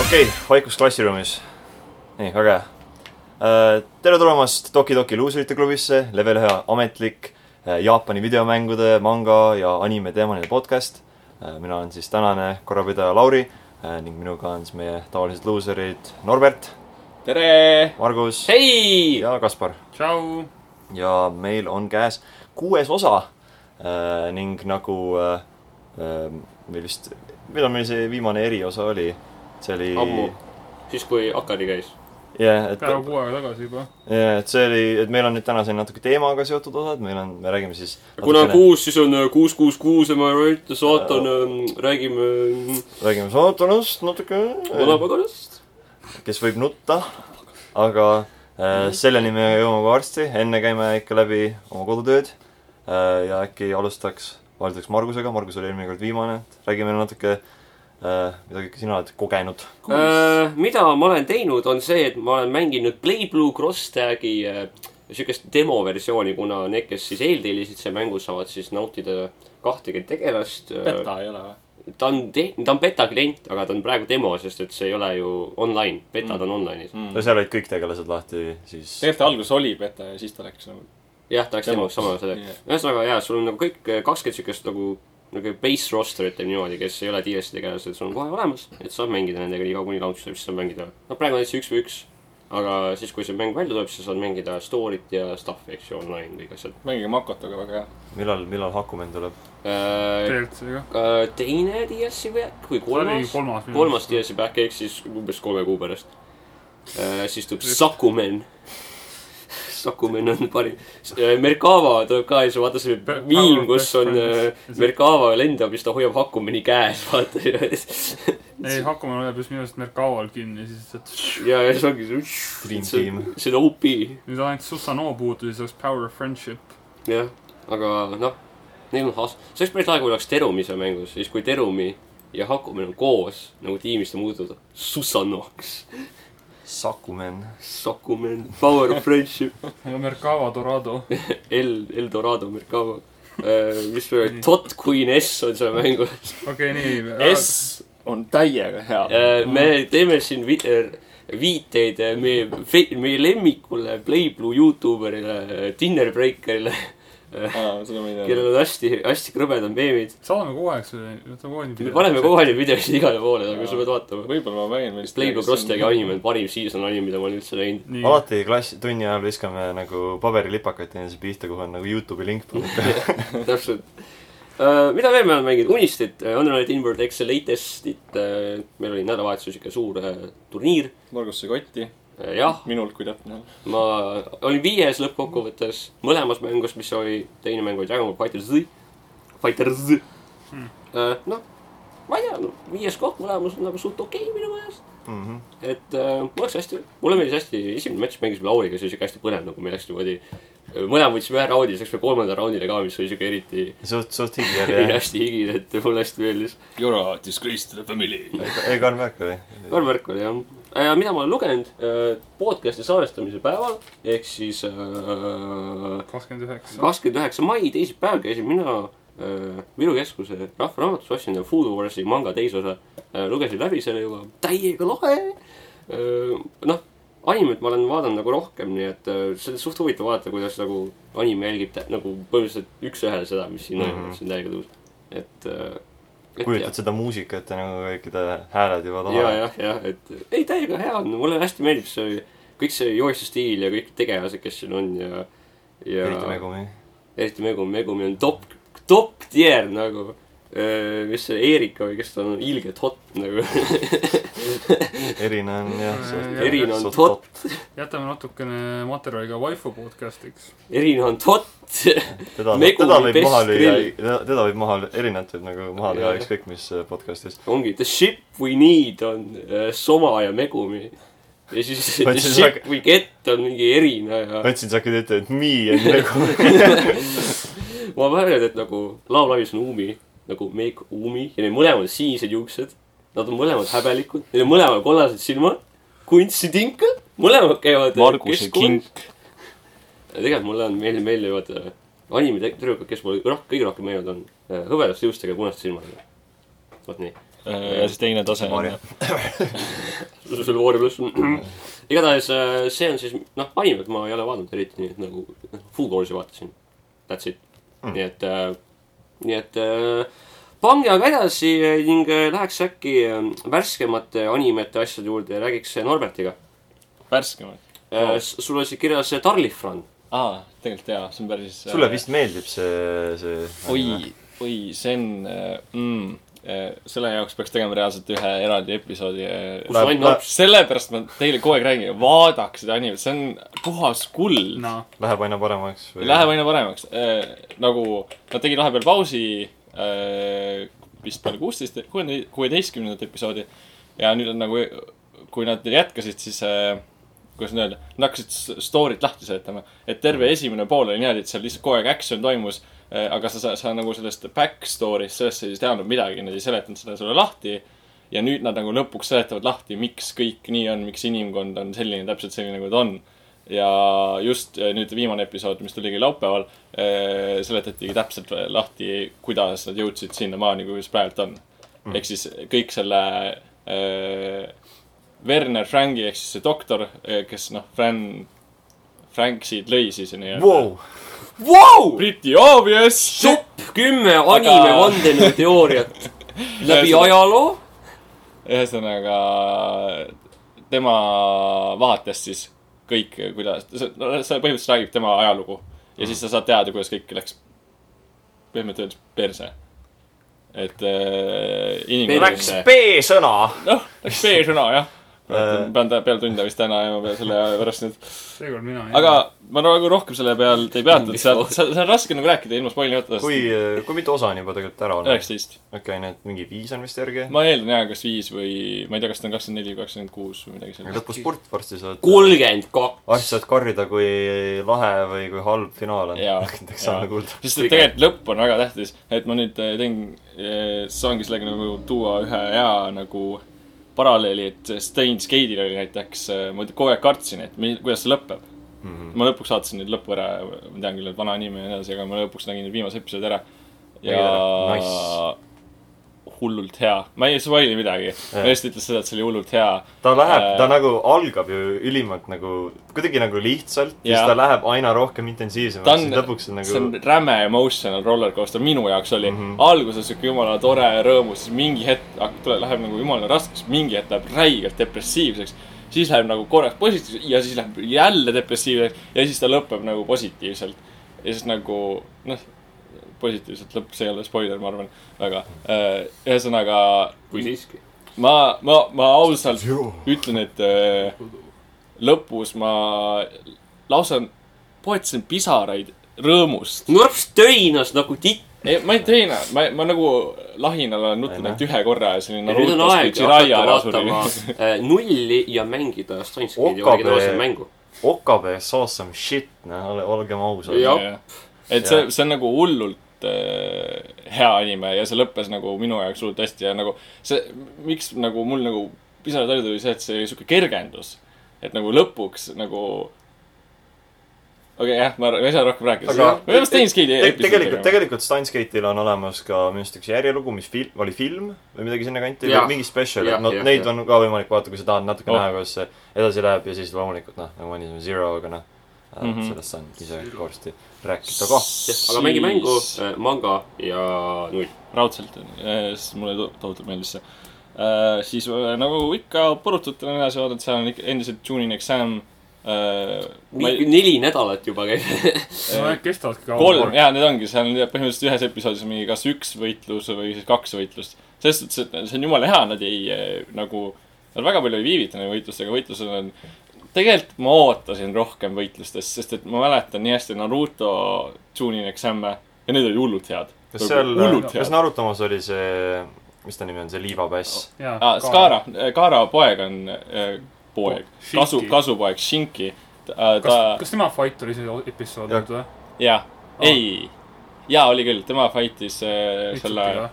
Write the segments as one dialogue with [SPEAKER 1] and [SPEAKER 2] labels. [SPEAKER 1] okei okay, , vaikus klassiruumis . nii , väga hea . tere tulemast Toki Toki luuserite klubisse , level ühe ametlik äh, Jaapani videomängude , manga ja anime teemaline podcast . mina olen siis tänane korrapidaja Lauri äh, ning minuga on siis meie tavalised luuserid Norbert ,
[SPEAKER 2] tere !
[SPEAKER 1] Margus
[SPEAKER 2] hei !
[SPEAKER 1] ja Kaspar .
[SPEAKER 2] tšau !
[SPEAKER 1] ja meil on käes kuues osa äh, ning nagu äh, äh, meil vist , millal meil see viimane eriosa oli ? see oli
[SPEAKER 2] ammu , siis kui Akari käis .
[SPEAKER 1] jah , et
[SPEAKER 3] peaaegu kuu aega tagasi juba .
[SPEAKER 1] jaa , et see oli , et meil on nüüd täna siin natuke teemaga seotud osad , meil on , me räägime siis
[SPEAKER 2] kuna
[SPEAKER 1] natukene-
[SPEAKER 2] kuus , siis on äh, kuus , kuus , kuus ja ma räägin , saatan , ähm, räägime äh,
[SPEAKER 1] räägime saatanast natuke ,
[SPEAKER 2] vanapaganast .
[SPEAKER 1] kes võib nutta , aga äh, selleni me jõuame ka varsti , enne käime ikka läbi oma kodutööd äh, ja äkki alustaks , valdaks Margusega , Margus oli eelmine kord viimane , räägime natuke äh, , mida kõike sina oled kogenud .
[SPEAKER 2] Äh, mida ma olen teinud , on see , et ma olen mänginud Play Blue Crosstag'i äh, siukest demoversiooni , kuna need , kes siis eeltellisid see mängu , saavad siis nautida kahtekümmet tegelast .
[SPEAKER 4] peta ei ole või ?
[SPEAKER 2] ta on , ta on beta klient , aga ta on praegu demo , sest et see ei ole ju online , betad on online'is .
[SPEAKER 1] no seal olid kõik tegelased lahti , siis
[SPEAKER 4] tegelikult ta alguses oli peta ja siis ta läks nagu .
[SPEAKER 2] jah , ta läks demoks sama selle
[SPEAKER 4] Jah. .
[SPEAKER 2] ühesõnaga jaa , sul on nagu kõik kakskümmend siukest nagu , nagu base roster ütleme niimoodi , kes ei ole DLC tegelased , sul on kohe olemas , et saab mängida nendega nii kaua , kuni launch tuleb , siis saab mängida . no praegu on täitsa üks või üks , aga siis , kui see mäng välja tuleb , siis saad mängida story't ja stuff'i , eks ju , online kõik asjad .
[SPEAKER 4] mängige Makotoga väga hea .
[SPEAKER 1] millal , millal Hakumen tuleb ?
[SPEAKER 3] DLC-ga .
[SPEAKER 2] Äh, teine DLC või , kui kolmas ,
[SPEAKER 3] kolmas .
[SPEAKER 2] Mm. kolmas . DLC back ehk siis umbes kolme kuu pärast . siis tuleb Sakumen . Sakumen on parim . Merkava tuleb ka ja siis vaata see
[SPEAKER 3] Pe-
[SPEAKER 2] miim
[SPEAKER 3] Power ,
[SPEAKER 2] kus
[SPEAKER 3] Best
[SPEAKER 2] on
[SPEAKER 3] Friends.
[SPEAKER 2] äh, Merkava lendab ja siis ta hoiab Hakumeni käes , vaata . ja ,
[SPEAKER 3] ei , Hakuman hoiab just minu arust Mercaval kinni , siis lihtsalt .
[SPEAKER 2] ja siis ongi see .
[SPEAKER 1] Dream team.
[SPEAKER 2] see on OP ,
[SPEAKER 3] nüüd ainult Susanoo puutus , siis oleks Power of Friendship .
[SPEAKER 2] jah . aga noh , neil on has- , see oleks päris lahe , kui oleks Terumi seal mängus , siis kui Terumi ja Hakumen on koos nagu tiimis , ta muutub Susanoks .
[SPEAKER 1] Sakumen .
[SPEAKER 2] Sakumen , Power of Friendship .
[SPEAKER 3] ja Mercava Dorado .
[SPEAKER 2] El , Eldorado Mercado . mis see oli , Tot Queen S on seal mängus .
[SPEAKER 3] okei , nii .
[SPEAKER 4] S on täiega hea .
[SPEAKER 2] Äh, me teeme siin vi- , viiteid eh, meie , meie lemmikule Playblue Youtuberile , Dinner Breakerile ,
[SPEAKER 4] seda ma ei tea .
[SPEAKER 2] kellel on hästi , hästi krõbedad meemid .
[SPEAKER 3] saadame kogu aeg selle , võtame kogu aeg
[SPEAKER 2] me paneme kohe neid videosid igale poole , aga sa pead vaatama .
[SPEAKER 4] võib-olla ma mängin vist .
[SPEAKER 2] Playblue Crosstag'i anime on parim season anime , mida ma olen üldse näinud .
[SPEAKER 3] nii ,
[SPEAKER 1] alati klass , tunni ajal viskame nagu paberilipakaid teineteise pihta , kuhu on nagu Youtube'i link pandud .
[SPEAKER 2] täpselt . mida veel me oleme mänginud , äh, Unistit , Unreal Inward Excel Latestit , äh, meil oli nädalavahetusel siuke suur eh, turniir ,
[SPEAKER 4] Margusse kotti ,
[SPEAKER 2] jah .
[SPEAKER 4] minult kui täpne on .
[SPEAKER 2] ma olin viies lõppkokkuvõttes mõlemas mängus , mis oli , teine mäng oli Dragon Ball Fighter Z , Fighter Z
[SPEAKER 3] Hmm.
[SPEAKER 2] hmm. . noh , ma ei tea no, , viies koht mõlemas on nagu suht okei okay minu meelest , et uh, mul läks hästi , mulle meeldis hästi , esimene matš mängisime Lauriga , see oli siuke hästi põnev nagu meil läks niimoodi . mõlemad võtsime ühe raundi , siis läksime kolmanda raundile ka , mis oli siuke eriti ,
[SPEAKER 1] suht , suht higi oli jah .
[SPEAKER 2] hästi higine , et mulle hästi meeldis .
[SPEAKER 4] You are a disgrace to the family .
[SPEAKER 1] ei , Karl Mäkk oli .
[SPEAKER 2] Karl Märk oli jah . mida ma olen lugenud uh, podcast'i salvestamise päeval ehk siis uh,
[SPEAKER 3] kakskümmend üheksa .
[SPEAKER 2] kakskümmend üheksa mai , teisipäev käisin mina äh, Viru keskuse rahvaraamatus ostsin ja Food Warsi manga teise osa äh, . lugesin läbi selle juba , täiega lahe äh, . noh , animet ma olen vaadanud nagu rohkem , nii et äh, see on suht huvitav vaadata , kuidas nagu anime jälgib tä- nagu põhimõtteliselt üks-ühele seda , mis siin on
[SPEAKER 1] Mhm.
[SPEAKER 2] mm , -hmm. see on täiega tõus . et äh, .
[SPEAKER 1] kujutad seda muusikat ja nagu kõikide hääled juba
[SPEAKER 2] ja ,
[SPEAKER 1] taha .
[SPEAKER 2] jah , jah , et ei , täiega hea on , mulle hästi meeldib see , kõik see joonistustiil ja kõik tegelased , kes siin on ja , ja .
[SPEAKER 1] eriti Megumi .
[SPEAKER 2] eriti Megumi , Megumi on top , top tier nagu . mis see Erika või kes ta on , ilgelt hot nagu .
[SPEAKER 1] Erine on jah .
[SPEAKER 2] Erine on tot .,
[SPEAKER 3] jätame natukene materjali ka Waifu podcast'iks .
[SPEAKER 2] Erina on tot .
[SPEAKER 1] teda ,
[SPEAKER 2] Megumi
[SPEAKER 1] teda võib
[SPEAKER 2] best
[SPEAKER 1] maha lüüa
[SPEAKER 2] grill. ,
[SPEAKER 1] teda võib maha , Erinat võib nagu maha lüüa
[SPEAKER 2] Jaa.
[SPEAKER 1] ükskõik mis äh, podcast'is .
[SPEAKER 2] ongi The ship we need on äh, Soma ja Megumi . ja siis The
[SPEAKER 1] Vaat siis
[SPEAKER 2] ship we get on mingi Erina ja
[SPEAKER 1] ma ütlesin , sa hakkad ütlema , et me ja Megumi .
[SPEAKER 2] ma mäletan , et nagu laulavis on Umi , nagu Meg Umi ja neil mõlemal on siinsed juuksed . Nad on mõlemad häbelikud , neil on mõlemal kollased silmad , kunstitinkel , mõlemad käivad äh,
[SPEAKER 4] Marguse
[SPEAKER 2] keskkoolis.
[SPEAKER 4] kink .
[SPEAKER 2] Ja tegelikult mulle on meeldiv , meeldivad äh, anime tüdrukud , kes mulle roh- , kõige rohkem meeldivad , on äh, hõbedaste juustega ja punaste silmadega . vot nii .
[SPEAKER 4] ja siis teine tase on
[SPEAKER 1] Mario.
[SPEAKER 2] sul Warrior pluss on . igatahes äh, see on siis noh , animet ma ei ole vaadanud eriti , nii et nagu noh, Full Course'i vaatasin . That's it mm. . nii et äh, , nii et äh, pange aga edasi ning äh, läheks äkki äh, värskemate animete asjade juurde ja räägiks äh, Norbertiga
[SPEAKER 4] värskemad .
[SPEAKER 2] äh, . sul oli siin kirjas äh, Tarlifran .
[SPEAKER 4] aa , tegelikult jaa , see on päris .
[SPEAKER 1] sulle vist meeldib see , see .
[SPEAKER 4] oi , oi , see on äh, mm, , äh, selle jaoks peaks tegema reaalselt ühe eraldi episoodi
[SPEAKER 2] kus
[SPEAKER 4] äh, .
[SPEAKER 1] Läheb-
[SPEAKER 2] ainult laps ,
[SPEAKER 4] sellepärast ma teile kogu aeg räägin , vaadake seda animat , see on puhas kuld no. .
[SPEAKER 3] noh ,
[SPEAKER 1] Läheb aina paremaks või ?
[SPEAKER 4] Läheb aina paremaks äh, . nagu nad tegid vahepeal pausi äh, vist peale kuusteist , kuueteistkümnendat episoodi . ja nüüd on nagu , kui nad jätkasid , siis äh, kuidas nüüd öelda , nad hakkasid s- story't lahti seletama . et terve esimene pool oli niimoodi , et seal lihtsalt kogu aeg action toimus . aga sa , sa , sa nagu sellest back story'st , sellest sa ei teadnud midagi , nad ei seletanud seda sulle lahti . ja nüüd nad nagu lõpuks seletavad lahti , miks kõik nii on , miks inimkond on selline , täpselt selline , nagu ta on . ja just eh, nüüd viimane episood , mis tuligi laupäeval , seletatigi täpselt lahti , kuidas nad jõudsid sinnamaani , kuidas praegu on mm. . ehk siis kõik selle eh, Werner Frangi ehk siis see doktor , kes noh , Fran , Franksid lõi siis nii-öelda
[SPEAKER 1] Wow.
[SPEAKER 2] vau ,
[SPEAKER 4] Pretty obvious .
[SPEAKER 2] top kümme anime
[SPEAKER 4] Aga-
[SPEAKER 2] vandenõuteooriat läbi
[SPEAKER 4] Ühesõnaga-
[SPEAKER 2] ajaloo .
[SPEAKER 4] ühesõnaga tema vaatest siis kõik , kuidas , see no see põhimõtteliselt räägib tema ajalugu ja siis sa saad teada , kuidas kõik läks pehmelt öeldes perse . et äh,
[SPEAKER 1] läks
[SPEAKER 4] inimene .
[SPEAKER 1] B-sõna .
[SPEAKER 4] noh , läks B-sõna jah .
[SPEAKER 1] Äh.
[SPEAKER 4] pean ta peale tunda vist täna ja ma pean selle pärast nüüd
[SPEAKER 3] seekord mina ei
[SPEAKER 4] aga ma nagu rohkem selle peal ei peatunud , seal , seal on raske nagu rääkida ilma spoilimata .
[SPEAKER 1] kui , kui mitu osa on juba tegelikult ära olnud ?
[SPEAKER 4] üheksateist .
[SPEAKER 1] okei , nii et mingi viis on vist järgi .
[SPEAKER 4] ma eeldan jaa , kas viis või ma ei tea , kas ta on kakskümmend neli või kakskümmend kuus või midagi sellist .
[SPEAKER 1] lõpusport varsti saad .
[SPEAKER 2] kolmkümmend kaks .
[SPEAKER 1] varsti saad karjida , kui lahe või kui halb finaal on .
[SPEAKER 4] Jaa,
[SPEAKER 1] eks saame
[SPEAKER 4] jaa.
[SPEAKER 1] kuulda .
[SPEAKER 4] sest et tegelikult lõpp on väga tähtis , et ma nüüd äh, teen , saangi sellega nagu tuua ühe hea nagu paralleeli , et Stains Gate'il oli näiteks , ma kogu aeg kartsin , et mi- kuidas see lõpeb mm .
[SPEAKER 1] Mhm.
[SPEAKER 4] -hmm. ma lõpuks vaatasin nüüd lõppu ära , ma tean küll , et vana nimi ja nii edasi , aga ma lõpuks nägin nüüd viimase episoodi ära . ja
[SPEAKER 1] Nägid ära?
[SPEAKER 4] nice. hullult hea , ma ei spoil'i midagi , ma lihtsalt ütlen seda , et see oli hullult hea .
[SPEAKER 1] ta läheb , ta
[SPEAKER 4] Äh.
[SPEAKER 1] nagu algab ju ülimalt nagu , kuidagi nagu lihtsalt , siis
[SPEAKER 4] Jaa.
[SPEAKER 1] ta läheb aina rohkem
[SPEAKER 4] ta
[SPEAKER 1] intensiivsemaks ,
[SPEAKER 4] on
[SPEAKER 1] siis , lõpuks on
[SPEAKER 4] see
[SPEAKER 1] nagu Mhm.
[SPEAKER 4] on räme emotional rollercoaster , minu jaoks oli mm . -hmm. alguses sihuke jumala tore ja rõõmus , siis mingi hetk hakkab , tuleb , läheb nagu jumala raskeks , mingi hetk läheb räigelt depressiivseks . siis läheb nagu korraks positiivseks ja siis läheb jälle depressiivseks ja siis ta lõpeb nagu positiivselt . ja siis nagu noh , positiivselt lõpp , see ei ole spoiler , ma arvan , väga . ühesõnaga ,
[SPEAKER 2] kui siiski .
[SPEAKER 4] ma , ma , ma ausalt ütlen , et äh, lõpus ma lausa poetasin pisaraid rõõmust .
[SPEAKER 2] Norps töinas nagu titt .
[SPEAKER 4] ei , ma ei teine , ma , ma nagu lahinal olen nutnud
[SPEAKER 1] Ei,
[SPEAKER 4] ainult ühe korra ja selline .
[SPEAKER 2] ja nüüd on aeg hakata vaatama äh, nulli ja mängida Steins Gate'i
[SPEAKER 1] Okabe.
[SPEAKER 2] originaalset mängu .
[SPEAKER 1] Okabe saw some shit , noh , olgem ausad .
[SPEAKER 2] Jah.
[SPEAKER 4] et see
[SPEAKER 1] Jah. ,
[SPEAKER 4] see on nagu hullult äh, hea anime ja see lõppes nagu minu jaoks hullult hästi ja nagu see , miks nagu mul nagu pisarad välja tuli see , et see oli sihuke kergendus . et nagu lõpuks nagu . okei okay, , jah , ma ma ei saa rohkem rääkida .
[SPEAKER 1] Aga-
[SPEAKER 4] me peame Steins Gate'i
[SPEAKER 1] Te-
[SPEAKER 4] episoodi
[SPEAKER 1] tegelikult ,
[SPEAKER 4] tegema .
[SPEAKER 1] tegelikult Steins Gate'il on olemas ka minu arust üks järjelugu , mis film , oli film või midagi sinnakanti ,
[SPEAKER 2] Jah.
[SPEAKER 1] mingi special ,
[SPEAKER 2] Jah,
[SPEAKER 1] et noh
[SPEAKER 2] jah, ,
[SPEAKER 1] neid
[SPEAKER 2] jah.
[SPEAKER 1] on ka võimalik vaadata , kui sa tahad natuke
[SPEAKER 4] Oh.
[SPEAKER 1] näha , kuidas see edasi läheb ja siis loomulikult noh , nagu mainisime , Zero , aga noh äh,
[SPEAKER 4] Mhm.
[SPEAKER 1] sellest saan ise varsti rääkida ka .
[SPEAKER 2] aga mängi mängu , manga ja null .
[SPEAKER 4] raudselt , sest mulle to- tohutult meeldis see . siis äh, nagu ikka põrutud olen edasi vaadanud , seal on ikka endiselt June'in exam . äh, kolm ,
[SPEAKER 2] neli nädalat juba käib .
[SPEAKER 3] no need kestavadki kaua .
[SPEAKER 4] jaa , need ongi , seal on põhimõtteliselt ühes episoodis on mingi kas üks võitlus või siis kaks võitlust . selles suhtes , et see on jumala hea , nad ei äh, nagu , nad väga palju ei viivita neid võitlustega , võitlused on tegelikult ma ootasin rohkem võitlustest , sest et ma mäletan nii hästi Naruto June'in exam'e ja need olid hullult head .
[SPEAKER 1] kas seal ,
[SPEAKER 4] hullult
[SPEAKER 1] kas
[SPEAKER 4] head .
[SPEAKER 1] Naruto omas oli see , mis ta nimi on , see liivapäss ?
[SPEAKER 4] ah, . Skara , Kaara poeg on äh, poeg ,
[SPEAKER 1] Oh,
[SPEAKER 3] Shinki.
[SPEAKER 4] kasu , kasupoeg Shinki . ta ,
[SPEAKER 3] kas ,
[SPEAKER 4] ta ,
[SPEAKER 3] kas tema fight oli see episood
[SPEAKER 1] Jah.
[SPEAKER 3] nüüd või ?
[SPEAKER 4] jah ,
[SPEAKER 1] Ah.
[SPEAKER 4] ei , jaa , oli küll , tema fight'is äh, selle ,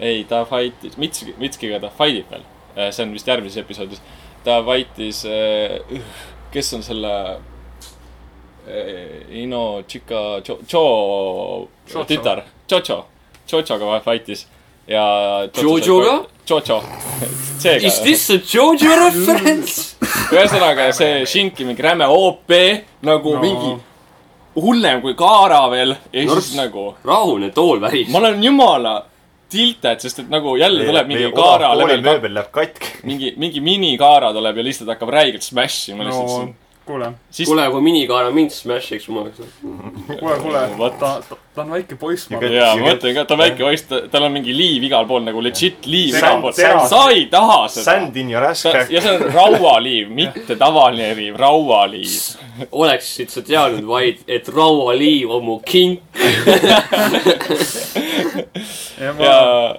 [SPEAKER 4] ei , ta fight'is , Mitski , Mitskiga ta fight'ib veel . see on vist järgmises episoodis . ta fight'is äh, , kes on selle äh, Ino Chika , Cho , Cho
[SPEAKER 3] Chocho.
[SPEAKER 4] tütar , Chocho , Chochoga fight'is ja .
[SPEAKER 2] Jojoga?
[SPEAKER 4] Jojo . seega ,
[SPEAKER 2] Is this a Jojo reference ?
[SPEAKER 4] ühesõnaga see Shinki mingi räme OP nagu no.
[SPEAKER 3] No.
[SPEAKER 4] mingi hullem kui Kaara veel ja siis
[SPEAKER 2] Nurss.
[SPEAKER 4] nagu
[SPEAKER 2] rahune tool väris
[SPEAKER 4] ma . olen jumala tilted , sest et nagu jälle tuleb mingi Kaara level kaks ,
[SPEAKER 1] mööbel läheb katki .
[SPEAKER 4] mingi , mingi minikaara tuleb ja lihtsalt hakkab räigelt smash ima lihtsalt
[SPEAKER 3] no . kuule ,
[SPEAKER 4] siis
[SPEAKER 2] kuule , kui minikaara mind smashiks , ma oleks .
[SPEAKER 3] kuule , kuule
[SPEAKER 4] What? ,
[SPEAKER 3] ta , ta on väike poiss , ma
[SPEAKER 1] Ja
[SPEAKER 3] arvan .
[SPEAKER 4] jaa , ma mõtlen ka , ta on väike poiss , tal on mingi liiv igal pool nagu legit liiv
[SPEAKER 3] Sand-
[SPEAKER 4] igal pool .
[SPEAKER 3] teras.
[SPEAKER 4] sa ei taha seda .
[SPEAKER 1] Sand in your ass crack
[SPEAKER 4] ja . see on raualiiv , mitte tavaline liiv , raualiiv .
[SPEAKER 2] oleksid sa teadnud vaid , et raualiiv on mu king
[SPEAKER 3] ja ma
[SPEAKER 4] ja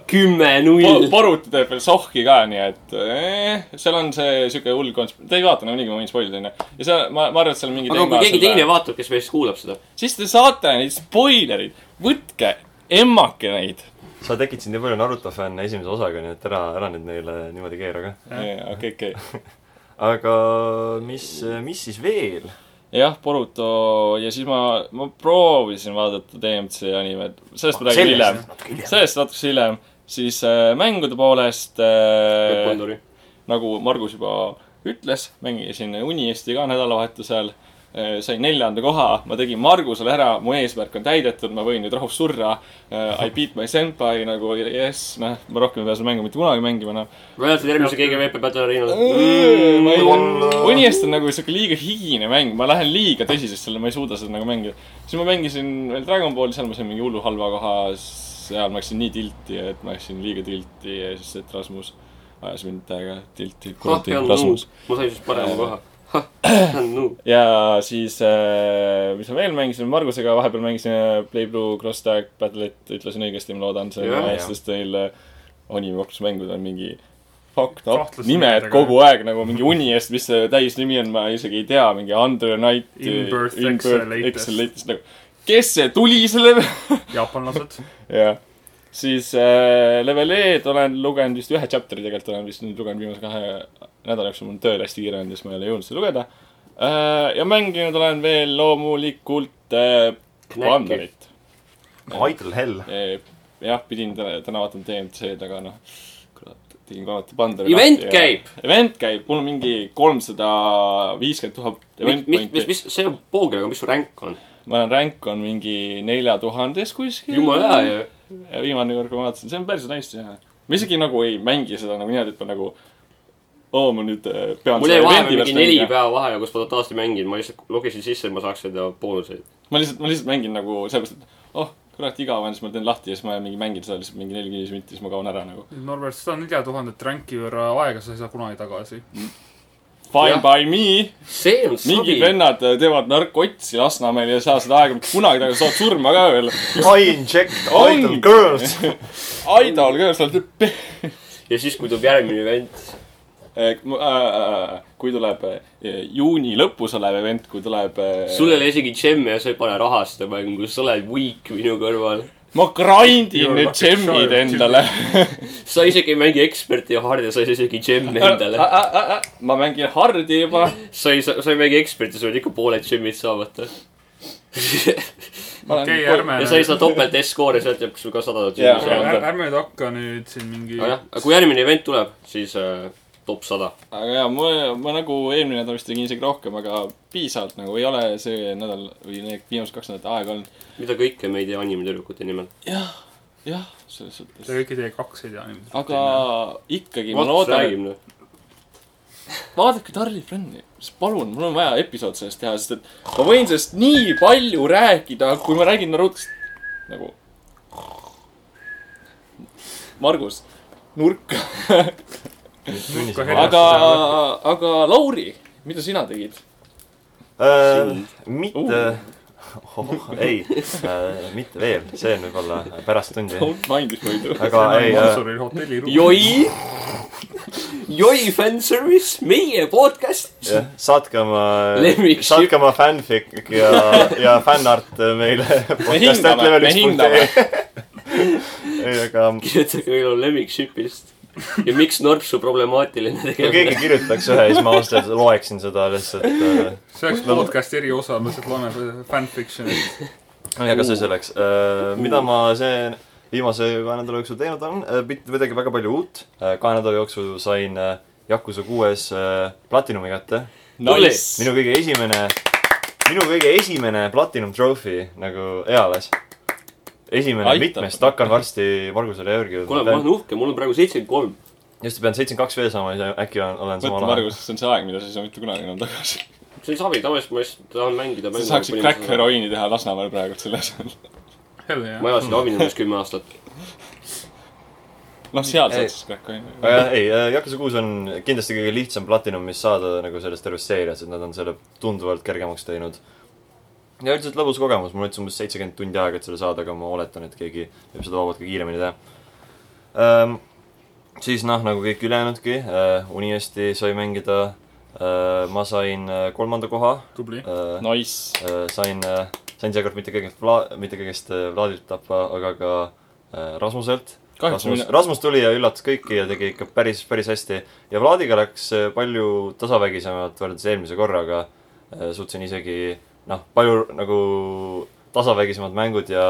[SPEAKER 2] kümme
[SPEAKER 4] po-
[SPEAKER 2] null .
[SPEAKER 4] Boruti teeb veel sohki ka , nii et eh, seal on see siuke hull kons- , te ei vaata nagu nagunii , kui ma võin spoilida , onju . ja seal , ma , ma arvan , et seal on mingi
[SPEAKER 2] aga kui keegi teine vaatab , kes meist kuulab seda .
[SPEAKER 4] siis te saate neid spoilereid , võtke emmake neid .
[SPEAKER 1] sa tekitasid nii palju Naruto fänne esimese osaga , nii et ära , ära nüüd neile niimoodi keera ka .
[SPEAKER 4] okei , okei .
[SPEAKER 1] aga mis , mis siis veel ?
[SPEAKER 4] jah , Boruto ja siis ma , ma proovisin vaadata DMC animet , sellest ma
[SPEAKER 1] Ah,
[SPEAKER 4] räägin hiljem . sellest natuke hiljem , siis äh, mängude poolest äh,
[SPEAKER 2] Pandori .
[SPEAKER 4] nagu Margus juba ütles , mängisin Uniesti ka nädalavahetusel äh, . sain neljanda koha , ma tegin Margusele ära , mu eesmärk on täidetud , ma võin nüüd rahus surra äh, . I beat my senpai nagu jess , noh , ma rohkem ei pea seda mängu mitte kunagi mängima noh. enam .
[SPEAKER 2] mäletad järgmise GGVP Battle
[SPEAKER 4] ma ei
[SPEAKER 2] Arena'l ?
[SPEAKER 4] Uniest on nagu siuke liiga higine mäng , ma lähen liiga tõsiselt selle , ma ei suuda seda nagu mängida . siis ma mängisin veel Dragon Balli , seal ma sain mingi hullu halva koha , seal ma läksin nii tilti , et ma läksin liiga tilti ja siis see Rasmus ajas mind täiega tilti , kuradi Rasmus .
[SPEAKER 2] ma sain just parema koha .
[SPEAKER 4] ja siis , mis ma veel mängisin , Margusega vahepeal mängisin äh, Play Blue Cross Tag Battle'it , ütlesin õigesti , ma loodan , see
[SPEAKER 2] Jah.
[SPEAKER 4] on hea , sest neil animaksusmängud on mingi fucked up
[SPEAKER 3] Kahtlaste
[SPEAKER 4] nimed
[SPEAKER 3] nimedega.
[SPEAKER 4] kogu aeg nagu mingi uni eest , mis see täisnimi on , ma isegi ei tea , mingi Under Night . äh,
[SPEAKER 3] Inbirth Excel latest.
[SPEAKER 4] nagu , kes see tuli selle
[SPEAKER 3] jaapanlased .
[SPEAKER 4] jah , siis äh, level E-d olen lugenud vist ühe chapter'i tegelikult olen vist nüüd lugenud viimase kahe nädala jooksul , mul on tööl hästi kiire olnud ja siis ma ei ole jõudnud seda lugeda äh, . ja mänginud olen veel loomulikult äh,
[SPEAKER 2] Knäkki.
[SPEAKER 4] Wanderit
[SPEAKER 1] Idle hell .
[SPEAKER 4] äh, . jah , pidin täna, täna vaatama DMC-d , aga noh , kurat , tegin kohati Wanderit .
[SPEAKER 2] Event käib !
[SPEAKER 4] Event käib , mul on mingi kolmsada viiskümmend tuhat event
[SPEAKER 2] mis , mis ,
[SPEAKER 4] pointi .
[SPEAKER 2] mis , see on poogel , aga mis su ränk on ?
[SPEAKER 4] ma olen ränk on mingi nelja tuhandes kuskil .
[SPEAKER 2] jumala hea ju .
[SPEAKER 4] Ja viimane kord , kui ma vaatasin , see on päris nice jah . ma isegi nagu ei mängi seda nagu niimoodi , et ma nagu , oo , ma nüüd äh, pean .
[SPEAKER 2] mul jäi vahepeal mingi neli päeva vaheaega , kus ma totaalselt ei mänginud , ma lihtsalt logisin sisse , et ma saaks seda boonuseid .
[SPEAKER 4] ma lihtsalt , ma lihtsalt mängin nagu sellepärast , et oh , kurat , igav on , siis ma teen lahti ja siis ma mingi mängin seda lihtsalt mingi nelikümmend minutit ja siis ma kaon ära nagu .
[SPEAKER 3] Norbert , seda nelja tuhandet ränki võrra aega sa ei saa kunagi tagasi .
[SPEAKER 4] Fine
[SPEAKER 2] Jah.
[SPEAKER 4] by me ,
[SPEAKER 2] see on sabi
[SPEAKER 4] mingid . vennad äh, teevad narkotsi Lasnamäel ja ei saa seda aega mitte kunagi tagasi , saad surma ka veel .
[SPEAKER 1] I inject idle
[SPEAKER 4] Ongi.
[SPEAKER 1] girls .
[SPEAKER 4] Idol ka , sa oled pe- .
[SPEAKER 2] ja siis , kui tuleb järgmine event ,
[SPEAKER 4] Äh, kui tuleb äh, juuni lõpus olev event , kui tuleb . äh,
[SPEAKER 2] sul ei ole isegi džemme ja sa ei pane raha seda mängu , sa oled weak minu kõrval .
[SPEAKER 4] ma grindin
[SPEAKER 3] You're
[SPEAKER 4] need
[SPEAKER 3] like a
[SPEAKER 4] džemmid
[SPEAKER 3] child.
[SPEAKER 4] endale .
[SPEAKER 2] sa isegi ei mängi eksperti ja hardi , sa ei saa isegi džemme endale .
[SPEAKER 4] Ah, ma mängin hardi juba ,
[SPEAKER 2] sa ei saa , sa ei mängi eksperti , sa pead ikka pooled džemmid saamata .
[SPEAKER 4] Ma olen
[SPEAKER 3] okei ,
[SPEAKER 4] kol-
[SPEAKER 3] ärme
[SPEAKER 2] ja sa ei saa topelt S-koore , sealt jääb sul ka sada tuhat
[SPEAKER 4] Jaa.
[SPEAKER 2] džemmi
[SPEAKER 3] ärme-
[SPEAKER 2] saamata .
[SPEAKER 4] saada.
[SPEAKER 3] ärme nüüd hakka nüüd siin mingi
[SPEAKER 2] aga jah , kui järgmine event tuleb , siis äh, top sada .
[SPEAKER 4] aga jaa , ma , ma nagu eelmine nädal vist tegin isegi rohkem , aga piisavalt nagu ei ole see nädal või need viimased kaks nädalat aega olnud .
[SPEAKER 2] mida kõike me ei tea animetüdrukute nimel .
[SPEAKER 4] jah , jah , selles suhtes
[SPEAKER 3] Te . kõik ei tee kaks ei tea niimoodi .
[SPEAKER 4] aga ikkagi ma
[SPEAKER 2] Mats
[SPEAKER 4] loodan ,
[SPEAKER 2] räägib nüüd .
[SPEAKER 4] et vaadake Darli Friend'i , siis palun , mul on vaja episood sellest teha , sest et ma võin sellest nii palju rääkida , kui ma räägin Narutost nagu . Margus , nurka . aga , aga Lauri , mida sina tegid ?
[SPEAKER 1] Äh, mitte , ei , mitte veel , see on võib-olla pärast tundi .
[SPEAKER 4] Don't mind it muidu .
[SPEAKER 1] aga ei ,
[SPEAKER 3] Monsuril hotelliruum .
[SPEAKER 2] joi , joi fanservice , meie podcast .
[SPEAKER 1] äh, jah , saatke oma
[SPEAKER 2] Lemmikship. ,
[SPEAKER 1] saatke oma fanfic ja , ja fännart meile .
[SPEAKER 4] me hindame , me hindame .
[SPEAKER 1] ei , aga
[SPEAKER 2] kirjutage meile oma lemmikshipist ja miks Norb su problemaatiline
[SPEAKER 1] kui
[SPEAKER 2] tegemine
[SPEAKER 1] keegi kirjutaks ühe , siis ma ausalt öeldes loeksin seda lihtsalt äh,
[SPEAKER 3] see oleks podcast'i eriosa , me lihtsalt loeme fanfiction'it .
[SPEAKER 1] aga see selleks , mida Äh, ma see viimase kahe nädala jooksul teinud on , mitte midagi väga palju uut . kahe nädala jooksul sain äh, Yakuza kuues äh, platinumi kätte .
[SPEAKER 4] Nice .
[SPEAKER 1] minu kõige esimene , minu kõige esimene platinum trophy nagu eales . esimene
[SPEAKER 4] Aitab.
[SPEAKER 1] mitmest , hakkan varsti Margusele järgi .
[SPEAKER 2] kuule , ma olen uhke , mul on praegu seitsekümmend kolm .
[SPEAKER 1] just , pean seitsekümmend kaks veel saama , äkki olen, olen
[SPEAKER 4] mõtle ,
[SPEAKER 1] samal ajal .
[SPEAKER 4] Margus , see on see aeg , mida sa ei saa mitte kunagi enam tagasi .
[SPEAKER 2] see on savi , tavaliselt ma lihtsalt tahan mängida .
[SPEAKER 4] sa saaksid crack . heroiini teha Lasnamäel praegu selle asemel .
[SPEAKER 3] hell jah .
[SPEAKER 2] ma elasin Avinõus kümme aastat .
[SPEAKER 4] noh , seal
[SPEAKER 1] Ei.
[SPEAKER 4] saad siis crack heroiini .
[SPEAKER 1] aga Äh, ei , Yakuza kuus on kindlasti kõige lihtsam platinum , mis saada nagu sellest tervest seeriast , et nad on selle tunduvalt kergemaks teinud . ja üldiselt lõbus kogemus , mul võttis umbes seitsekümmend tundi aega , et selle saada , aga ma oletan , et keegi võib seda vabalt ka kiiremini teha um, . siis noh , nagu kõik ülejäänudki uh, , uni hästi sai mängida uh, . ma sain uh, kolmanda koha
[SPEAKER 3] tubli .
[SPEAKER 1] uh, .
[SPEAKER 4] Nice .
[SPEAKER 1] Äh, sain , sain seekord mitte kõigest Vla- , mitte kõigest äh, Vladilt tappa , aga ka äh, Rasmuselt .
[SPEAKER 4] Kahjuks
[SPEAKER 1] Rasmus ,
[SPEAKER 4] mina-
[SPEAKER 1] Rasmus tuli ja üllatas kõiki ja tegi ikka päris , päris hästi . ja Vladiga läks äh, palju tasavägisemalt võrreldes eelmise korraga . suutsin isegi , noh , palju nagu tasavägisemad mängud ja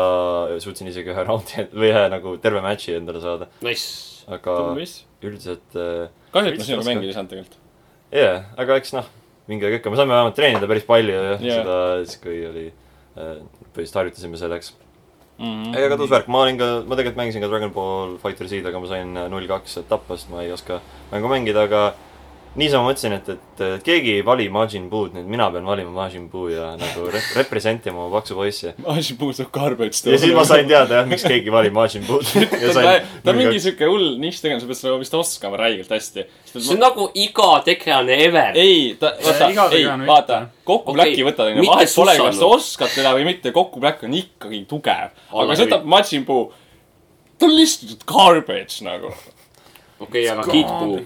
[SPEAKER 1] suutsin isegi ühe raundi või ühe nagu terve match'i endale saada .
[SPEAKER 2] Nice .
[SPEAKER 1] aga
[SPEAKER 4] tublis .
[SPEAKER 1] üldiselt äh,
[SPEAKER 4] kahju , et
[SPEAKER 1] Mis
[SPEAKER 4] ma sinuga
[SPEAKER 1] raske.
[SPEAKER 4] mängida ei saanud tegelikult .
[SPEAKER 1] jaa yeah, , aga eks noh , mingi aeg ikka , me saime vähemalt treenida päris palju ja yeah.
[SPEAKER 4] Jaa.
[SPEAKER 1] seda siis , kui oli , põhiliselt harjutasime selleks .
[SPEAKER 4] ei
[SPEAKER 1] ei , aga tõus värk , ma olin ka , ma tegelikult mängisin ka Dragon Ball Fighter Z-d , aga ma sain äh, null kaks tappa , sest ma ei oska mängu mängida , aga niisama mõtlesin , et , et äh, keegi ei vali Majin Buud , nüüd mina pean valima Majin Buu ja nagu rep- , representima oma paksu poissi .
[SPEAKER 4] ma ajasin puudu nagu garbage .
[SPEAKER 1] ja siis ma sain teada jah , miks keegi valib Majin Buud .
[SPEAKER 4] ta, ta, ta on mingi siuke hull nišš tegelikult , sa pead seda vist oskama räigelt hästi .
[SPEAKER 2] see on nagu iga tegelane ever .
[SPEAKER 4] ei , ta , vaata
[SPEAKER 3] iga ,
[SPEAKER 4] ei
[SPEAKER 3] tegelane ,
[SPEAKER 4] vaata
[SPEAKER 3] mitte. ,
[SPEAKER 4] kokku
[SPEAKER 2] Okei,
[SPEAKER 4] Blacki võta , onju ,
[SPEAKER 2] mitte
[SPEAKER 4] vahet pole , kas sa
[SPEAKER 2] sussanud.
[SPEAKER 4] oskad teda või mitte , kokku Black on ikkagi tugev .
[SPEAKER 2] Alla
[SPEAKER 4] aga sa võtad Majin Buu , ta on lihtsalt garbage nagu .
[SPEAKER 2] okei , aga Kiku .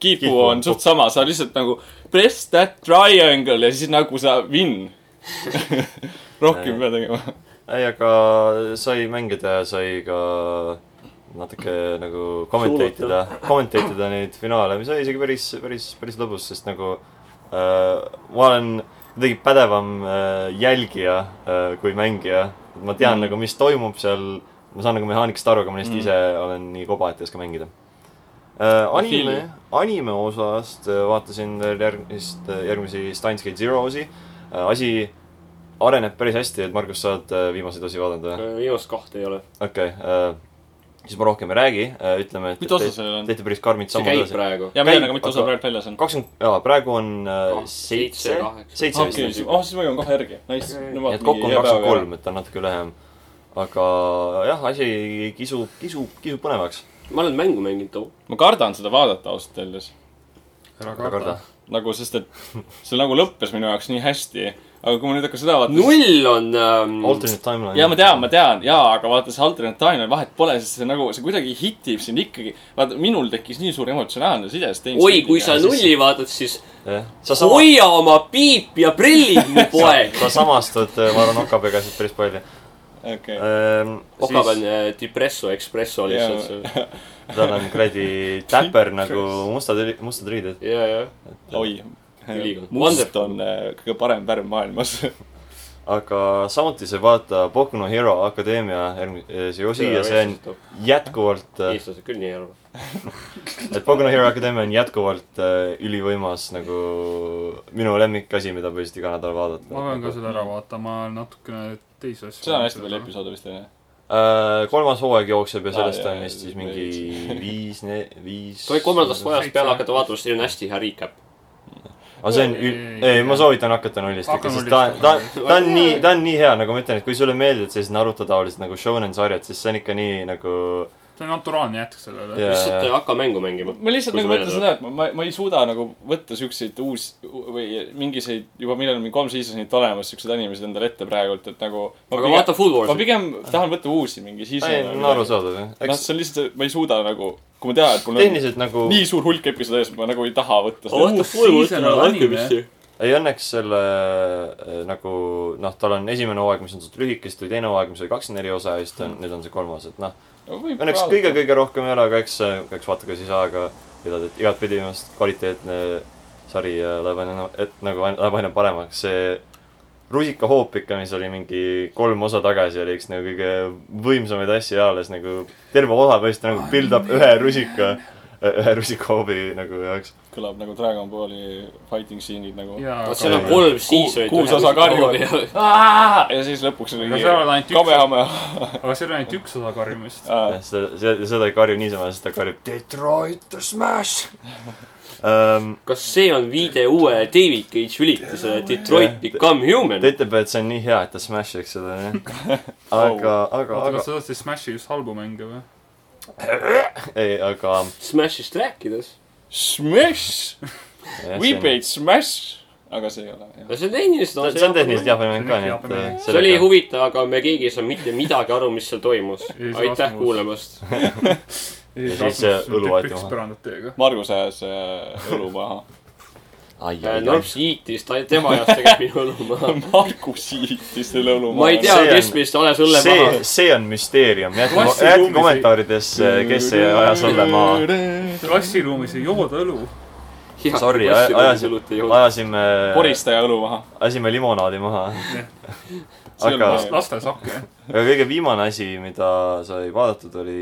[SPEAKER 4] Kipu on suht sama , sa lihtsalt nagu press that triangle ja siis nagu sa win . rohkem ei pea tegema .
[SPEAKER 1] ei , aga sai mängida ja sai ka natuke nagu kommenteerida , kommenteerida neid finaale , mis oli isegi päris , päris , päris lõbus , sest nagu äh, ma olen kuidagi pädevam äh, jälgija äh, kui mängija . et ma tean mm. nagu , mis toimub seal , ma saan nagu mehaanikast aru , aga ma lihtsalt mm. ise olen nii koba , et ei oska mängida äh, . anime
[SPEAKER 4] Filmi. ,
[SPEAKER 1] anime osast äh, vaatasin veel järgmist , järgmisi Steins Gate Zero osi äh, . asi areneb päris hästi , et Margus , sa oled äh, viimaseid osi vaadanud või ?
[SPEAKER 2] viimast kahte ei ole .
[SPEAKER 1] okei okay, äh, , siis ma rohkem ei räägi äh, , ütleme , et
[SPEAKER 4] mitu osa
[SPEAKER 1] te-
[SPEAKER 4] sellel on ?
[SPEAKER 1] teete päris karmid
[SPEAKER 2] see
[SPEAKER 1] sammud
[SPEAKER 2] käib
[SPEAKER 1] edasi .
[SPEAKER 2] praegu .
[SPEAKER 4] ja ma ei tea , mitu osa
[SPEAKER 1] aga-
[SPEAKER 4] praegu väljas on .
[SPEAKER 1] kakskümmend , jaa , praegu on äh,
[SPEAKER 2] Kah-
[SPEAKER 1] seitse
[SPEAKER 2] seitse, , kaheksa.
[SPEAKER 1] seitse vist
[SPEAKER 4] okei ,
[SPEAKER 1] on .
[SPEAKER 4] oh siis ma jõuan kohe järgi , nice .
[SPEAKER 1] nii et kokku on kakskümmend . kolm , et ta on natuke lühem . aga äh, jah , asi kisub , kisub , kisub põnevaks .
[SPEAKER 2] ma olen mängu mänginud too .
[SPEAKER 4] ma kardan seda vaadata ausalt öeldes .
[SPEAKER 3] ära
[SPEAKER 1] ära karda
[SPEAKER 3] karda ..
[SPEAKER 4] nagu , sest et see nagu lõppes minu jaoks nii hästi . aga kui ma nüüd hakkan seda vaatama .
[SPEAKER 2] null on ähm, .
[SPEAKER 1] Alternate timeline .
[SPEAKER 4] ja ma tean , ma tean ja , aga vaata see alternate timeline vahet pole , sest see nagu , see kuidagi hitib sind ikkagi . vaata , minul tekkis nii suur emotsionaalne side .
[SPEAKER 2] oi , kui sa . nulli vaatad , siis
[SPEAKER 1] jah , sa sama ,
[SPEAKER 2] hoia oma piip ja prillid , mu poeg .
[SPEAKER 1] sa samastud , ma arvan , Okapäega siis päris palju . Ehm,
[SPEAKER 4] okei .
[SPEAKER 2] Okav on
[SPEAKER 1] Okapäev .
[SPEAKER 2] äh, Depresso Espresso lihtsalt .
[SPEAKER 1] tal on kuradi täpper nagu mustad , mustad riided .
[SPEAKER 2] ja , ja .
[SPEAKER 4] oi .
[SPEAKER 2] Ülikond.
[SPEAKER 4] must on äh, kõige parem värv maailmas .
[SPEAKER 1] aga samuti see vaata Boku no Hero Akadeemia järgmise , see osi ja see on äh, jätkuvalt ,
[SPEAKER 2] eestlased küll nii ei arva .
[SPEAKER 1] et Boku no Hero Akadeemia on jätkuvalt äh, ülivõimas nagu minu lemmikasi , mida põhiliselt iga nädal vaadata .
[SPEAKER 3] ma pean ka selle ära vaatama , natukene teisi asju .
[SPEAKER 4] seda on hästi palju . episoode vist onju .
[SPEAKER 1] äh, . kolmas hooaeg jookseb ja
[SPEAKER 4] Aa,
[SPEAKER 1] sellest
[SPEAKER 4] jaa,
[SPEAKER 1] on vist siis
[SPEAKER 4] jaa,
[SPEAKER 1] mingi viis , viis .
[SPEAKER 2] sa võid kolmandast hooajast peale
[SPEAKER 3] Seitse.
[SPEAKER 2] hakata vaatama , sest siin on hästi hea recap .
[SPEAKER 1] aga see on , ei , ma soovitan hakata nullist ikka ,
[SPEAKER 3] Hakka
[SPEAKER 1] sest ta ,
[SPEAKER 3] nullist.
[SPEAKER 1] ta , ta on nii , ta on nii hea , nagu ma ütlen , et kui sulle meeldivad sellised Naruto taolised nagu shonen sarjad , siis see on ikka nii nagu
[SPEAKER 3] see on naturaalne jätk sellele .
[SPEAKER 1] Jaa,
[SPEAKER 2] lihtsalt
[SPEAKER 1] jaa.
[SPEAKER 2] äh, hakka mängu mängima .
[SPEAKER 4] ma lihtsalt
[SPEAKER 2] Kui
[SPEAKER 4] nagu
[SPEAKER 2] sa
[SPEAKER 4] mõtlen
[SPEAKER 2] välja
[SPEAKER 4] seda , et ma, ma , ma ei suuda nagu võtta siukseid uus või mingiseid juba , millel on mingi kolm seasonit olemas , siukseid animesid endale ette praegult , et nagu .
[SPEAKER 2] aga vaata Food
[SPEAKER 4] ma
[SPEAKER 2] Warsi .
[SPEAKER 4] pigem tahan võtta uusi mingi
[SPEAKER 1] ei ,
[SPEAKER 4] season'e .
[SPEAKER 1] on arusaadav jah .
[SPEAKER 4] noh ,
[SPEAKER 1] eks
[SPEAKER 4] see on lihtsalt , ma ei suuda nagu , kui ma tean , et mul on
[SPEAKER 1] tehniliselt nagu
[SPEAKER 4] nii suur hulk episoode ees , ma nagu ei taha võtta seda .
[SPEAKER 2] vaata
[SPEAKER 3] uus
[SPEAKER 2] Food Warsi
[SPEAKER 3] season on
[SPEAKER 2] ära algamisti .
[SPEAKER 1] ei õnneks selle äh, nagu noh , tal on esimene hooaeg , mis on suht lühike , siis tuli teine hooaeg , mis oli kakskümmend neli osa ja siis ta on , nüüd on see kolmas , et noh . õnneks kõige-kõige rohkem ei ole , aga eks , eks vaata , kas ei saa , aga igatahes igatpidi minu äh, arust kvaliteetne sari ja läheb aina , et nagu aina- läheb aina paremaks , see rusikahoop ikka , mis oli mingi kolm osa tagasi , oli üks nagu kõige võimsamaid asju ajaloos nagu terve osa põhimõtteliselt nagu build up ühe rusika , ühe rusikahoobi nagu jaoks .
[SPEAKER 4] kõlab nagu Dragon Balli fighting scene'id nagu .
[SPEAKER 3] jaa ,
[SPEAKER 2] vot seal
[SPEAKER 3] aga
[SPEAKER 2] on kolm seasonit .
[SPEAKER 4] kuus osa karjuvad . Ah, ja siis lõpuks oli
[SPEAKER 3] No seal on ainult üks-
[SPEAKER 4] kamehame .
[SPEAKER 3] aga seal on ainult üks osa karjumist .
[SPEAKER 4] Ah,
[SPEAKER 1] seda , seda , seda ei karju niisama , sest ta karjub Detroit the Smash um, .
[SPEAKER 2] kas see on viide uue David Cage ülitisele Detroit Become Human
[SPEAKER 1] ta ? ütleb , et see on nii hea , et ta smashiks seda jah .
[SPEAKER 2] Oh.
[SPEAKER 1] aga , aga ,
[SPEAKER 3] oota ,
[SPEAKER 1] aga
[SPEAKER 3] kas , sa tahtsid Smashi just halbu mänge või ?
[SPEAKER 1] ei , aga .
[SPEAKER 2] Smashist rääkides .
[SPEAKER 4] Smash , we paid Smash , aga see ei ole jah .
[SPEAKER 2] no see on tehniliselt
[SPEAKER 1] see on- see on tehniliselt
[SPEAKER 2] jah .
[SPEAKER 1] Jaapani mäng ka , nii et äh,
[SPEAKER 2] see oli
[SPEAKER 1] sellega-
[SPEAKER 2] huvitav , aga me keegi ei saa mitte midagi aru , mis seal toimus
[SPEAKER 3] Ei saa .
[SPEAKER 2] aitäh
[SPEAKER 3] aru.
[SPEAKER 2] kuulamast .
[SPEAKER 1] Ja siis, äh, õlu aeti maha.
[SPEAKER 3] põrandat teiega .
[SPEAKER 4] Margus ajas äh, õlu maha .
[SPEAKER 1] ai ,
[SPEAKER 2] Äh,
[SPEAKER 1] ai , ai
[SPEAKER 2] Norps iitis , ta , tema ajas tegelikult minu õlu maha .
[SPEAKER 4] Margus hiitis selle õlu
[SPEAKER 2] ma ei
[SPEAKER 4] maha .
[SPEAKER 2] tea
[SPEAKER 1] See , on-
[SPEAKER 2] kes meist ajas õlle maha
[SPEAKER 1] see ,. see on müsteerium , jätke ,
[SPEAKER 3] Klassiruumis
[SPEAKER 1] jätke
[SPEAKER 3] ei-
[SPEAKER 1] kommentaaridesse , kes see ajas õlle maha .
[SPEAKER 3] klassiruumis ei jooda õlu .
[SPEAKER 1] Sorry, aja- ajasin-
[SPEAKER 2] ajasin .
[SPEAKER 1] ajasime ,
[SPEAKER 4] koristaja õlu maha .
[SPEAKER 1] ajasime limonaadi maha .
[SPEAKER 4] See oli
[SPEAKER 1] aga ,
[SPEAKER 4] vast-
[SPEAKER 3] laste sakke .
[SPEAKER 1] aga kõige viimane asi , mida sai vaadatud , oli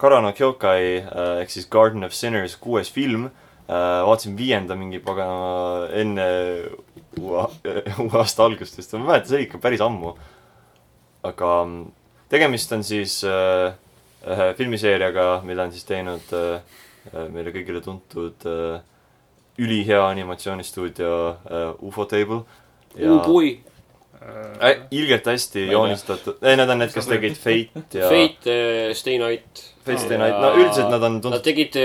[SPEAKER 1] Karano Kyokai äh, ehk siis Garden of Sinners kuues film . vaatasin viienda mingi pagana enne uue uue aasta algust vist , ma ei mäleta , see oli ikka päris ammu . aga mm, tegemist on siis äh, ühe filmiseeriaga , mida on siis teinud äh, äh, meile kõigile tuntud äh, ülihea animatsioonistuudio äh, UFO Table .
[SPEAKER 2] Ubui ,
[SPEAKER 3] Äh,
[SPEAKER 1] Ä- ilgelt hästi
[SPEAKER 4] tea.
[SPEAKER 1] joonistatud , ei need on need , kes tegid Fate ja
[SPEAKER 2] Fate , Stay Night .
[SPEAKER 1] Fate Stay Night , no üldiselt nad on
[SPEAKER 2] Nad
[SPEAKER 1] tuntud ,
[SPEAKER 2] tegid ,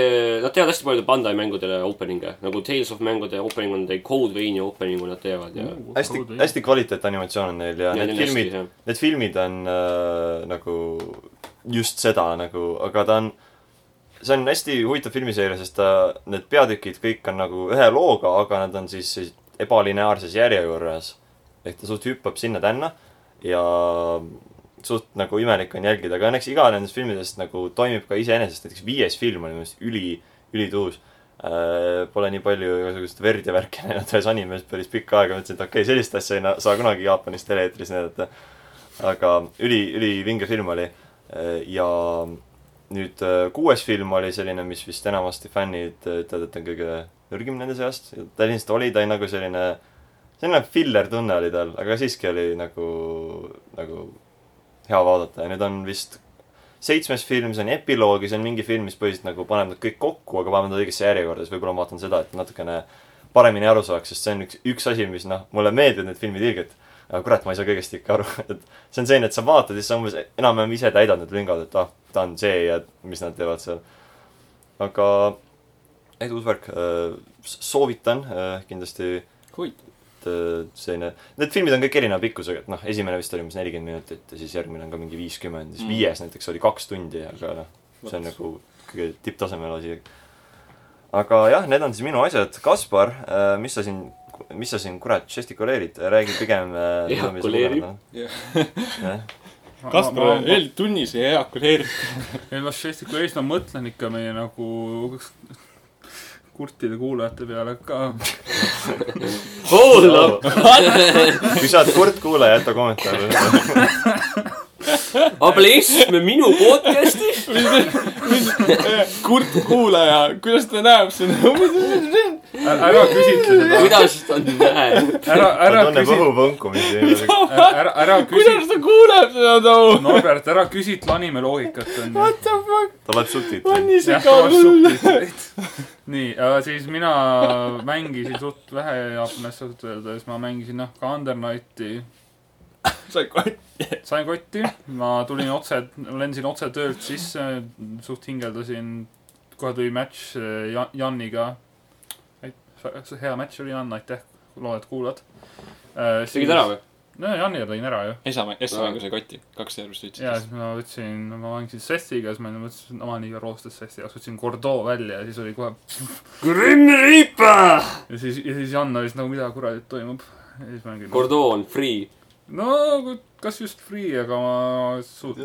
[SPEAKER 2] nad teevad hästi paljude Bandai mängudele opening'e , nagu Tales of mängude opening on teil , Code Veini opening'u nad teevad ja .
[SPEAKER 1] hästi , hästi kvaliteetanimatsioon on neil ja need filmid ,. need filmid on äh, nagu just seda nagu , aga ta on , see on hästi huvitav filmiseeria , sest ta , need peatükid kõik on nagu ühe looga , aga nad on siis, siis ebalineaarses järjekorras . ehk ta suht hüppab sinna-tänna ja suht nagu imelik on jälgida , aga õnneks iga nendest filmidest nagu toimib ka iseenesest , näiteks viies film oli minu arust üli , ülituus . Pole nii palju igasugust verd ja värki näinud ühes animes päris pikka aega , mõtlesin , et okei okay, , sellist asja ei na- saa kunagi Jaapanis tele-eetris näidata . aga üli , ülivinge film oli . ja nüüd äh, kuues film oli selline , mis vist enamasti fännid äh, ütlevad , et on kõige nõrgim nende seast . ta lihtsalt oli , ta oli nagu selline , selline filler tunne oli tal , aga siiski oli nagu , nagu hea vaadata ja nüüd on vist seitsmes film , see on epiloog ja see on mingi film , mis põhiliselt nagu paneb nad kõik kokku , aga paneb nad õigesse järjekorda , siis võib-olla ma vaatan seda , et natukene paremini aru saaks , sest see on üks , üks asi , mis noh , mulle meeldivad need filmid ilgelt . aga kurat , ma ei saa kõigest ikka aru , et see on selline , et sa vaatad ja siis sa umbes enam-vähem ise täidad need lüngad , et ah , ta on see ja mis nad teevad seal . aga edu , uus värk , soovitan äh, kindlasti
[SPEAKER 4] huvitav .
[SPEAKER 1] et äh, selline , need filmid on kõik erineva pikkusega , et noh , esimene vist oli umbes nelikümmend minutit ja siis järgmine on ka mingi viiskümmend , siis
[SPEAKER 4] Mm.
[SPEAKER 1] viies näiteks oli kaks tundi , aga noh , see on nagu kõige tipptasemel asi . aga jah , need on siis minu asjad , Kaspar , mis sa siin , mis sa siin kurat žestikuleerid , räägi pigem äh, mida
[SPEAKER 2] Jah,
[SPEAKER 1] me siin
[SPEAKER 2] kuleerib.
[SPEAKER 1] lugenud
[SPEAKER 4] Jah.
[SPEAKER 1] oleme. Jah.
[SPEAKER 4] Kaspar , eeltunnis ei eakuleeri .
[SPEAKER 3] ei noh , žestikuleeris , ma mõtlen ikka meie nagu kurtide kuulajate peale ka .
[SPEAKER 2] Hold up ,
[SPEAKER 1] kui sa oled kurt kuulaja , jäta kommentaare .
[SPEAKER 2] ableisme minu podcast'is .
[SPEAKER 4] kurt kuulaja , kuidas ta näeb sind ?
[SPEAKER 3] ära küsitle seda ,
[SPEAKER 2] kuidas ta näeb ?
[SPEAKER 3] ära ,
[SPEAKER 1] ta
[SPEAKER 3] ära
[SPEAKER 1] tunneb
[SPEAKER 3] küsi ,
[SPEAKER 1] õhuvõnkumisi .
[SPEAKER 3] ära , ära küsi ,
[SPEAKER 4] kuidas ta kuuleb seda too ?
[SPEAKER 3] Norbert , ära küsitle anime loogikat , onju .
[SPEAKER 4] What the fuck ,
[SPEAKER 1] ta loeb subtiitreid .
[SPEAKER 4] on nii
[SPEAKER 3] Jah,
[SPEAKER 4] siga
[SPEAKER 3] tavas
[SPEAKER 4] hull .
[SPEAKER 3] subtiitreid. nii , siis mina mängisin suht vähe Jaapanist ausalt öeldes , ma mängisin noh ka Undernighti ,
[SPEAKER 4] sa ei kott- .
[SPEAKER 3] sain kotti , ma tulin otse , lendasin otse töölt sisse , suht hingeldasin , kohe tuli match äh, Jan- Janiga . hea match oli Jan , aitäh , loodan , et kuulad .
[SPEAKER 2] tegid ära ? või ?
[SPEAKER 3] no Janiga tegin ära ju .
[SPEAKER 4] esa , esa mängu sai kotti , kaks järgmist
[SPEAKER 3] ja
[SPEAKER 4] ütlesid .
[SPEAKER 3] siis ma võtsin , ma mängisin Sessiga , siis ma enne mõtlesin , et ma nii roostes Sessi jaoks , võtsin Gordo välja ja siis oli kohe
[SPEAKER 2] Grim Reaper .
[SPEAKER 3] ja siis , ja siis Jan oli siis nagu , mida kuradi toimub . ja siis mängin .
[SPEAKER 2] Gordo on free .
[SPEAKER 3] no kui- kas just free , aga ma suut- .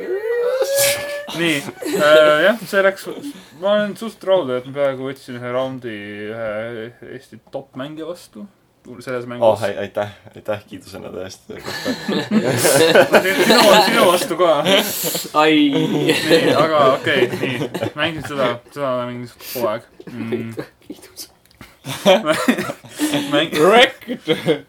[SPEAKER 3] nii äh, , jah , see läks , ma olen suht rahul , et ma peaaegu võtsin ühe raundi ühe Eesti top mängija vastu . selles
[SPEAKER 1] oh,
[SPEAKER 3] mängus .
[SPEAKER 1] aitäh , aitäh kiidusõna tõesti .
[SPEAKER 3] sinu , sinu vastu ka .
[SPEAKER 2] ai ,
[SPEAKER 3] nii , aga okei okay, , nii . mängisin seda , seda olen mänginud kogu aeg mm. . mäng ,
[SPEAKER 4] Wrecked .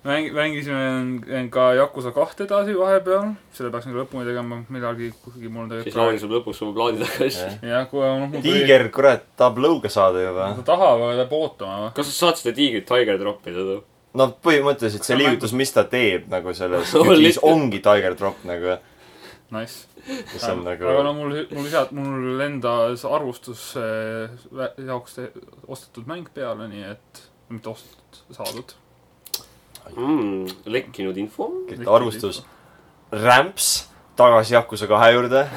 [SPEAKER 3] mäng , mängisime ka Yakuza kahte edasi vahepeal . selle peaks nagu lõpuni tegema millalgi , kuigi mul on
[SPEAKER 2] siis
[SPEAKER 3] tegelikult
[SPEAKER 2] Lauri saab lõpuks oma plaadi tagasi .
[SPEAKER 3] jah , kui on mul tuli
[SPEAKER 1] tiiger , kurat , tahab lõuga saada juba .
[SPEAKER 3] ta tahab , aga ta peab ootama või ?
[SPEAKER 2] kas sa saad seda tiigrit Tiger droppida too ?
[SPEAKER 1] no põhimõtteliselt see
[SPEAKER 3] Aga
[SPEAKER 1] liigutus , mis ta teeb nagu selles
[SPEAKER 2] On
[SPEAKER 1] kütis ,
[SPEAKER 2] lihtsalt-
[SPEAKER 1] ongi Tiger Drop nagu .
[SPEAKER 3] Nice .
[SPEAKER 1] mis on nagu
[SPEAKER 3] aga no mul , mul lisad , mul endas arvustus äh, vä- jaoks te- ostetud mäng peale , nii et , mitte ostetud , saadud .
[SPEAKER 2] Mm, lekkinud info .
[SPEAKER 1] kõik arvustus . rämps tagasi Yakuza kahe juurde .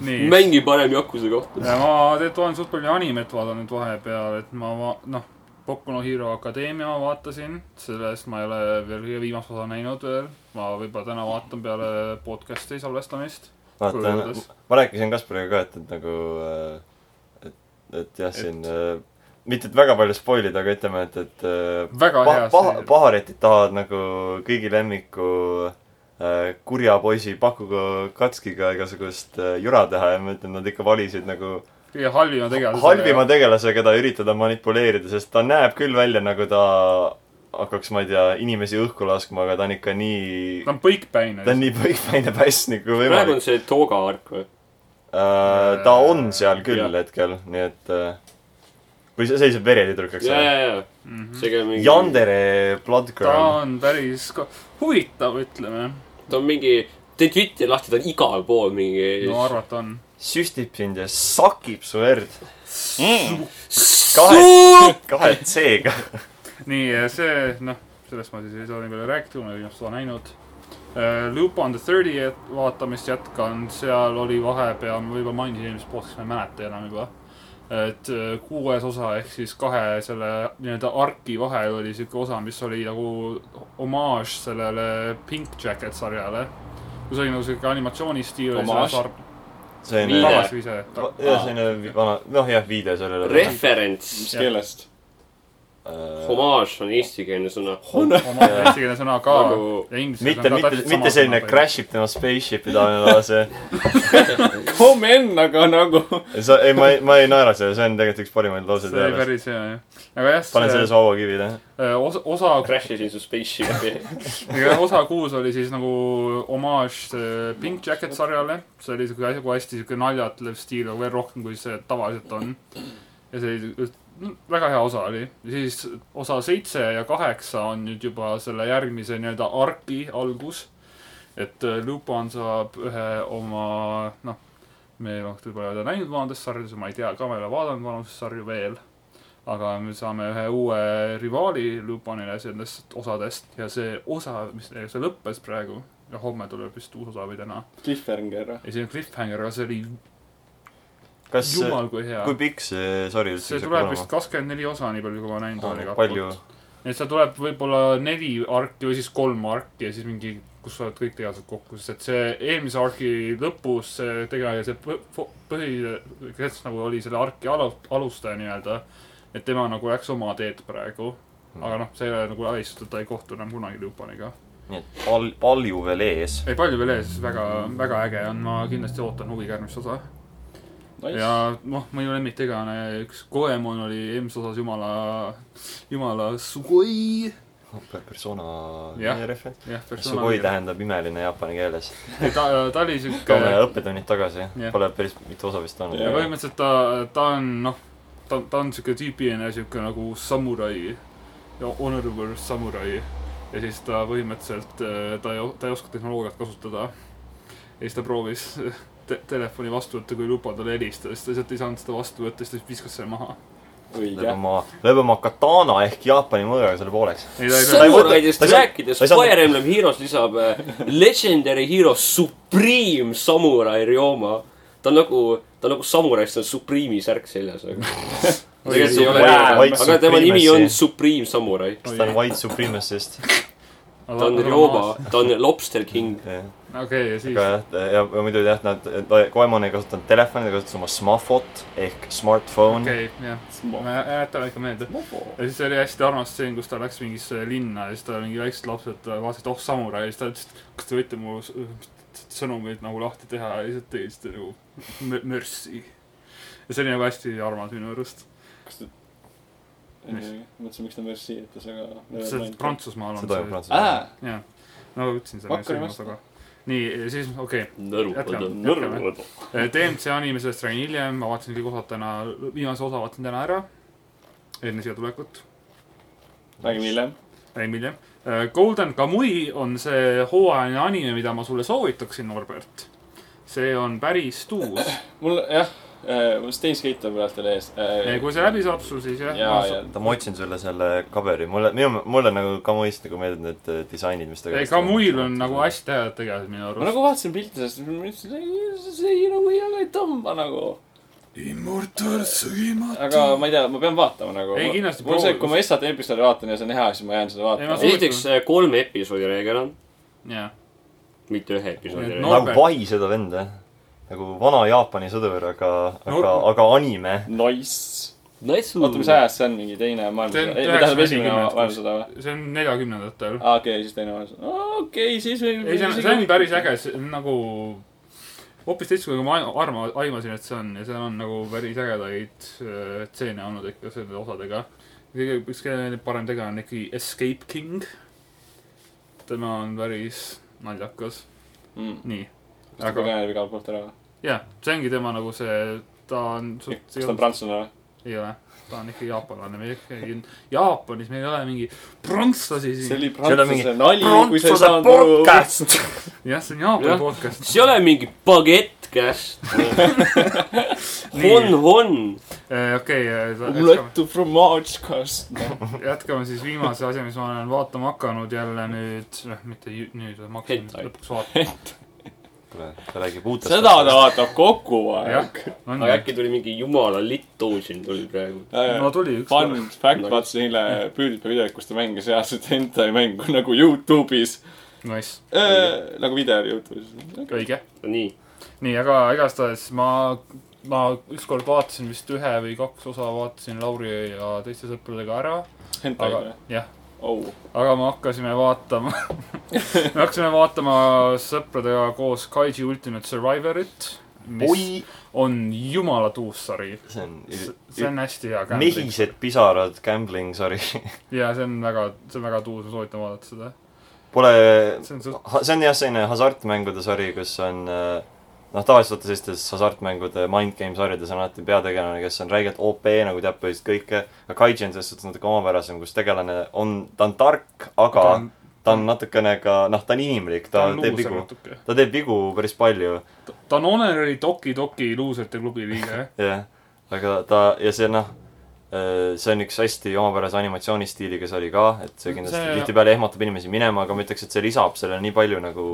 [SPEAKER 3] nii .
[SPEAKER 2] mängi parem Jakuse kohta .
[SPEAKER 3] ja ma tegelikult olen suht palju animet vaadanud vahepeal , et ma va- , noh , Boku no Hero Akadeemia vaatasin , sellest ma ei ole veel kõige viimast osa näinud veel . ma võib-olla täna vaatan peale podcast'i salvestamist .
[SPEAKER 1] vaata , ma rääkisin Kaspariga ka , et , et nagu , et , et jah , siin äh, mitte , et väga palju spoil ida , aga ütleme , et , et äh,
[SPEAKER 3] väga
[SPEAKER 1] pa-
[SPEAKER 3] hea
[SPEAKER 1] paha , paharetid tahavad nagu kõigi lemmiku äh, kurja poisi Pakugo Katskiga igasugust äh, jura teha ja ma ütlen , nad ikka valisid nagu
[SPEAKER 3] kõige halvima tegelase .
[SPEAKER 1] halvima . tegelase , keda üritada manipuleerida , sest ta näeb küll välja , nagu ta hakkaks , ma ei tea , inimesi õhku laskma , aga ta on ikka nii ,
[SPEAKER 3] ta on põikpäine .
[SPEAKER 1] ta on nii põikpäine päss nagu kui
[SPEAKER 2] praegu
[SPEAKER 1] võimalik
[SPEAKER 2] on . see Toga ark või ?
[SPEAKER 1] Äh, ta on seal küll
[SPEAKER 2] Jah.
[SPEAKER 1] hetkel , nii et äh, või see seisab veretüdruk , eks
[SPEAKER 2] ja ,
[SPEAKER 1] ole . Mhm.
[SPEAKER 2] ja , ja , see käib mingi .
[SPEAKER 1] Yandere Blood
[SPEAKER 3] ta
[SPEAKER 1] Girl .
[SPEAKER 3] on päris ka... huvitav , ütleme .
[SPEAKER 2] ta on mingi , tee Twitteri lahti , ta on igal pool mingi
[SPEAKER 3] no . arvata on .
[SPEAKER 1] süstib sind ja sakib su verd . kahe ,
[SPEAKER 2] Suup!
[SPEAKER 1] kahe C-ga .
[SPEAKER 3] nii , see , noh , sellest ma siis ei saa nii palju rääkida , ma ei ole seda näinud . Loop on the thirty vaatamist jätkan , seal oli vahepeal , ma juba mainisin eelmises podcastis , ma ei mäleta enam juba . et äh, kuues osa ehk siis kahe selle nii-öelda arki vahel oli sihuke osa , mis oli nagu homaaž sellele Pink Jacket sarjale . kus oli nagu sihuke animatsioonistiil .
[SPEAKER 4] Homaaž?
[SPEAKER 1] selline ,
[SPEAKER 2] Viide.
[SPEAKER 3] tagasi ise .
[SPEAKER 1] jah , selline vi- vana , noh jah , viide sellele .
[SPEAKER 2] referents ,
[SPEAKER 4] mis keelest ?
[SPEAKER 2] homaaž on eestikeelne sõna .
[SPEAKER 3] homaaž on eestikeelne sõna ka
[SPEAKER 2] Nagu- .
[SPEAKER 1] mitte , mitte , mitte selline . crash ib tema spaceship'i taha , see ,
[SPEAKER 4] Come in , aga nagu .
[SPEAKER 1] sa , ei , ma ei , ma ei naera selle , see on tegelikult üks parimaid lauseid
[SPEAKER 3] see oli
[SPEAKER 1] ajaloos .
[SPEAKER 3] päris hea jah . aga jah ,
[SPEAKER 1] panen selle
[SPEAKER 3] see
[SPEAKER 1] sauvakivi tähe .
[SPEAKER 3] äh, osa , osa ,
[SPEAKER 2] Crash isin su spaceship'i .
[SPEAKER 3] osa kuus oli siis nagu homaaž äh, Pink Jacket sarjale . see oli siuke asjagu hästi siuke naljatlev stiil , aga veel rohkem , kui see tavaliselt on . ja see oli , väga hea osa oli . siis osa seitse ja kaheksa on nüüd juba selle järgmise nii-öelda arki algus . et äh, Lupin saab ühe oma , noh , me võib-olla ei ole näinud vanades sarjades , ma ei tea ka , ma ei ole vaadanud vanuses sarju veel . aga me saame ühe uue rivaali Lupinile sellest osadest ja see osa , mis see lõppes praegu ja homme tuleb vist uus osa või täna .
[SPEAKER 4] Cliffhanger .
[SPEAKER 3] ja siin on cliffhanger , aga see oli
[SPEAKER 1] kas ,
[SPEAKER 3] jumal kui hea .
[SPEAKER 1] kui pikk see sari üldse
[SPEAKER 3] see
[SPEAKER 1] saab
[SPEAKER 3] tuleb vist
[SPEAKER 1] olema ?
[SPEAKER 3] kakskümmend neli osa , nii palju , kui ma näinud olen igalt
[SPEAKER 1] palju
[SPEAKER 3] poolt ., nii et seal tuleb võib-olla neli arki või siis kolm arki ja siis mingi , kus sa oled kõik tegelased kokku , sest et see eelmise arki lõpus see tegelane , see põ- fo- põhi , kes nagu oli selle arki alu- , alustaja nii-öelda , et tema nagu läks oma teed praegu .
[SPEAKER 1] Hmm.
[SPEAKER 3] aga noh , see ei ole nagu välistatud , ta ei kohtu enam kunagi Lupaniga .
[SPEAKER 1] nii et pal- , palju veel ees .
[SPEAKER 3] ei , palju veel ees , väga , väga äge on , ma kindlasti ootan huviga järgmist osa . ja noh , minu lemmiktegelane , üks Goemon oli eelmises osas jumala , jumala sugoi .
[SPEAKER 1] persona
[SPEAKER 3] Jah.
[SPEAKER 1] referents .
[SPEAKER 3] jah ,
[SPEAKER 1] Sugoi . tähendab imeline jaapani keeles .
[SPEAKER 3] ta , ta oli siuke ,
[SPEAKER 1] toome õppetunnid tagasi
[SPEAKER 3] Jah. .
[SPEAKER 1] Pole päris mitu osa vist olnud
[SPEAKER 4] Jah. .
[SPEAKER 3] põhimõtteliselt ta , ta on noh , ta , ta on siuke tüüpiline siuke nagu samurai , honorable samurai . ja siis ta põhimõtteliselt , ta ei , ta ei oska tehnoloogiat kasutada . ja siis ta proovis te telefoni vastu võtta , kui luba talle helistas , ta lihtsalt ei saanud seda vastu võtta , siis ta viskas selle maha .
[SPEAKER 1] lööb
[SPEAKER 4] õige .
[SPEAKER 1] oma , lööb oma katana ehk jaapani mõõgaga selle pooleks .
[SPEAKER 3] ei , ta ei pea ,
[SPEAKER 2] samuraidest
[SPEAKER 1] ta ei saa-
[SPEAKER 2] rääkides
[SPEAKER 1] ta ei , saa-
[SPEAKER 2] Fire Emblem Heroes lisab äh, Legendary Hero Supreme Samurai Ryoma . ta on nagu , ta on nagu samurais , tal on Supreme'i särk seljas . tegelikult see ei ole
[SPEAKER 1] White-
[SPEAKER 2] hea ,
[SPEAKER 1] White
[SPEAKER 2] aga tema nimi on
[SPEAKER 1] Supremacy.
[SPEAKER 2] Supreme Samurai .
[SPEAKER 1] kas ta on white supremacist ?
[SPEAKER 2] ta on Ryoba , ta on Lobster King .
[SPEAKER 3] okei , ja siis
[SPEAKER 1] aga . jah , ja ja muidu jah , nad , Koemon ei kasutanud telefoni , ta kasutas oma smafot ehk smartphone okay. .
[SPEAKER 3] okei , jah . ma jä- jätan ikka meelde . ja siis oli hästi armas stseen , kus ta läks mingisse linna ja siis ta mingi väiksed lapsed vaatasid , oh samurai , ja siis ta ütles , et kas te võite mu s- s- sõnumeid nagu lahti teha ja siis ta tegi seda nagu mö- mörssi . ja see oli nagu hästi armas minu arust .
[SPEAKER 4] kas te ,
[SPEAKER 3] Mis?
[SPEAKER 4] mõtlesin , miks ta Merci ütles ,
[SPEAKER 3] see
[SPEAKER 4] aga .
[SPEAKER 3] Prantsusmaal
[SPEAKER 1] see
[SPEAKER 3] on
[SPEAKER 1] toimub
[SPEAKER 3] see .
[SPEAKER 1] Prantsusmaal .
[SPEAKER 3] jah , no
[SPEAKER 4] Ma
[SPEAKER 3] ütlesin selle
[SPEAKER 4] hakkan
[SPEAKER 3] sõnast , aga nii , siis okei Äh, okay. ,
[SPEAKER 2] nõrgutada ,
[SPEAKER 3] Jätkame.
[SPEAKER 2] nõrgutada .
[SPEAKER 3] DMC anime sellest räägin hiljem , ma vaatasin kõik osad täna , viimase osa vaatasin täna ära . enne siia tulekut ,
[SPEAKER 4] räägime hiljem .
[SPEAKER 3] räägime hiljem . Äh, Golden Kamui on see hooajaline anime , mida ma sulle soovitaksin , Norbert . see on päris tuus .
[SPEAKER 4] mul jah , mul Stage Gate on praegu veel ees . äh,
[SPEAKER 3] kui see läbi saab sul , siis jah .
[SPEAKER 4] ja , ja
[SPEAKER 1] oota , ma otsin sulle selle coveri , mulle , minu , mulle nagu Kamuist nagu meeldivad need eh, disainid , mis ta
[SPEAKER 3] ei , Kamuil on nagu hästi head tegelased minu
[SPEAKER 4] ma
[SPEAKER 3] arust .
[SPEAKER 4] nagu vaatasin pilte sellest , ma mõtlesin , see see ei nagu hea ka ei tõmba nagu . aga ma ei tea , ma pean vaatama nagu .
[SPEAKER 3] Ei, kindlasti
[SPEAKER 4] mul see ,
[SPEAKER 3] proovi-
[SPEAKER 4] kui ma esmalt episoodi vaatan ja see on hea , siis ma jään seda
[SPEAKER 3] Ei, ma
[SPEAKER 4] vaatama .
[SPEAKER 2] esiteks eh, kolme episoodi reegel on ,
[SPEAKER 3] jah ,
[SPEAKER 2] mitte ühe episoodi
[SPEAKER 3] Need
[SPEAKER 2] reegel
[SPEAKER 3] no-
[SPEAKER 2] no. .
[SPEAKER 1] nagu
[SPEAKER 3] Norbert.
[SPEAKER 1] pai seda venda . nagu vana Jaapani sõdur , aga , aga ,
[SPEAKER 3] Norbert.
[SPEAKER 1] aga anime .
[SPEAKER 4] Nice .
[SPEAKER 2] Nice .
[SPEAKER 4] oota , mis ajast see on , mingi teine
[SPEAKER 3] See on
[SPEAKER 4] maailmasõda ? ei , tähendab esimene
[SPEAKER 3] 1940.
[SPEAKER 4] maailmasõda või ?
[SPEAKER 3] see on neljakümnendatel .
[SPEAKER 4] aa , okei , siis teine maailmasõda . okei , siis võib .
[SPEAKER 3] ei , see on , see on päris äge , see on nagu hoopis teistsugune , kui ma aim- arma- , aimasin , et see on ja seal on nagu päris ägedaid äh, stseene olnud ikka selle osadega . kõige , üks kõige parem tegelane on ikkagi Escape King . tema on päris naljakas ,
[SPEAKER 4] kas
[SPEAKER 3] nii .
[SPEAKER 4] ta
[SPEAKER 3] aga
[SPEAKER 4] põgeneb igalt poolt ära või ?
[SPEAKER 3] jah , see ongi tema nagu see , ta on suht-
[SPEAKER 4] kas ta on prantslane või ?
[SPEAKER 3] ei ole , ta on ikka jaapanlane , me ikkagi Jaapanis , meil ei ole mingi prantslasi
[SPEAKER 4] see
[SPEAKER 3] siin .
[SPEAKER 4] oli
[SPEAKER 1] See oli mingi
[SPEAKER 4] prantsuse nali , kui sa ei saanud aru .
[SPEAKER 1] podcast .
[SPEAKER 3] jah , see on Jaapani
[SPEAKER 2] Jah.
[SPEAKER 3] podcast .
[SPEAKER 2] see ei ole mingi bagett käest . on , on .
[SPEAKER 3] Äh, okei .
[SPEAKER 4] Letu Fromagekast .
[SPEAKER 3] jätkame siis viimase asja , mis ma olen vaatama hakanud jälle nüüd , noh , mitte ju- nüüd , ma hakkasin
[SPEAKER 2] Hentai.
[SPEAKER 3] lõpuks vaatama .
[SPEAKER 1] kuule , ta räägib uutest .
[SPEAKER 4] seda ta vaatab kogu
[SPEAKER 3] jah
[SPEAKER 4] aeg .,
[SPEAKER 3] on
[SPEAKER 2] aga
[SPEAKER 3] nii .
[SPEAKER 2] äkki äh, tuli mingi jumala litu siin tuli praegu .
[SPEAKER 3] no tuli üks
[SPEAKER 4] Fun
[SPEAKER 3] kord .
[SPEAKER 4] fact , vaatasin eile Püüdipa videot , kus ta mängis reaalselt hentai mängu nagu Youtube'is .
[SPEAKER 3] Nice ,
[SPEAKER 4] nagu video oli Youtube'is .
[SPEAKER 3] õige .
[SPEAKER 2] nii ,
[SPEAKER 3] nii , aga igastahes ma , ma ükskord vaatasin vist ühe või kaks osa vaatasin Lauri ja teiste sõpradega ära ,
[SPEAKER 4] hentai
[SPEAKER 3] aga
[SPEAKER 4] või ?
[SPEAKER 3] jah ,
[SPEAKER 4] oh ,
[SPEAKER 3] aga me hakkasime vaatama , me hakkasime vaatama sõpradega koos Kaiji Ultimate Survivorit , mis
[SPEAKER 1] oi ,
[SPEAKER 3] on jumala tuus sari .
[SPEAKER 1] see on
[SPEAKER 3] see on hästi hea gambling .
[SPEAKER 1] mehised pisarad gambling sari .
[SPEAKER 3] ja see on väga , see on väga tuus , ma soovitan vaadata seda .
[SPEAKER 1] Pole ,
[SPEAKER 3] see on suht- ,
[SPEAKER 1] see on jah , selline hasartmängude sari , kus on äh, noh , tavaliselt vaata sellistes hasartmängude mindgame sarjades on alati peategelane , kes on räigelt OP nagu teab põhiliselt kõike . aga Kaiji on selles suhtes natuke omapärasem , kus tegelane on , ta on tark , aga
[SPEAKER 3] ta on-
[SPEAKER 1] ta on natukene ka , noh , ta on inimlik , ta
[SPEAKER 3] on
[SPEAKER 1] teeb
[SPEAKER 3] luuser
[SPEAKER 1] vigu .
[SPEAKER 3] natuke .
[SPEAKER 1] ta teeb vigu päris palju ,
[SPEAKER 3] ta on Honorary Toki Toki luuserite klubi liige .
[SPEAKER 1] jah . aga ta ja see noh , see on üks hästi omapärase animatsioonistiiliga sari ka , et see kindlasti
[SPEAKER 3] See-
[SPEAKER 1] see... tihtipeale ehmatab inimesi minema , aga ma ütleks , et see lisab sellele nii palju nagu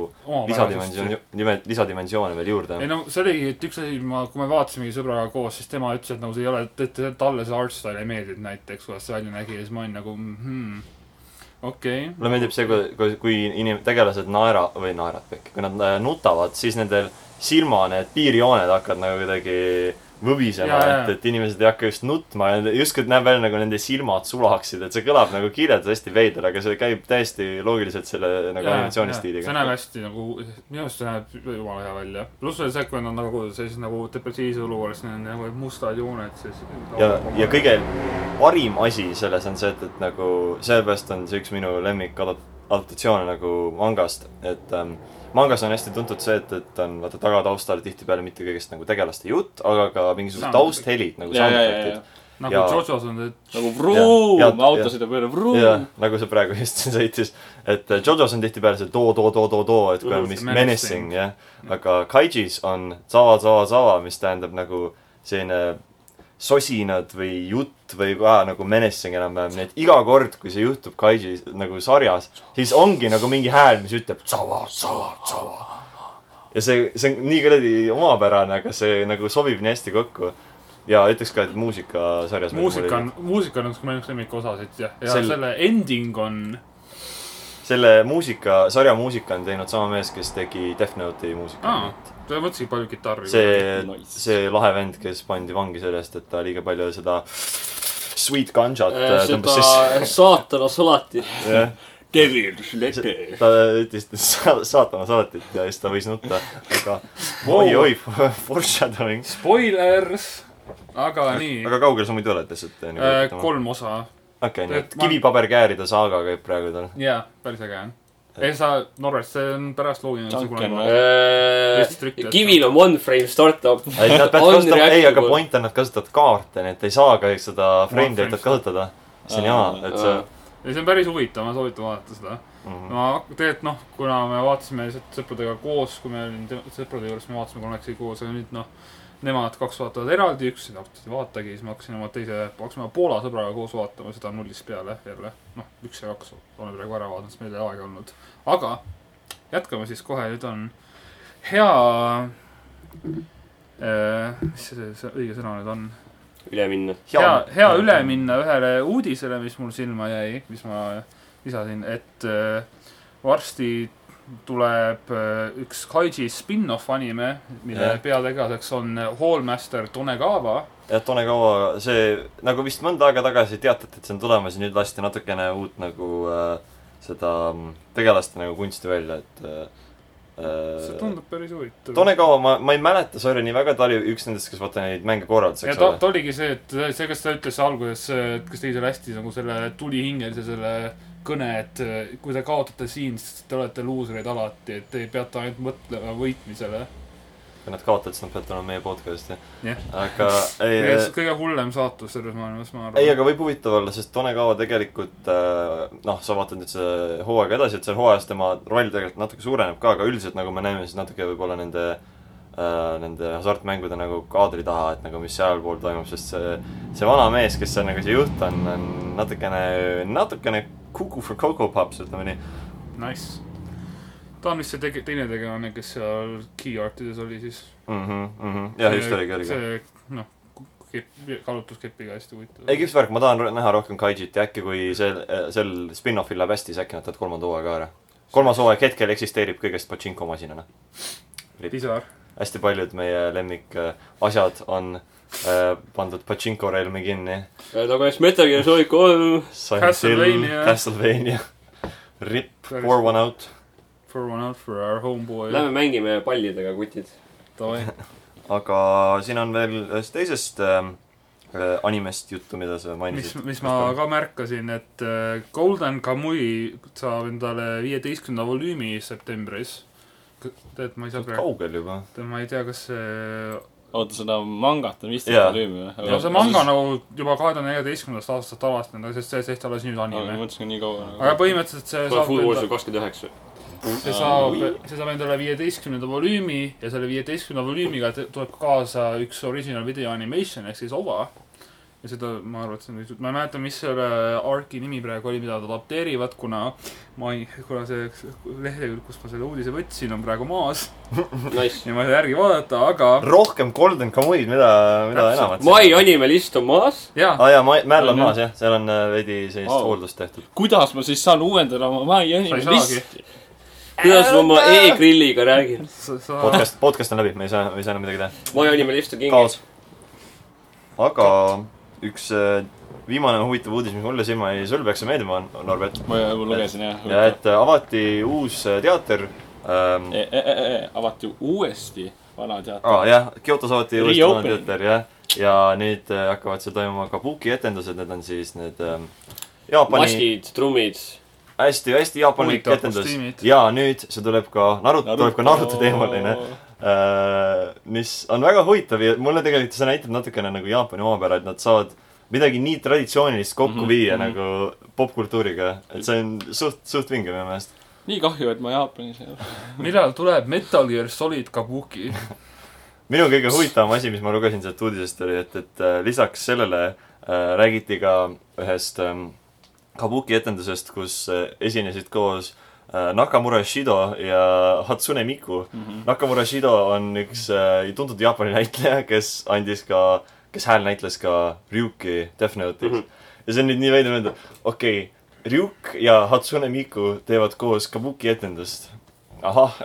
[SPEAKER 1] lisadimensiooni , nimelt lisadimensioone veel juurde .
[SPEAKER 3] ei no see oligi , et üks asi , ma , kui me vaatasimegi sõbraga koos , siis tema ütles , et nagu see ei ole , et , et talle see art style ei meeldinud näiteks , kuidas see välja nägi ja siis ma olin nagu mhmh , okei okay. .
[SPEAKER 1] mulle meeldib see , kui , kui , kui inim- , tegelased naera- või naerad kõik , kui nad äh, nutavad , siis nendel silma need piirjooned hakkavad nagu kuidagi võbisema
[SPEAKER 3] Jaa, , jaa.
[SPEAKER 1] et , et inimesed ei hakka just nutma ja nende- justkui näeb välja nagu nende silmad sulaksid , et see kõlab nagu kirjeldades hästi veider , aga see käib täiesti loogiliselt selle nagu
[SPEAKER 3] see näeb
[SPEAKER 1] animatsioonistiiliga .
[SPEAKER 3] hästi nagu , minu arust see näeb jumala hea välja . pluss veel see , kui nad on nagu sellises nagu depressiivses olukorras , neil on nagu mustad jooned , siis .
[SPEAKER 1] ja , ja kõige parim asi selles on see , et , et nagu sellepärast on see üks minu lemmik adap- adaptatsioone nagu mangast , et ähm, mangas on hästi tuntud see , et , et on vaata tagataustal tihtipeale mitte kõigest nagu tegelaste jutt , aga ka mingisugused
[SPEAKER 3] Sound-
[SPEAKER 1] tausthelid nagu
[SPEAKER 4] ja , ja , ja ,
[SPEAKER 1] soundtrack'id .
[SPEAKER 4] ja .
[SPEAKER 3] nagu
[SPEAKER 1] ja-
[SPEAKER 3] Jojo's on see ,
[SPEAKER 4] nagu
[SPEAKER 1] Ja,
[SPEAKER 4] vruum ,
[SPEAKER 1] ja,
[SPEAKER 4] auto
[SPEAKER 1] ja.
[SPEAKER 4] sõidab üle ,
[SPEAKER 1] jaa
[SPEAKER 4] vruum .,
[SPEAKER 1] nagu see praegu just siin sõitis , et äh, Jojo's on tihtipeale see too-too-too-too-too , et kui on
[SPEAKER 2] Mhm,
[SPEAKER 1] mis
[SPEAKER 3] see menacing.
[SPEAKER 1] menacing , jah . aga Kaiji's on sava-sava-sava , mis tähendab nagu selline sosinad või jutt või ka nagu menacing enam-vähem , nii et iga kord , kui see juhtub Kaiji nagu sarjas , siis ongi nagu mingi hääl , mis ütleb sava-sava-sava . ja see , see on nii kuradi omapärane , aga see nagu sobib nii hästi kokku . ja ütleks ka , et nagu muusikasarjas
[SPEAKER 3] muusika on , muusika on üks minu üks lemmikosasid jah , ja
[SPEAKER 1] Sel-
[SPEAKER 3] selle ending on
[SPEAKER 1] selle muusika , sarja muusika on teinud sama mees , kes tegi Death Note'i muusika
[SPEAKER 3] Aa. . ta võttis palju kitarri .
[SPEAKER 1] see
[SPEAKER 4] Nice. ,
[SPEAKER 1] see lahe vend , kes pandi vangi selle eest , et ta liiga palju seda sweet ganjat äh, tõmbas sisse .
[SPEAKER 2] seda saatana salatit .
[SPEAKER 1] jah ,
[SPEAKER 2] Devil's letter .
[SPEAKER 1] ta ütles et sa- saatana salatit ja siis ta võis nutta , aga
[SPEAKER 3] Wow.
[SPEAKER 1] oi-oi , foreshadowing .
[SPEAKER 3] Spoilers , aga nii .
[SPEAKER 1] aga kaugel sa muidu oled äh, nagu lihtsalt ?
[SPEAKER 3] Äh, kolm osa .
[SPEAKER 1] okei , nii et
[SPEAKER 3] ma-
[SPEAKER 1] kivipaberkääride saaga käib praegu tal .
[SPEAKER 3] jaa , päris äge on .
[SPEAKER 1] Äh.
[SPEAKER 3] ei sa , Norras , see on pärast loogiline .
[SPEAKER 4] Duncan, või?
[SPEAKER 2] Äh, kivil on one frame startup .
[SPEAKER 1] ei , nad peavad kasutama , ei , aga point on , nad kasutavad kaarte , nii et ei saa kahjuks seda frame date'it kasutada . see on jama , et see
[SPEAKER 3] ja see on päris huvitav , ma soovitan vaadata seda .
[SPEAKER 1] mhm.
[SPEAKER 3] ma tegelikult noh , kuna me vaatasime lihtsalt sõpradega koos , kui me olime te- sõprade juures , me vaatasime kolmekesi koos , aga nüüd noh , nemad kaks vaatavad eraldi , üks ei tahtnud seda vaadatagi , siis ma hakkasin oma teise , hakkasime Poola sõbraga koos vaatama seda nullist peale jälle . noh , üks ja kaks oleme praegu ära vaadanud , sest meil ei ole aega olnud . aga jätkame siis kohe , nüüd on hea äh, . mis see, see õige sõna nüüd on ?
[SPEAKER 2] üle minna .
[SPEAKER 1] Jaa.
[SPEAKER 3] hea , hea üle minna ühele uudisele , mis mul silma jäi , mis ma lisasin , et äh, varsti tuleb äh, üks Kaiji spin-off anime , mille
[SPEAKER 1] Jah.
[SPEAKER 3] peategelaseks on Hallmaster Tonegava .
[SPEAKER 1] jah , Tone Kaua , see nagu vist mõnda aega tagasi teatati , et see on tulemas ja nüüd lasti natukene uut nagu äh, seda mm, tegelaste nagu kunsti välja , et
[SPEAKER 3] see
[SPEAKER 1] äh, .
[SPEAKER 3] tundub päris huvitav .
[SPEAKER 1] Tone Kaua , ma , ma ei mäleta , sorry , nii väga , ta oli üks nendest , kes vaata neid mänge korraldas ,
[SPEAKER 3] ja
[SPEAKER 1] eks
[SPEAKER 3] ta ,
[SPEAKER 1] ole .
[SPEAKER 3] ta oligi see , et see , kes ta ütles alguses , et kes tegi selle hästi nagu selle tulihingelise selle kõne , et äh, kui te kaotate siin , siis te olete luusrid alati , et te peate ainult mõtlema võitmisele .
[SPEAKER 1] kui nad kaotavad , siis nad peavad tulema meie podcast'i
[SPEAKER 3] Jah. .
[SPEAKER 1] aga ei , äh,
[SPEAKER 3] kõige hullem saatus selles maailmas , ma
[SPEAKER 1] ei ,
[SPEAKER 3] arvan .
[SPEAKER 1] aga võib huvitav olla , sest Tone Kaua tegelikult äh, noh , sa vaatad nüüd seda hooaega edasi , et seal hooajas tema roll tegelikult natuke suureneb ka , aga üldiselt nagu me näeme , siis natuke võib-olla nende äh, Nende hasartmängude nagu kaadri taha , et nagu mis sealpool toimub , sest see , see vana mees , kes seal nagu see juht on , on natukene , natukene Cuckoo for Coco Pops , ütleme nii .
[SPEAKER 3] Nice . ta on vist see tege- , teine tegelane , kes seal Key Artides oli siis .
[SPEAKER 1] Mhm, jah , just oligi , oligi .
[SPEAKER 3] see , noh , kepp , kallutuskepiga hästi huvitav .
[SPEAKER 1] ei , kihvt värk , ma tahan ro- näha rohkem Kaijit ja äkki kui sel , sel spin-offil läheb hästi , siis äkki nad teevad kolmanda hooaja ka ära . kolmas hooaeg hetkel eksisteerib kõigest Pachinko masinana .
[SPEAKER 3] pisar .
[SPEAKER 1] hästi paljud meie lemmik äh, asjad on äh, pandud Pachinko relmi kinni .
[SPEAKER 2] nagu näiteks Metal Gear Solid kolm .
[SPEAKER 3] Castlevania.
[SPEAKER 1] Castlevania . Rip , pour one out .
[SPEAKER 3] For one out for our homeboy .
[SPEAKER 2] Lähme mängime pallidega , kutid .
[SPEAKER 3] davai .
[SPEAKER 1] aga siin on veel ühest teisest ähm, äh, animest juttu , mida sa
[SPEAKER 3] mis
[SPEAKER 1] mainisid .,
[SPEAKER 3] mis ma ka märkasin , et äh, Golden Kamui saab endale viieteistkümnenda volüümi septembris . tead , ma ei saa praegu ,
[SPEAKER 1] kaugel juba .
[SPEAKER 3] ma ei tea , kas see
[SPEAKER 4] oota , seda mangat on viisteist
[SPEAKER 1] Jaa.
[SPEAKER 4] volüümi või ?
[SPEAKER 3] no see manga nagu juba kahe tuhande neljateistkümnendast aastast alastanud , sest see tehti alles nüüd
[SPEAKER 4] ma
[SPEAKER 3] anime .
[SPEAKER 4] mõtlesin ka nii kaua
[SPEAKER 3] aga
[SPEAKER 4] nagu .
[SPEAKER 3] põhimõtteliselt see
[SPEAKER 2] Call of
[SPEAKER 3] saab
[SPEAKER 2] Duty Wars on kakskümmend üheksa .
[SPEAKER 3] see saab , see saab endale viieteistkümnenda volüümi ja selle viieteistkümnenda volüümiga te- tuleb kaasa üks original video animation ehk siis OVA . ja seda , ma arvan , et see on nüüd , ma ei mäleta , mis selle ARC-i nimi praegu oli , mida nad adapteerivad , kuna ma ei , kuna see lehekülg , kust ma selle uudise võtsin , on praegu maas
[SPEAKER 2] Nice .
[SPEAKER 3] ja ma ei saa järgi vaadata , aga
[SPEAKER 1] rohkem Golden Kamuid , mida , mida
[SPEAKER 3] Täpselt.
[SPEAKER 1] enamat .
[SPEAKER 2] Mai animalist on maas .
[SPEAKER 3] jaa ,
[SPEAKER 1] aa jaa , ma , Mäll on
[SPEAKER 4] On
[SPEAKER 1] maas jah , seal on äh, veidi sellist
[SPEAKER 4] Vau.
[SPEAKER 1] hooldust tehtud .
[SPEAKER 4] kuidas ma siis saan uuendada oma My
[SPEAKER 3] sa ei
[SPEAKER 4] Anime
[SPEAKER 3] saagi
[SPEAKER 4] listi ?,
[SPEAKER 2] kuidas ma oma e-grilliga räägin ?
[SPEAKER 3] sa , sa ,
[SPEAKER 1] podcast , podcast on läbi , me ei saa , me ei saa enam midagi teha .
[SPEAKER 2] Mai animalist on kingis
[SPEAKER 1] kaos . aga üks äh, viimane huvitav uudis , mis mulle silma jäi , sulle peaks see meeldima , Norbert .
[SPEAKER 4] ma juba lugesin jah .
[SPEAKER 1] ja et äh, avati uus äh, teater ähm, .
[SPEAKER 4] E, avati uuesti vana teater .
[SPEAKER 1] aa ah, jah , Kyotos avati uuesti vana
[SPEAKER 4] Reopening.
[SPEAKER 1] teater jah . ja nüüd äh, hakkavad seal toimuma kabuki etendused , need on siis need ähm, Jaapani ,
[SPEAKER 2] maskid , trummid .
[SPEAKER 1] hästi , hästi jaapanlik
[SPEAKER 3] Huvitavad
[SPEAKER 1] etendus
[SPEAKER 3] kostüümid. .
[SPEAKER 1] ja nüüd see tuleb ka Naruto , Ah, tuleb ka Naruto teemaline . Äh, mis on väga huvitav ja mulle tegelikult see näitab natukene nagu Jaapani omapära , et nad saavad midagi nii traditsioonilist kokku mm
[SPEAKER 4] Mhm,
[SPEAKER 1] -hmm. viia
[SPEAKER 4] mhm.
[SPEAKER 1] nagu popkultuuriga , et see on suht , suht vinge minu meelest .
[SPEAKER 4] nii kahju , et ma Jaapanis ei ole .
[SPEAKER 3] millal tuleb Metal Gear Solid Kabuki ?
[SPEAKER 1] minu kõige huvitavam asi , mis ma lugesin sealt uudisest oli , et , et äh, lisaks sellele äh, räägiti ka ühest ähm, kabuki etendusest , kus äh, esinesid koos äh, Nakamura Shido ja Hatsune Miku . Nakamura Shido on üks äh, tuntud Jaapani näitleja , kes andis ka , kes hääl näitles ka Ryuki Death Note'is mm . -hmm. ja see on nüüd nii veidi mõelda , okei okay, , Ryuk ja Hatsune Miku teevad koos Kabuki etendust . ahah ,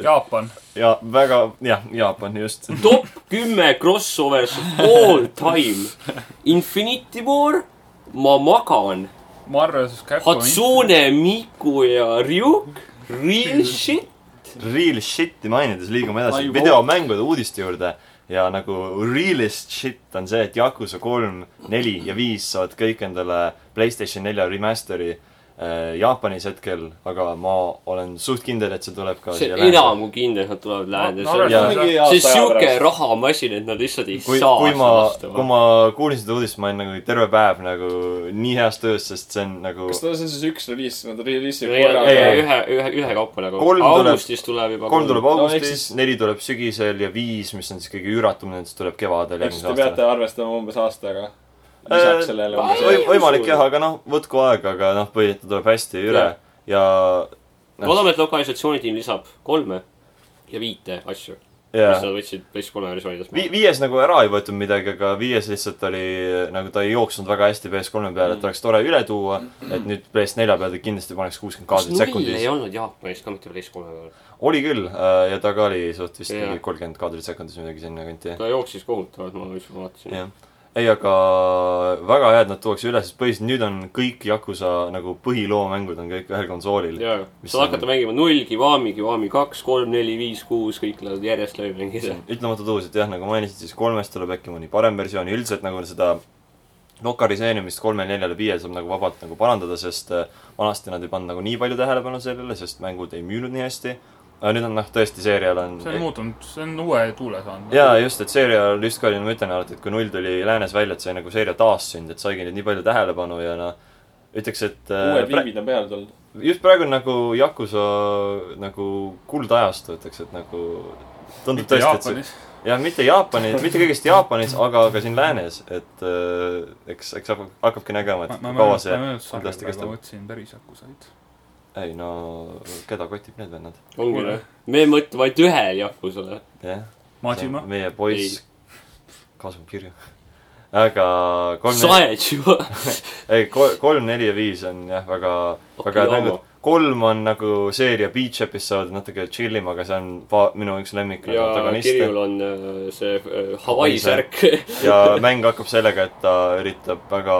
[SPEAKER 3] Jaapan .
[SPEAKER 1] ja väga , jah , Jaapan just .
[SPEAKER 2] top kümme crossovers all time . Infinity War , ma magan .
[SPEAKER 3] Marvel's Capcomi .
[SPEAKER 2] Hatsune , Miku ja Ryuk , real shit .
[SPEAKER 1] Real shit'i mainides liigume
[SPEAKER 4] I
[SPEAKER 1] edasi
[SPEAKER 4] won't.
[SPEAKER 1] videomängude uudiste juurde ja nagu realist shit on see , et Yakuza kolm , neli ja viis saavad kõik endale Playstation nelja remaster'i äh, Jaapanis hetkel , aga ma olen suht kindel , et see tuleb ka
[SPEAKER 2] see
[SPEAKER 1] siia
[SPEAKER 2] enam . kui kindel nad tulevad läände .
[SPEAKER 3] no arvestades-
[SPEAKER 2] see
[SPEAKER 3] Mingi
[SPEAKER 2] on siuke . rahamasin , et nad lihtsalt ei
[SPEAKER 1] kui ,
[SPEAKER 2] saa
[SPEAKER 1] kui ma , kui
[SPEAKER 2] vastu .
[SPEAKER 1] ma kuulsin seda uudist , ma olin nagu terve päev nagu nii heas töös , sest see on nagu
[SPEAKER 4] kas ta , see on siis üks reliis , nad reliisivad
[SPEAKER 2] ei ,
[SPEAKER 4] korraga
[SPEAKER 1] ei, ei.
[SPEAKER 2] ei , ühe , ühe , ühekaupa nagu .
[SPEAKER 1] Kolm tuleb-
[SPEAKER 2] augustis tuleb juba .
[SPEAKER 1] kolm tuleb
[SPEAKER 4] No, ehk
[SPEAKER 1] augustis , neli tuleb sügisel ja viis , mis on siis kõige üüratum nendest , tuleb kevadel
[SPEAKER 4] eks
[SPEAKER 1] järgmisel
[SPEAKER 4] te
[SPEAKER 1] aastal
[SPEAKER 4] peate . arvestama umbes aastaga .
[SPEAKER 1] Äh,
[SPEAKER 4] lisaks sellele
[SPEAKER 1] Või-
[SPEAKER 4] umbes .
[SPEAKER 1] võimalik jah , aga noh , võtku aega , aga noh , põhiliselt ta tuleb hästi üle
[SPEAKER 2] Jah.
[SPEAKER 1] ja
[SPEAKER 2] loodame , et lokalisatsioonitiim lisab kolme ja viite asju , mis
[SPEAKER 1] yeah.
[SPEAKER 2] nad võtsid PS3 versioonides
[SPEAKER 1] Vi . viies nagu ära ei võetud midagi , aga viies lihtsalt oli nagu ta ei jooksnud väga hästi PS3 peale ,
[SPEAKER 2] Mm.
[SPEAKER 1] et oleks tore üle tuua , et nüüd PS4 peale ta kindlasti paneks kuuskümmend
[SPEAKER 2] kas
[SPEAKER 1] kaadrit
[SPEAKER 2] null ei
[SPEAKER 1] sekundis .
[SPEAKER 2] olnud Jaapanis ka mitte PS3 peal ?
[SPEAKER 1] oli küll äh, ja ta ka oli suht vist
[SPEAKER 2] Jah.
[SPEAKER 1] mingi kolmkümmend kaadrit sekundis midagi sinnakanti jah
[SPEAKER 2] ta jooksis kohutavalt , ma just vaatasin .
[SPEAKER 1] jah , ei , aga väga hea , et nad tuuakse üle , sest põhiliselt nüüd on kõik Yakuza nagu põhiloomängud on kõik ühel konsoolil .
[SPEAKER 2] jaa ,
[SPEAKER 1] Mis
[SPEAKER 2] saad
[SPEAKER 1] on-
[SPEAKER 2] hakata mängima null , Kiwami , Kiwami kaks , kolm , neli , viis , kuus , kõik lähevad järjest läbi mängida .
[SPEAKER 1] ütlemata tõus , et jah , nagu mainisid , siis kolmest tuleb äkki mõni parem versioon ja üldiselt nagu seda lokaliseerimist kolme , neljale , viiele saab nagu vabalt nagu parandada , sest äh, vanasti nad ei pannud nagu nii palju tähelepanu sellele , sest mängud ei müünud nii hästi . aga nüüd on noh , tõesti , seerial on
[SPEAKER 3] see on muutunud , see on uue tuule saanud .
[SPEAKER 1] jaa , just , et seerial just ka oli , ma ütlen alati , et kui null tuli läänes välja , et see nagu seeria taassünd , et saigi nüüd nii palju tähelepanu ja noh , ütleks , et äh,
[SPEAKER 4] uued
[SPEAKER 1] pra-
[SPEAKER 4] viivid on peale tulnud .
[SPEAKER 1] just praegu on nagu Yakuza nagu kuldajastu , ütleks , et nagu tundub
[SPEAKER 3] mitte
[SPEAKER 1] tõesti , et see
[SPEAKER 3] Jaapanis .
[SPEAKER 1] jah , mitte Jaapani , mitte kõigest Jaapanis , aga ka siin läänes , et äh, eks , eks hakkab , hakkabki nägema ,
[SPEAKER 3] ma ,
[SPEAKER 1] et
[SPEAKER 3] ma
[SPEAKER 1] kaua
[SPEAKER 3] mäletan ,
[SPEAKER 1] see
[SPEAKER 3] ma , mäletan ,
[SPEAKER 1] kuidas ta
[SPEAKER 3] et
[SPEAKER 1] kestab.
[SPEAKER 3] ma võtsin päris akusaid .
[SPEAKER 1] ei no , keda kotib need vennad ,
[SPEAKER 2] ongi või ? me mõtleme ainult ühel Yakusale .
[SPEAKER 1] jah .
[SPEAKER 3] Majima .
[SPEAKER 1] meie poiss kasvab kirju . aga kolm ,
[SPEAKER 2] saed juba .
[SPEAKER 1] ei kolm , kolm , neli ja viis on jah , väga , väga head mängud . kolm on nagu seeria Beach Up'is saavad natuke chill ima , aga see on pa- minu üks lemmik
[SPEAKER 2] ja
[SPEAKER 1] protagoniste
[SPEAKER 2] Kirjul on äh, see äh, Hawaii särk .
[SPEAKER 1] ja mäng hakkab sellega , et ta üritab väga ,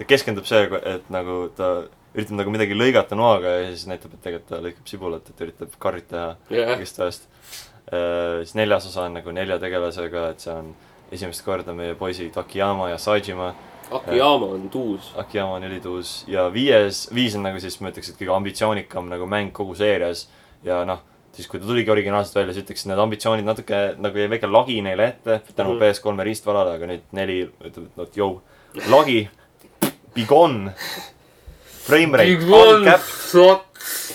[SPEAKER 1] ta keskendub sellega , et nagu ta üritab nagu midagi lõigata noaga ja siis näitab , et tegelikult ta lõikab sibulat , et üritab karrit teha
[SPEAKER 2] jah ,
[SPEAKER 1] kõigest ajast . siis neljas osa on nagu nelja tegelasega , et see on esimest korda meie poisid Akiyama ja Sajima .
[SPEAKER 2] Akiyama on tuus .
[SPEAKER 1] Akiyama on ülituus ja viies , viis on nagu siis ma ütleks , et kõige ambitsioonikam nagu mäng kogu seerias ja noh , siis kui ta tuligi originaalselt välja , siis ütleks , et need ambitsioonid natuke nagu jäi väike lagi neile ette tänu
[SPEAKER 2] Mhm.
[SPEAKER 1] mm. PS3-e riistvarale , aga nüüd neli ütleb , et noh , jõu , lagi , begon , frame rate , uncapped ,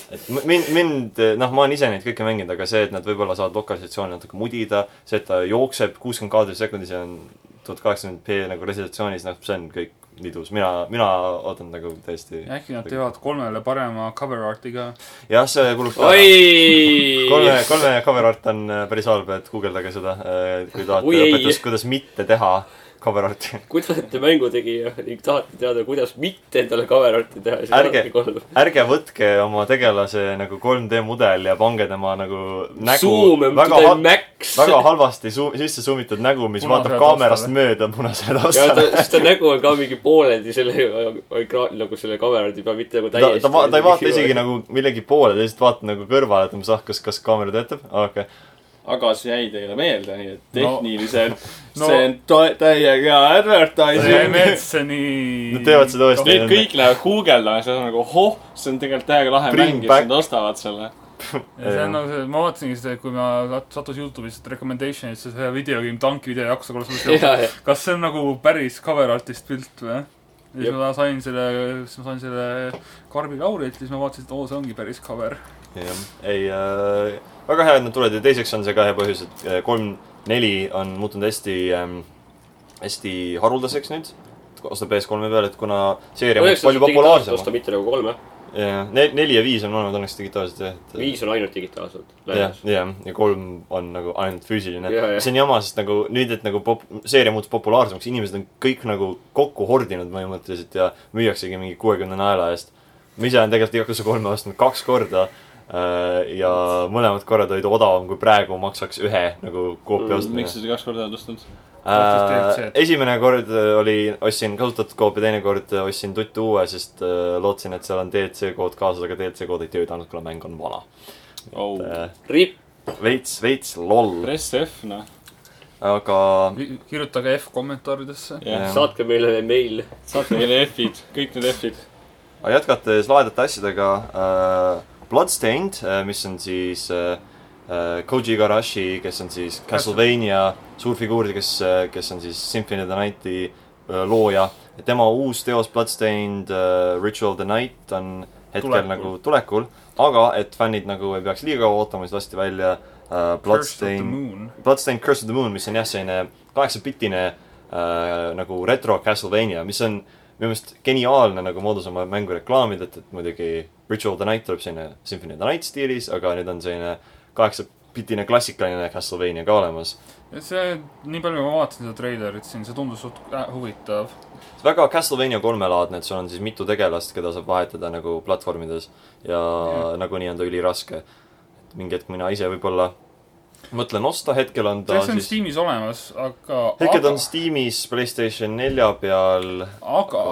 [SPEAKER 1] et m- mind , mind , noh , ma olen ise neid kõiki mänginud , aga see , et nad võib-olla saavad lokalisatsiooni natuke mudida , see , et ta jookseb kuuskümmend kaadrit sekundis ja on tuhat kaheksakümmend p nagu resolutsioonis , noh , see on kõik nidus , mina , mina ootan nagu täiesti .
[SPEAKER 3] äkki nad teevad kolmele parema cover art'i ka .
[SPEAKER 1] jah , see kulub ka . kolme
[SPEAKER 2] oi ,.
[SPEAKER 1] kolme cover art on äh, päris halb , et guugeldage seda , kui
[SPEAKER 2] Oi
[SPEAKER 1] tahate
[SPEAKER 2] ei.
[SPEAKER 1] õpetust , kuidas mitte teha cover art'i .
[SPEAKER 2] kui te olete mängutegija ning tahate teada , kuidas mitte endale cover-art'i teha , siis
[SPEAKER 1] Ärge-
[SPEAKER 2] vaadake kolm .
[SPEAKER 1] ärge võtke oma tegelase nagu 3D mudel ja pange tema nagu nägu
[SPEAKER 2] Zoom on to
[SPEAKER 1] väga
[SPEAKER 2] the
[SPEAKER 1] hal-
[SPEAKER 2] max .
[SPEAKER 1] väga halvasti su- , sisse suumitud nägu , mis
[SPEAKER 3] Punasele
[SPEAKER 1] vaatab kaamerast
[SPEAKER 3] taustale.
[SPEAKER 1] mööda punasele
[SPEAKER 2] ja ta
[SPEAKER 1] taustale .,
[SPEAKER 2] siis ta nägu on ka mingi pooleldi selle ekraani , nagu selle kaameraardi peal , mitte nagu
[SPEAKER 1] ta ,
[SPEAKER 2] täiesti .
[SPEAKER 1] ta, va- ta ei vaata isegi . nagu millegi poole , ta lihtsalt vaatab nagu kõrvale , et mis ah , kas , kas kaamera töötab , okei .
[SPEAKER 4] aga see jäi teile meelde , nii et tehniliselt
[SPEAKER 3] No. No.
[SPEAKER 4] no. see on to- täiega
[SPEAKER 3] see
[SPEAKER 4] advertising .
[SPEAKER 3] Medseni .
[SPEAKER 1] Nad teevad seda uuesti.
[SPEAKER 4] Need kõik lähevad guugeldama , siis on nagu ohoh , see on tegelikult täiega lahe
[SPEAKER 1] Bring
[SPEAKER 4] mäng ja
[SPEAKER 1] back.
[SPEAKER 4] siis nad ostavad selle .
[SPEAKER 3] see on nagu see , ma vaatasingi seda , kui ma sat- sattus Youtube'is recommendation'isse see video , tanki video jaoks , aga see
[SPEAKER 2] ja , ja ,
[SPEAKER 3] kas see on nagu päris cover artist pilt või ? ja siis
[SPEAKER 2] Jep.
[SPEAKER 3] ma sain selle , siis ma sain selle Karbi Laurilt , siis ma vaatasin , et oo , see ongi päris cover .
[SPEAKER 1] ei äh, , väga hea , et nad tulevad ja teiseks on see ka hea põhjus , et äh, kolm , neli on muutunud hästi ähm, , hästi haruldaseks nüüd . osta PS3-e peale , et kuna seeria on palju
[SPEAKER 2] üheksateist digitaalselt osta ,
[SPEAKER 1] populaarsem .
[SPEAKER 2] mitte nagu kolme .
[SPEAKER 1] jah , neli ja viis on olemas õnneks digitaalselt jah , et . äh,
[SPEAKER 2] viis on ainult digitaalselt
[SPEAKER 1] jah
[SPEAKER 2] väljas ,.
[SPEAKER 1] jah , ja kolm on nagu ainult füüsiline
[SPEAKER 2] Jaa, jah. .
[SPEAKER 1] see on jama , sest nagu nüüd , et nagu pop- , seeria muutus populaarsemaks , inimesed on kõik nagu kokku hordinud põhimõtteliselt ja müüaksegi mingi kuuekümne naela eest . ma ise olen tegelikult igakülgse kolme ostnud kaks korda äh, ja mõlemad korrad olid odavam , kui praegu maksaks ühe nagu
[SPEAKER 2] Mm,
[SPEAKER 1] koopia ostmine
[SPEAKER 4] miks sa seda kaks korda oled ostnud ?
[SPEAKER 1] äh,
[SPEAKER 3] Tähtis DLC-d.
[SPEAKER 1] esimene kord äh, oli , ostsin kasutatud koopi , teine kord äh, ostsin tuttu uue , sest äh, lootsin , et seal on DLC kood kaasas , aga DLC kood ei töötanud , kuna mäng on vana
[SPEAKER 4] oh. .
[SPEAKER 1] äh, .
[SPEAKER 2] RIP ,
[SPEAKER 1] veits , veits loll .
[SPEAKER 4] Press F , noh .
[SPEAKER 1] aga
[SPEAKER 3] kirjutage F kommentaaridesse .
[SPEAKER 4] jah ,
[SPEAKER 1] Jah.
[SPEAKER 2] saatke meile meil .
[SPEAKER 4] saate meile F-id , kõik need F-id .
[SPEAKER 1] aga jätkates laedate asjadega äh, , Bloodstained , mis on siis äh, äh, Koji Igarashi , kes on siis Castlevania suurfiguur , kes , kes on siis Symphony of the Nighti äh, looja . tema uus teos Bloodstained äh, Ritual of the Night on hetkel tulekul.
[SPEAKER 3] Tulekul.
[SPEAKER 1] nagu tulekul , aga et fännid nagu ei peaks liiga kaua ootama , siis lasti välja äh, Bloodstained
[SPEAKER 3] Moon .
[SPEAKER 1] Bloodstained Curse of the Moon , mis on jah , selline kaheksapiltine äh, nagu retro Castlevania , mis on minu meelest geniaalne nagu moodus oma mängu reklaamida , et , et muidugi Ritual of the Night tuleb selline Symphony of the Night stiilis , aga nüüd on selline kaheksapiltine klassikaline Castlevania ka olemas .
[SPEAKER 3] see , nii palju ma vaatasin seda treilerit siin , see tundus suht äh, huvitav .
[SPEAKER 1] väga Castlevania kolmelaadne , et sul on siis mitu tegelast , keda saab vahetada nagu platvormides ja
[SPEAKER 3] Mhm.
[SPEAKER 1] yeah. nagunii on ta üliraske . mingi hetk mina ise võib-olla mõtlen osta , hetkel on ta
[SPEAKER 3] see on
[SPEAKER 1] siis ,
[SPEAKER 3] Steamis olemas , aga ,
[SPEAKER 1] hetkel ta
[SPEAKER 3] aga
[SPEAKER 1] on , Steamis Playstation nelja peal .
[SPEAKER 3] aga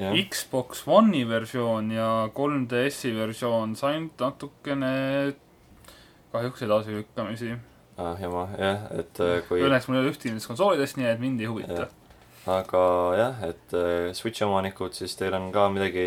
[SPEAKER 1] jah.
[SPEAKER 3] Xbox One'i versioon ja 3DS-i versioon said natukene kahjuks edasilükkamisi .
[SPEAKER 1] ah, . jama , jah , et äh, kui ,
[SPEAKER 3] Õnneks mul ei ole ühtegi nendest konsoolidest , nii et mind ei huvita
[SPEAKER 1] Jah. . aga jah , et äh, Switch'i omanikud , siis teil on ka midagi ,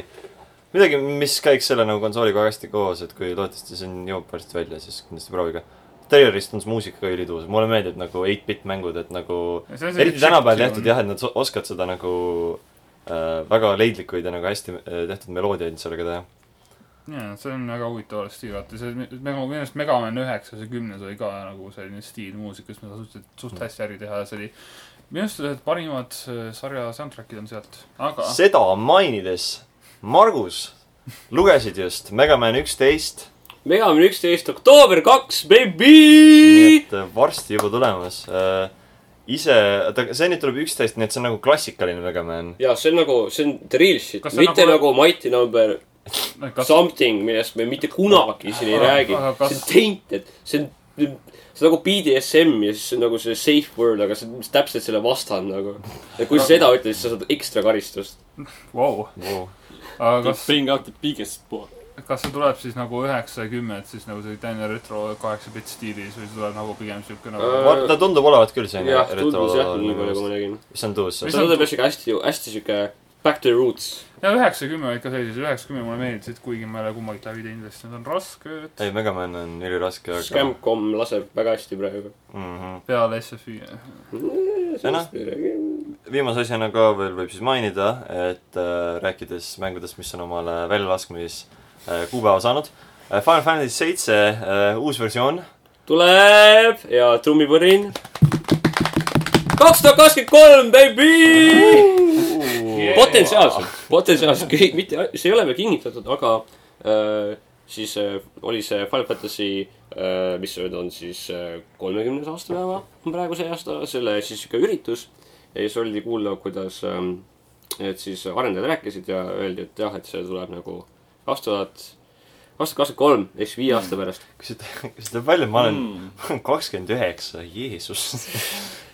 [SPEAKER 1] midagi , mis käiks selle nagu konsooliga hästi koos , et kui loodetavasti see on , jõuab varsti välja , siis kindlasti proovige . Treilerist on see muusika ka ülitõus , mulle meeldib nagu 8-bit mängud , et nagu eriti tänapäeval tehtud . jah , et nad so- oskavad seda nagu äh, väga leidlikuid ja nagu hästi äh, tehtud meloodiaid sellega teha .
[SPEAKER 3] jaa , see on väga huvitav alles stiil , vaata see , minu meelest Megaman üheksas ja kümnes oli ka nagu selline stiil muusikas , mida suhteliselt ,
[SPEAKER 2] Mm.
[SPEAKER 3] suht hästi äri teha ja see oli minu arust ühed parimad äh, sarja soundtrack'id on sealt , aga see...
[SPEAKER 1] seda mainides , Margus , lugesid just Megaman üksteist
[SPEAKER 2] Megaman üksteist oktoober kaks , baby
[SPEAKER 1] nii . et äh, varsti juba tulemas äh, . ise , oota , see nüüd tuleb üksteist , nii et see on nagu klassikaline Mega Man .
[SPEAKER 2] ja see on nagu , see on the real shit
[SPEAKER 3] Kas , see on
[SPEAKER 2] mitte
[SPEAKER 3] nagu-
[SPEAKER 2] nagu Mighty number
[SPEAKER 3] kas
[SPEAKER 2] something , millest me mitte kunagi siin ei
[SPEAKER 3] Aga-
[SPEAKER 2] räägi
[SPEAKER 3] aga . kas-
[SPEAKER 2] see on tainted , see on , see on nagu BDSM ja siis see on nagu see safe word , aga see on täpselt selle vastand nagu . ja kui sa seda ütled , siis sa saad ekstra karistust .
[SPEAKER 3] wow. ,
[SPEAKER 1] Wow.
[SPEAKER 3] aga kas ,
[SPEAKER 4] Bring out the biggest boy .
[SPEAKER 3] kas see tuleb siis nagu üheksa ja kümme , et siis nagu see täieline retro kaheksa bitt stiilis või see tuleb nagu pigem siuke nagu
[SPEAKER 2] Äh,
[SPEAKER 1] ta tundub olevat küll selline
[SPEAKER 2] jah , tundus jah , nii palju kui ma nägin .
[SPEAKER 1] mis on tuus ?
[SPEAKER 3] Mis
[SPEAKER 2] see
[SPEAKER 3] on-
[SPEAKER 2] tundub jah siuke hästi , hästi siuke back to the roots .
[SPEAKER 3] ja üheksa ja kümme olid ka sellised , üheksa ja kümme mulle meeldisid , kuigi ma ei ole kummagi läbi teinud , sest need on rasked
[SPEAKER 1] ei , Mega Man on üliraske , aga .
[SPEAKER 2] Scamcom laseb väga hästi praegu .
[SPEAKER 1] mm . -hmm.
[SPEAKER 3] peale SFI .
[SPEAKER 1] noh. viimase asjana ka veel võib siis mainida , et äh, rääkides mängudest , mis on omale väljalaskmiskuupäeva saanud äh, . Final Fantasy seitse äh, uus versioon ,
[SPEAKER 2] tuleb ja trummipõrin . kaks tuhat kakskümmend kolm , baby
[SPEAKER 1] Jee! .
[SPEAKER 2] potentsiaalselt , potentsiaalselt kõik , mitte , see ei ole veel kinnitatud , aga äh, siis äh, oli see Final Fantasy äh, , mis nüüd on siis kolmekümnes äh, aastapäeva , on praegu see aasta , selle siis sihuke üritus . ja siis oli kuulda , kuidas ähm, , et siis arendajad rääkisid ja öeldi , et jah , et see tuleb nagu kaks tuhat , kaks tuhat kakskümmend kolm ehk siis viie aasta pärast .
[SPEAKER 1] kas see , kas see palju , ma
[SPEAKER 2] Mm.
[SPEAKER 1] olen kakskümmend üheksa , Jeesus .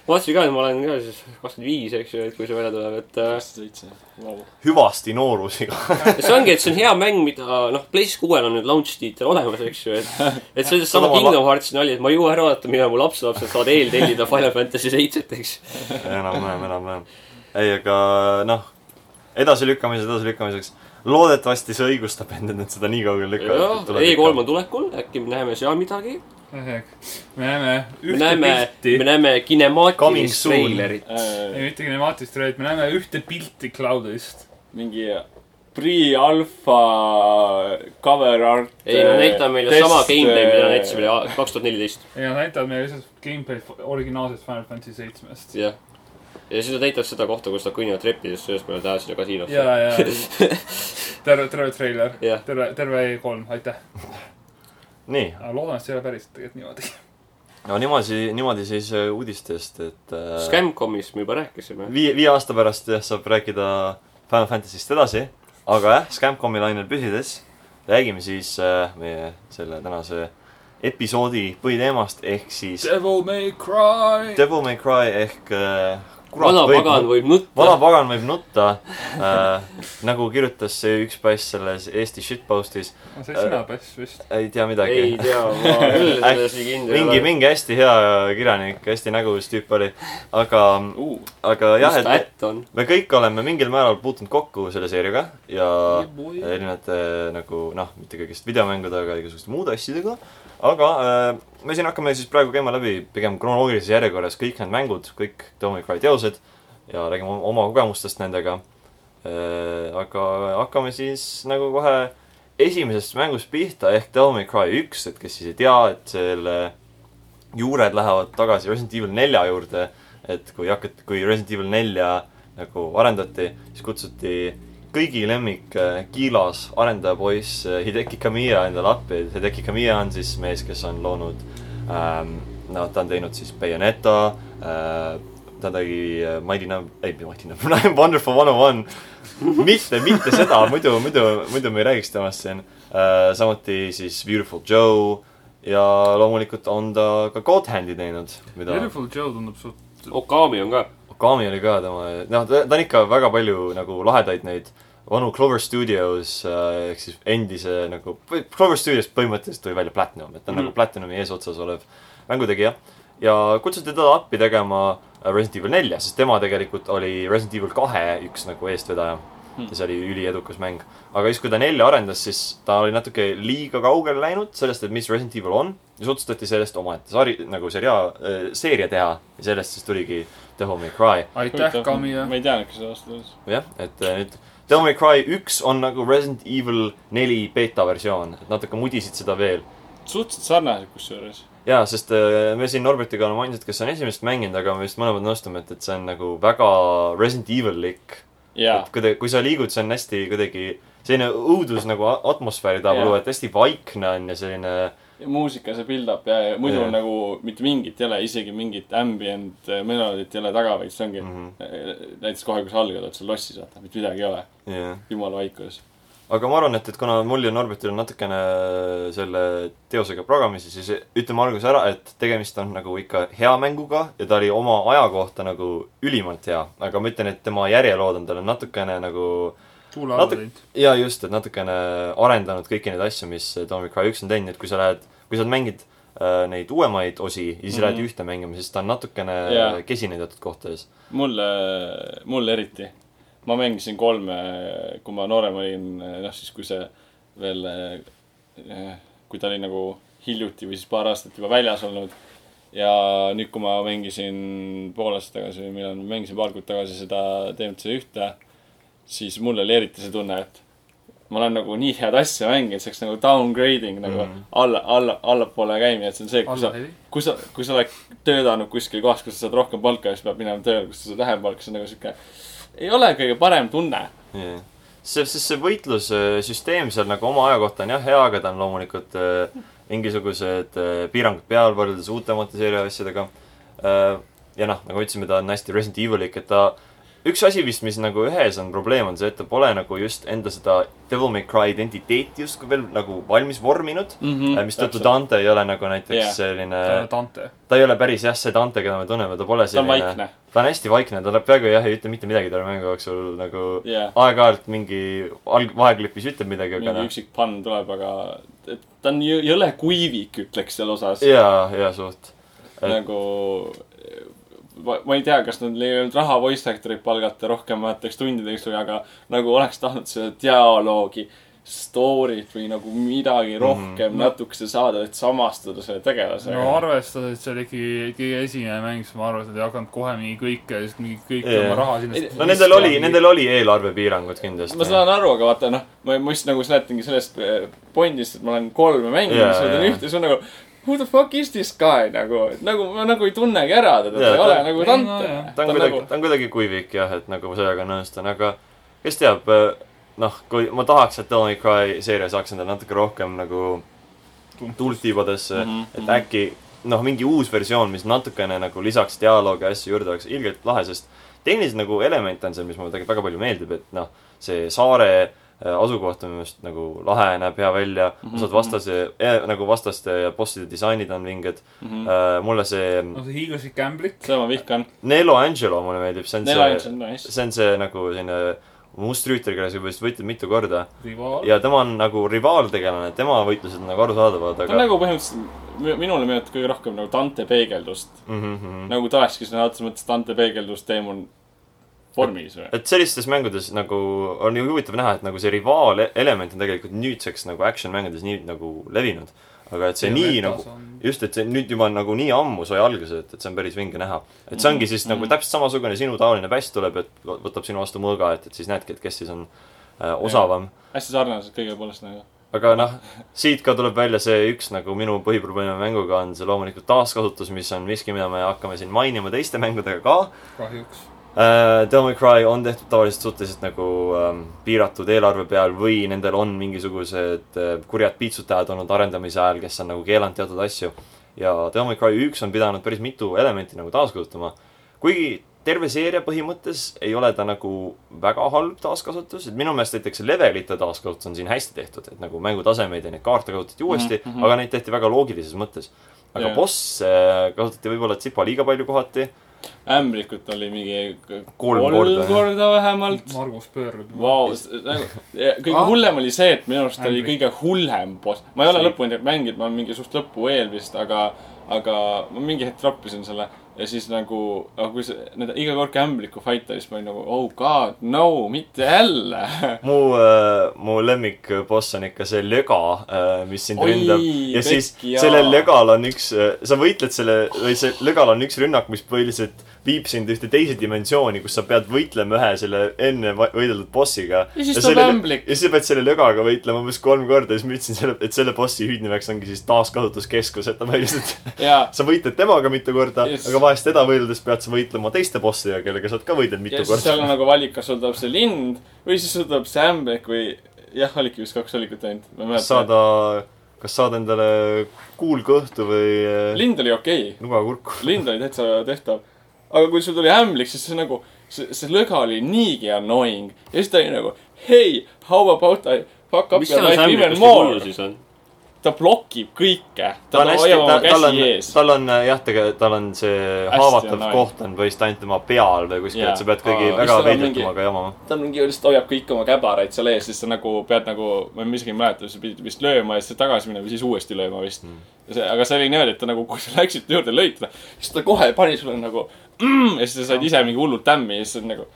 [SPEAKER 2] vaatasin ka , et ma olen ka siis kakskümmend viis , eks ju , et kui see välja tuleb , et äh,
[SPEAKER 4] kaheksa , seitse , vau .
[SPEAKER 1] hüvasti noorusega .
[SPEAKER 2] see ongi , et see on hea mäng , mida noh , PlayStation kuuel on nüüd launch tiitel olemas , eks ju , et et see on seesama
[SPEAKER 1] Sama la-
[SPEAKER 2] Kingdom Hearts nali , et ma ei jõua ära oodata , millal mu lapselapsed saavad eeltellida Final Fantasy seitset , eks .
[SPEAKER 1] enam-vähem , enam-vähem . ei , aga noh , edasilükkamise edasilükkamiseks . loodetavasti see õigustab end , et nad seda nii kaugele lükkavad .
[SPEAKER 2] E3 E on tulekul , äkki me näeme seal midagi .
[SPEAKER 3] me näeme
[SPEAKER 2] me
[SPEAKER 3] ühte
[SPEAKER 2] näeme ,
[SPEAKER 3] pilti
[SPEAKER 2] me näeme
[SPEAKER 1] Coming
[SPEAKER 2] kinemaatilist
[SPEAKER 1] soon.
[SPEAKER 2] treilerit .
[SPEAKER 4] Äh,
[SPEAKER 3] ei , mitte kinemaatilist treid , me näeme ühte pilti cloud'ist .
[SPEAKER 4] mingi pre-alfa cover art . äh,
[SPEAKER 2] ei , nad näitavad meile sama gameplay , mida nad näitasid meile kaks tuhat neliteist .
[SPEAKER 3] ja näitab meile lihtsalt gameplay f- originaalsest Final Fantasy seitsmest .
[SPEAKER 2] jah , ja siis nad näitavad seda kohta , kus nad kõnnivad treppidest ülespoole tänasele
[SPEAKER 3] ja
[SPEAKER 2] kasiinosse .,
[SPEAKER 3] ja terve , terve treiler
[SPEAKER 2] Jah. ,
[SPEAKER 3] terve , terve E3 , aitäh .
[SPEAKER 1] nii ,
[SPEAKER 3] loodan , et see ei ole päriselt tegelikult niimoodi .
[SPEAKER 1] no niimoodi , niimoodi siis äh, uudistest , et äh,
[SPEAKER 2] Scamcomist me juba rääkisime .
[SPEAKER 1] viie , viie aasta pärast jah , saab rääkida Final Fantasy'st edasi , aga jah , Scamcomi lainel püsides räägime siis äh, meie selle tänase episoodi põhiteemast ehk siis
[SPEAKER 3] Devil may cry .
[SPEAKER 1] Devil May Cry ehk äh,
[SPEAKER 2] vana
[SPEAKER 1] kurat
[SPEAKER 2] pagan
[SPEAKER 1] võib ,
[SPEAKER 2] võib nutta .
[SPEAKER 1] vana pagan võib nutta äh, , nagu kirjutas see üks pass selles Eesti shitpostis ,
[SPEAKER 3] on see sina , Pass , vist ?
[SPEAKER 1] ei tea
[SPEAKER 2] ei
[SPEAKER 1] midagi .
[SPEAKER 2] tea , ma küll
[SPEAKER 1] Äkki-
[SPEAKER 2] selles nii kindel ei
[SPEAKER 1] mingi ,
[SPEAKER 2] ole .
[SPEAKER 1] mingi hästi hea kirjanik , hästi nägus tüüp oli , aga ,
[SPEAKER 4] uh, .
[SPEAKER 1] aga jah ,
[SPEAKER 2] mis ta
[SPEAKER 1] et
[SPEAKER 2] ätt on ?
[SPEAKER 1] me kõik oleme mingil määral puutunud kokku selle seeriaga ja erinevate nagu noh , mitte kõigest videomängude , aga igasuguste muude asjadega . aga äh, me siin hakkame siis praegu käima läbi pigem kronoloogilises järjekorras kõik need mängud , kõik Tony Cry teosed ja räägime oma- oma kogemustest nendega äh, . aga hakkame siis nagu kohe esimesest mängust pihta ehk Tony Cry üks , et kes siis ei tea , et selle juured lähevad tagasi Resident Evil nelja juurde . et kui hakati , kui Resident Evil nelja nagu arendati , siis kutsuti kõigi lemmik äh, Kiilas arendajapoiss äh, Hideki Kamiya endale appi . Hideki Kamiya on siis mees , kes on loonud ähm, , no ta on teinud siis Bayoneta äh, , ta tegi äh, Mighty Num- , ei , mitte Mighty Num- , Wonderful One on One . mitte , mitte seda , muidu , muidu , muidu me ei räägiks temast siin äh, . samuti siis Beautiful Joe ja loomulikult on ta ka God Handi teinud , mida
[SPEAKER 3] Beautiful Joe tundub suht .
[SPEAKER 2] Okami on ka .
[SPEAKER 1] Okami oli ka tema , noh , ta ta on ikka väga palju nagu lahedaid neid vanu Clover Studios äh, ehk siis endise nagu , Clover Studios põhimõtteliselt tuli välja Platinum , et ta on mm.
[SPEAKER 2] Mhm.
[SPEAKER 1] nagu Platinumi eesotsas olev mängutegija . ja kutsuti teda appi tegema äh, Resident Evil nelja , sest tema tegelikult oli Resident Evil kahe üks nagu eestvedaja mm. . ja see oli üliedukas mäng . aga siis , kui ta nelja arendas , siis ta oli natuke liiga kaugele läinud sellest , et mis Resident Evil on . ja siis otsustati sellest omaette sari , nagu seria äh, , seeria teha ja sellest siis tuligi Devil May Cry .
[SPEAKER 3] aitäh , Kamiya .
[SPEAKER 4] ma ei teadnudki seda aasta tõusu .
[SPEAKER 1] jah , et äh, nüüd Devil May Cry üks on nagu Resident Evil neli beeta versioon , et natuke mudisid seda veel .
[SPEAKER 4] suhteliselt sarnased kusjuures .
[SPEAKER 1] jaa , sest äh, me siin Norbertiga oleme ainsad , kes on esimest mänginud , aga me vist mõlemad nõustume , et , et see on nagu väga Resident Evil-lik .
[SPEAKER 4] jaa
[SPEAKER 1] et , kuidagi , kui sa liigud , see on hästi kuidagi selline õudus nagu a- atmosfääri tahab
[SPEAKER 4] Jaa.
[SPEAKER 1] luua , et hästi vaikne on ja selline
[SPEAKER 4] muusika , see build-up ja , ja muidu
[SPEAKER 1] Jaa.
[SPEAKER 4] ja. nagu mitte mingit ei ole , isegi mingit ambient äh, melodit ei ole taga , vaid see ongi mm
[SPEAKER 1] Mhm.
[SPEAKER 4] -hmm. näiteks kohe , kui sa algad , oled seal lossis , vaata , mitte midagi ei ole .
[SPEAKER 1] jah .
[SPEAKER 4] jumala vaikus .
[SPEAKER 1] aga ma arvan , et , et kuna mul ja Norbertil on natukene äh, selle teosega pragamisi , siis ütleme alguses ära , et tegemist on nagu ikka hea mänguga ja ta oli oma aja kohta nagu ülimalt hea . aga ma ütlen , et tema järjelood on talle natukene nagu
[SPEAKER 3] kuule alla
[SPEAKER 1] Natu-
[SPEAKER 3] teinud .
[SPEAKER 1] ja just , et natukene arendanud kõiki neid asju , mis Tommy Cry üks on teinud , et kui sa lähed , kui sa mängid äh, neid uuemaid osi ja siis mm
[SPEAKER 4] Mhm.
[SPEAKER 1] -hmm. lähed ühte mängima , siis ta on natukene yeah.
[SPEAKER 4] Jaa.
[SPEAKER 1] kesine teatud kohtades .
[SPEAKER 4] mulle , mulle eriti . ma mängisin kolme , kui ma noorem olin , noh siis kui see veel , kui ta oli nagu hiljuti või siis paar aastat juba väljas olnud . ja nüüd , kui ma mängisin pool aastat tagasi või millal , mängisin paar kuud tagasi seda DMC ühte , siis mul oli eriti see tunne , et ma olen nagu nii head asja mänginud , see oleks nagu downgrading nagu mm -hmm. alla , alla , allapoole käimine , et see on see , kui sa
[SPEAKER 3] alla , heli .
[SPEAKER 4] kui sa , kui sa oled töötanud kuskil kohas , kus sa saad rohkem palka ja siis pead minema tööle , kus sa saad vähem palka , see on nagu sihuke , ei ole kõige parem tunne .
[SPEAKER 1] jah , see , sest see võitlussüsteem seal nagu oma aja kohta on jah hea , aga ta on loomulikult äh, mingisugused äh, piirangud peal võrreldes uutemate seeria asjadega . ja noh , nagu ütlesime , ta on hästi Resident Evilik , et ta , üks asi vist , mis nagu ühes on probleem , on see , et ta pole nagu just enda seda Devil May Cry identiteeti justkui veel nagu valmis vorminud . mistõttu . Dante ei ole nagu näiteks yeah.
[SPEAKER 4] Mhm, Jah.
[SPEAKER 1] selline ,
[SPEAKER 3] Äh, Dante .
[SPEAKER 1] ta ei ole päris jah , see Dante , keda me tunneme , ta pole
[SPEAKER 4] ta on
[SPEAKER 1] selline .
[SPEAKER 4] vaikne ,
[SPEAKER 1] ta on hästi vaikne , ta peaaegu jah , ei ütle mitte midagi talle mängu jooksul nagu
[SPEAKER 4] jah .
[SPEAKER 1] aeg-ajalt mingi alg- , vaheklipis ütleb midagi , aga
[SPEAKER 4] mingi
[SPEAKER 1] noh .
[SPEAKER 4] üksik pann tuleb , aga et ta on jõ- jõle kuivik , ütleks seal osas .
[SPEAKER 1] jaa , jaa suht .
[SPEAKER 4] nagu ma, ma ei tea , kas neil ei olnud raha voice actor'it palgata rohkemateks tundideks või , aga nagu oleks tahtnud seda dialoogi , story't või nagu midagi rohkem mm -hmm. natukese saada , et samastada selle tegelasega
[SPEAKER 3] no arvestades , et see oli ikkagi kõige esimene mäng , siis ma arvan , et nad ei hakanud kohe mingi kõike , sest mingi kõik
[SPEAKER 1] Jaa.
[SPEAKER 3] oma raha sinna
[SPEAKER 4] Ei, .
[SPEAKER 1] no nendel oli , nendel oli eelarvepiirangud kindlasti .
[SPEAKER 4] ma saan aru , aga vaata noh , ma ma just nagu seletangi sellest eh, äh, pointist , et ma olen kolme mänginud
[SPEAKER 1] Jaa,
[SPEAKER 4] yeah, , siis ma teen
[SPEAKER 1] jaa.
[SPEAKER 4] yeah. ühte , siis on nagu who the fuck is this guy nagu , et nagu ma nagu ei tunnegi ära teda ,
[SPEAKER 1] Jaa,
[SPEAKER 4] ta ei ole
[SPEAKER 1] ta-
[SPEAKER 4] nagu
[SPEAKER 3] ei, no
[SPEAKER 4] Dante
[SPEAKER 3] jah. .
[SPEAKER 1] ta on nagu- kuidagi ,
[SPEAKER 4] nagu-
[SPEAKER 1] ta on kuidagi kuivik jah , et nagu ma sellega nõustun , aga kes teab , noh , kui ma tahaks , et Don't Cry seeria saaks endale natuke rohkem nagu tuult tiibadesse , et äkki noh , mingi uus versioon , mis natukene nagu lisaks dialoogi ja asju juurde oleks ilgelt lahe , sest tehniliselt nagu element on seal , mis mulle tegelikult väga palju meeldib , et noh , see saare äh, asukoht on minu arust nagu lahe , näeb hea välja , osad vastase eh, , nagu vastaste ja bosside disainid on vinged mm . -hmm. mulle see
[SPEAKER 3] no see hiiglaslik ämblik .
[SPEAKER 4] seda ma vihkan . Neil
[SPEAKER 1] Nelo Angelo mulle meeldib , see on
[SPEAKER 4] Angel
[SPEAKER 1] see ,
[SPEAKER 4] on nice .
[SPEAKER 1] see on see nagu selline mustrüütel , kelle sa juba vist võitled mitu korda .
[SPEAKER 3] rivaal .
[SPEAKER 1] ja tema on nagu rivaaltegelane , tema võitlused on nagu arusaadavad ,
[SPEAKER 4] ta on
[SPEAKER 1] aga .
[SPEAKER 4] nagu põhimõtteliselt , minule meenutab kõige rohkem nagu Dante peegeldust .
[SPEAKER 1] Mhm, Mm.
[SPEAKER 4] nagu tõesti , sõna otseses mõttes Dante peegeldus teemon vormis või ?
[SPEAKER 1] et sellistes mängudes nagu on ju huvitav näha , et nagu see rivaalelement on tegelikult nüüdseks nagu action mängudes nii nagu levinud . aga et see nii nagu ,. just , et see nüüd juba on nagu nii ammu sai alguse , et , et see on päris vinge näha . et see ongi siis nagu täpselt samasugune sinutaoline päss tuleb , et võ- võtab sinu vastu mõõga , et , et siis näedki , et kes siis on äh, osavam .
[SPEAKER 4] hästi sarnased kõige poolest nagu .
[SPEAKER 1] aga noh , siit ka tuleb välja see üks nagu minu põhiprobleem mänguga on see loomulikult taaskasutus , mis on miski , mida me hakkame siin mainima teiste mängudega ka uh, .
[SPEAKER 3] kahjuks .
[SPEAKER 1] Devil May Cry on tehtud tavaliselt suhteliselt nagu um, piiratud eelarve peal või nendel on mingisugused uh, kurjad piitsutajad olnud arendamise ajal , kes on nagu keelanud teatud asju . ja Devil May Cry üks on pidanud päris mitu elementi nagu taaskasutama . kuigi terve seeria põhimõttes ei ole ta nagu väga halb taaskasutus , et minu meelest näiteks levelite taaskasutus on siin hästi tehtud , et nagu mängutasemeid ja neid kaarte kasutati uuesti mm , -hmm. aga neid tehti väga loogilises mõttes . aga
[SPEAKER 4] Jah.
[SPEAKER 1] yeah. boss äh, kasutati võib-olla tsipa liiga palju kohati
[SPEAKER 4] ämbrikut oli mingi kolm,
[SPEAKER 1] Kolm
[SPEAKER 4] kolm
[SPEAKER 1] korda,
[SPEAKER 4] korda,
[SPEAKER 1] jah.
[SPEAKER 4] korda vähemalt .
[SPEAKER 3] Margus pöörleb .
[SPEAKER 4] Vau , nagu ja kõige ah.
[SPEAKER 2] Ah.
[SPEAKER 4] hullem oli see , et minu arust oli
[SPEAKER 3] Ämbrik.
[SPEAKER 4] kõige hullem boss . ma ei ole
[SPEAKER 1] See-
[SPEAKER 4] lõpuni neid mänginud , ma olen mingi suht lõpu eel vist , aga , aga ma mingi hetk troppisin selle . ja siis nagu , aga kui see , nende iga kord kui ämbliku fight oli , siis ma olin nagu oh god , no , mitte jälle .
[SPEAKER 1] mu äh, , mu lemmikboss on ikka see löga äh, , mis sind
[SPEAKER 4] Oi,
[SPEAKER 1] ründab . ja siis
[SPEAKER 4] pekki, jaa.
[SPEAKER 1] sellel lögal on üks äh, , sa võitled selle , või see lögal on üks rünnak , mis põhiliselt viib sind ühte teise dimensiooni , kus sa pead võitlema ühe selle enne va- võideldud bossiga .
[SPEAKER 4] Ja siis tuleb
[SPEAKER 1] selle,
[SPEAKER 4] ämblik.
[SPEAKER 1] ja siis sa pead selle lögaga võitlema umbes kolm korda ja siis ma ütlesin selle , et selle bossi hüüdnimeks ongi siis taaskasutuskeskus , et ta põhiliselt
[SPEAKER 4] ja ,
[SPEAKER 1] sa võitled temaga mitu korda yes.
[SPEAKER 4] Just. ,
[SPEAKER 1] aga vahest teda võideldes pead sa võitlema teiste bossidega , kellega sa oled ka võidelnud
[SPEAKER 4] ja
[SPEAKER 1] mitu
[SPEAKER 4] siis seal
[SPEAKER 1] korda .
[SPEAKER 4] on nagu valik , kas sul tuleb see lind või siis sul tuleb see ämbrik või jah , oligi vist kaks valikut ainult .
[SPEAKER 1] saada , kas saada endale kuulkõhtu või äh,
[SPEAKER 4] lind oli okei okay. .
[SPEAKER 1] nugakurku .
[SPEAKER 4] lind oli täitsa tehtav . aga kui sul tuli ämblik , siis see nagu , see , see lõga oli niigi annoying . ja siis ta oli nagu , hei , how about I fuck up
[SPEAKER 2] mis seal
[SPEAKER 4] your life even
[SPEAKER 2] ämblikus kullu
[SPEAKER 4] more .
[SPEAKER 2] siis on ?
[SPEAKER 4] ta blokib kõike .
[SPEAKER 1] ta
[SPEAKER 4] ta
[SPEAKER 1] on hästi ,
[SPEAKER 4] hoiab
[SPEAKER 1] ta
[SPEAKER 4] oma ,
[SPEAKER 1] tal on
[SPEAKER 4] käsi ees ,.
[SPEAKER 1] tal on äh, jah , tegelikult tal on see
[SPEAKER 4] Hästi
[SPEAKER 1] haavatav
[SPEAKER 4] annoying.
[SPEAKER 1] koht on põhiliselt ainult tema peal või kuskil ,
[SPEAKER 4] Jaa.
[SPEAKER 1] et sa pead kuidagi
[SPEAKER 4] Aa,
[SPEAKER 1] väga
[SPEAKER 4] mis tal on
[SPEAKER 1] veidrat
[SPEAKER 4] mingi-
[SPEAKER 1] temaga jamama .
[SPEAKER 4] ta mingi lihtsalt hoiab kõik oma käbaraid seal ees , siis sa nagu pead nagu , ma isegi ei mäleta , sa pidid vist lööma ja siis tagasi minema , siis uuesti lööma vist mm. . see , aga see oli niimoodi , et ta nagu , kui sa läksid ta juurde , lõid teda , siis ta kohe pani sulle nagu mm, ja siis sa said ise mingi hullult tämmi ja siis sa oled nagu .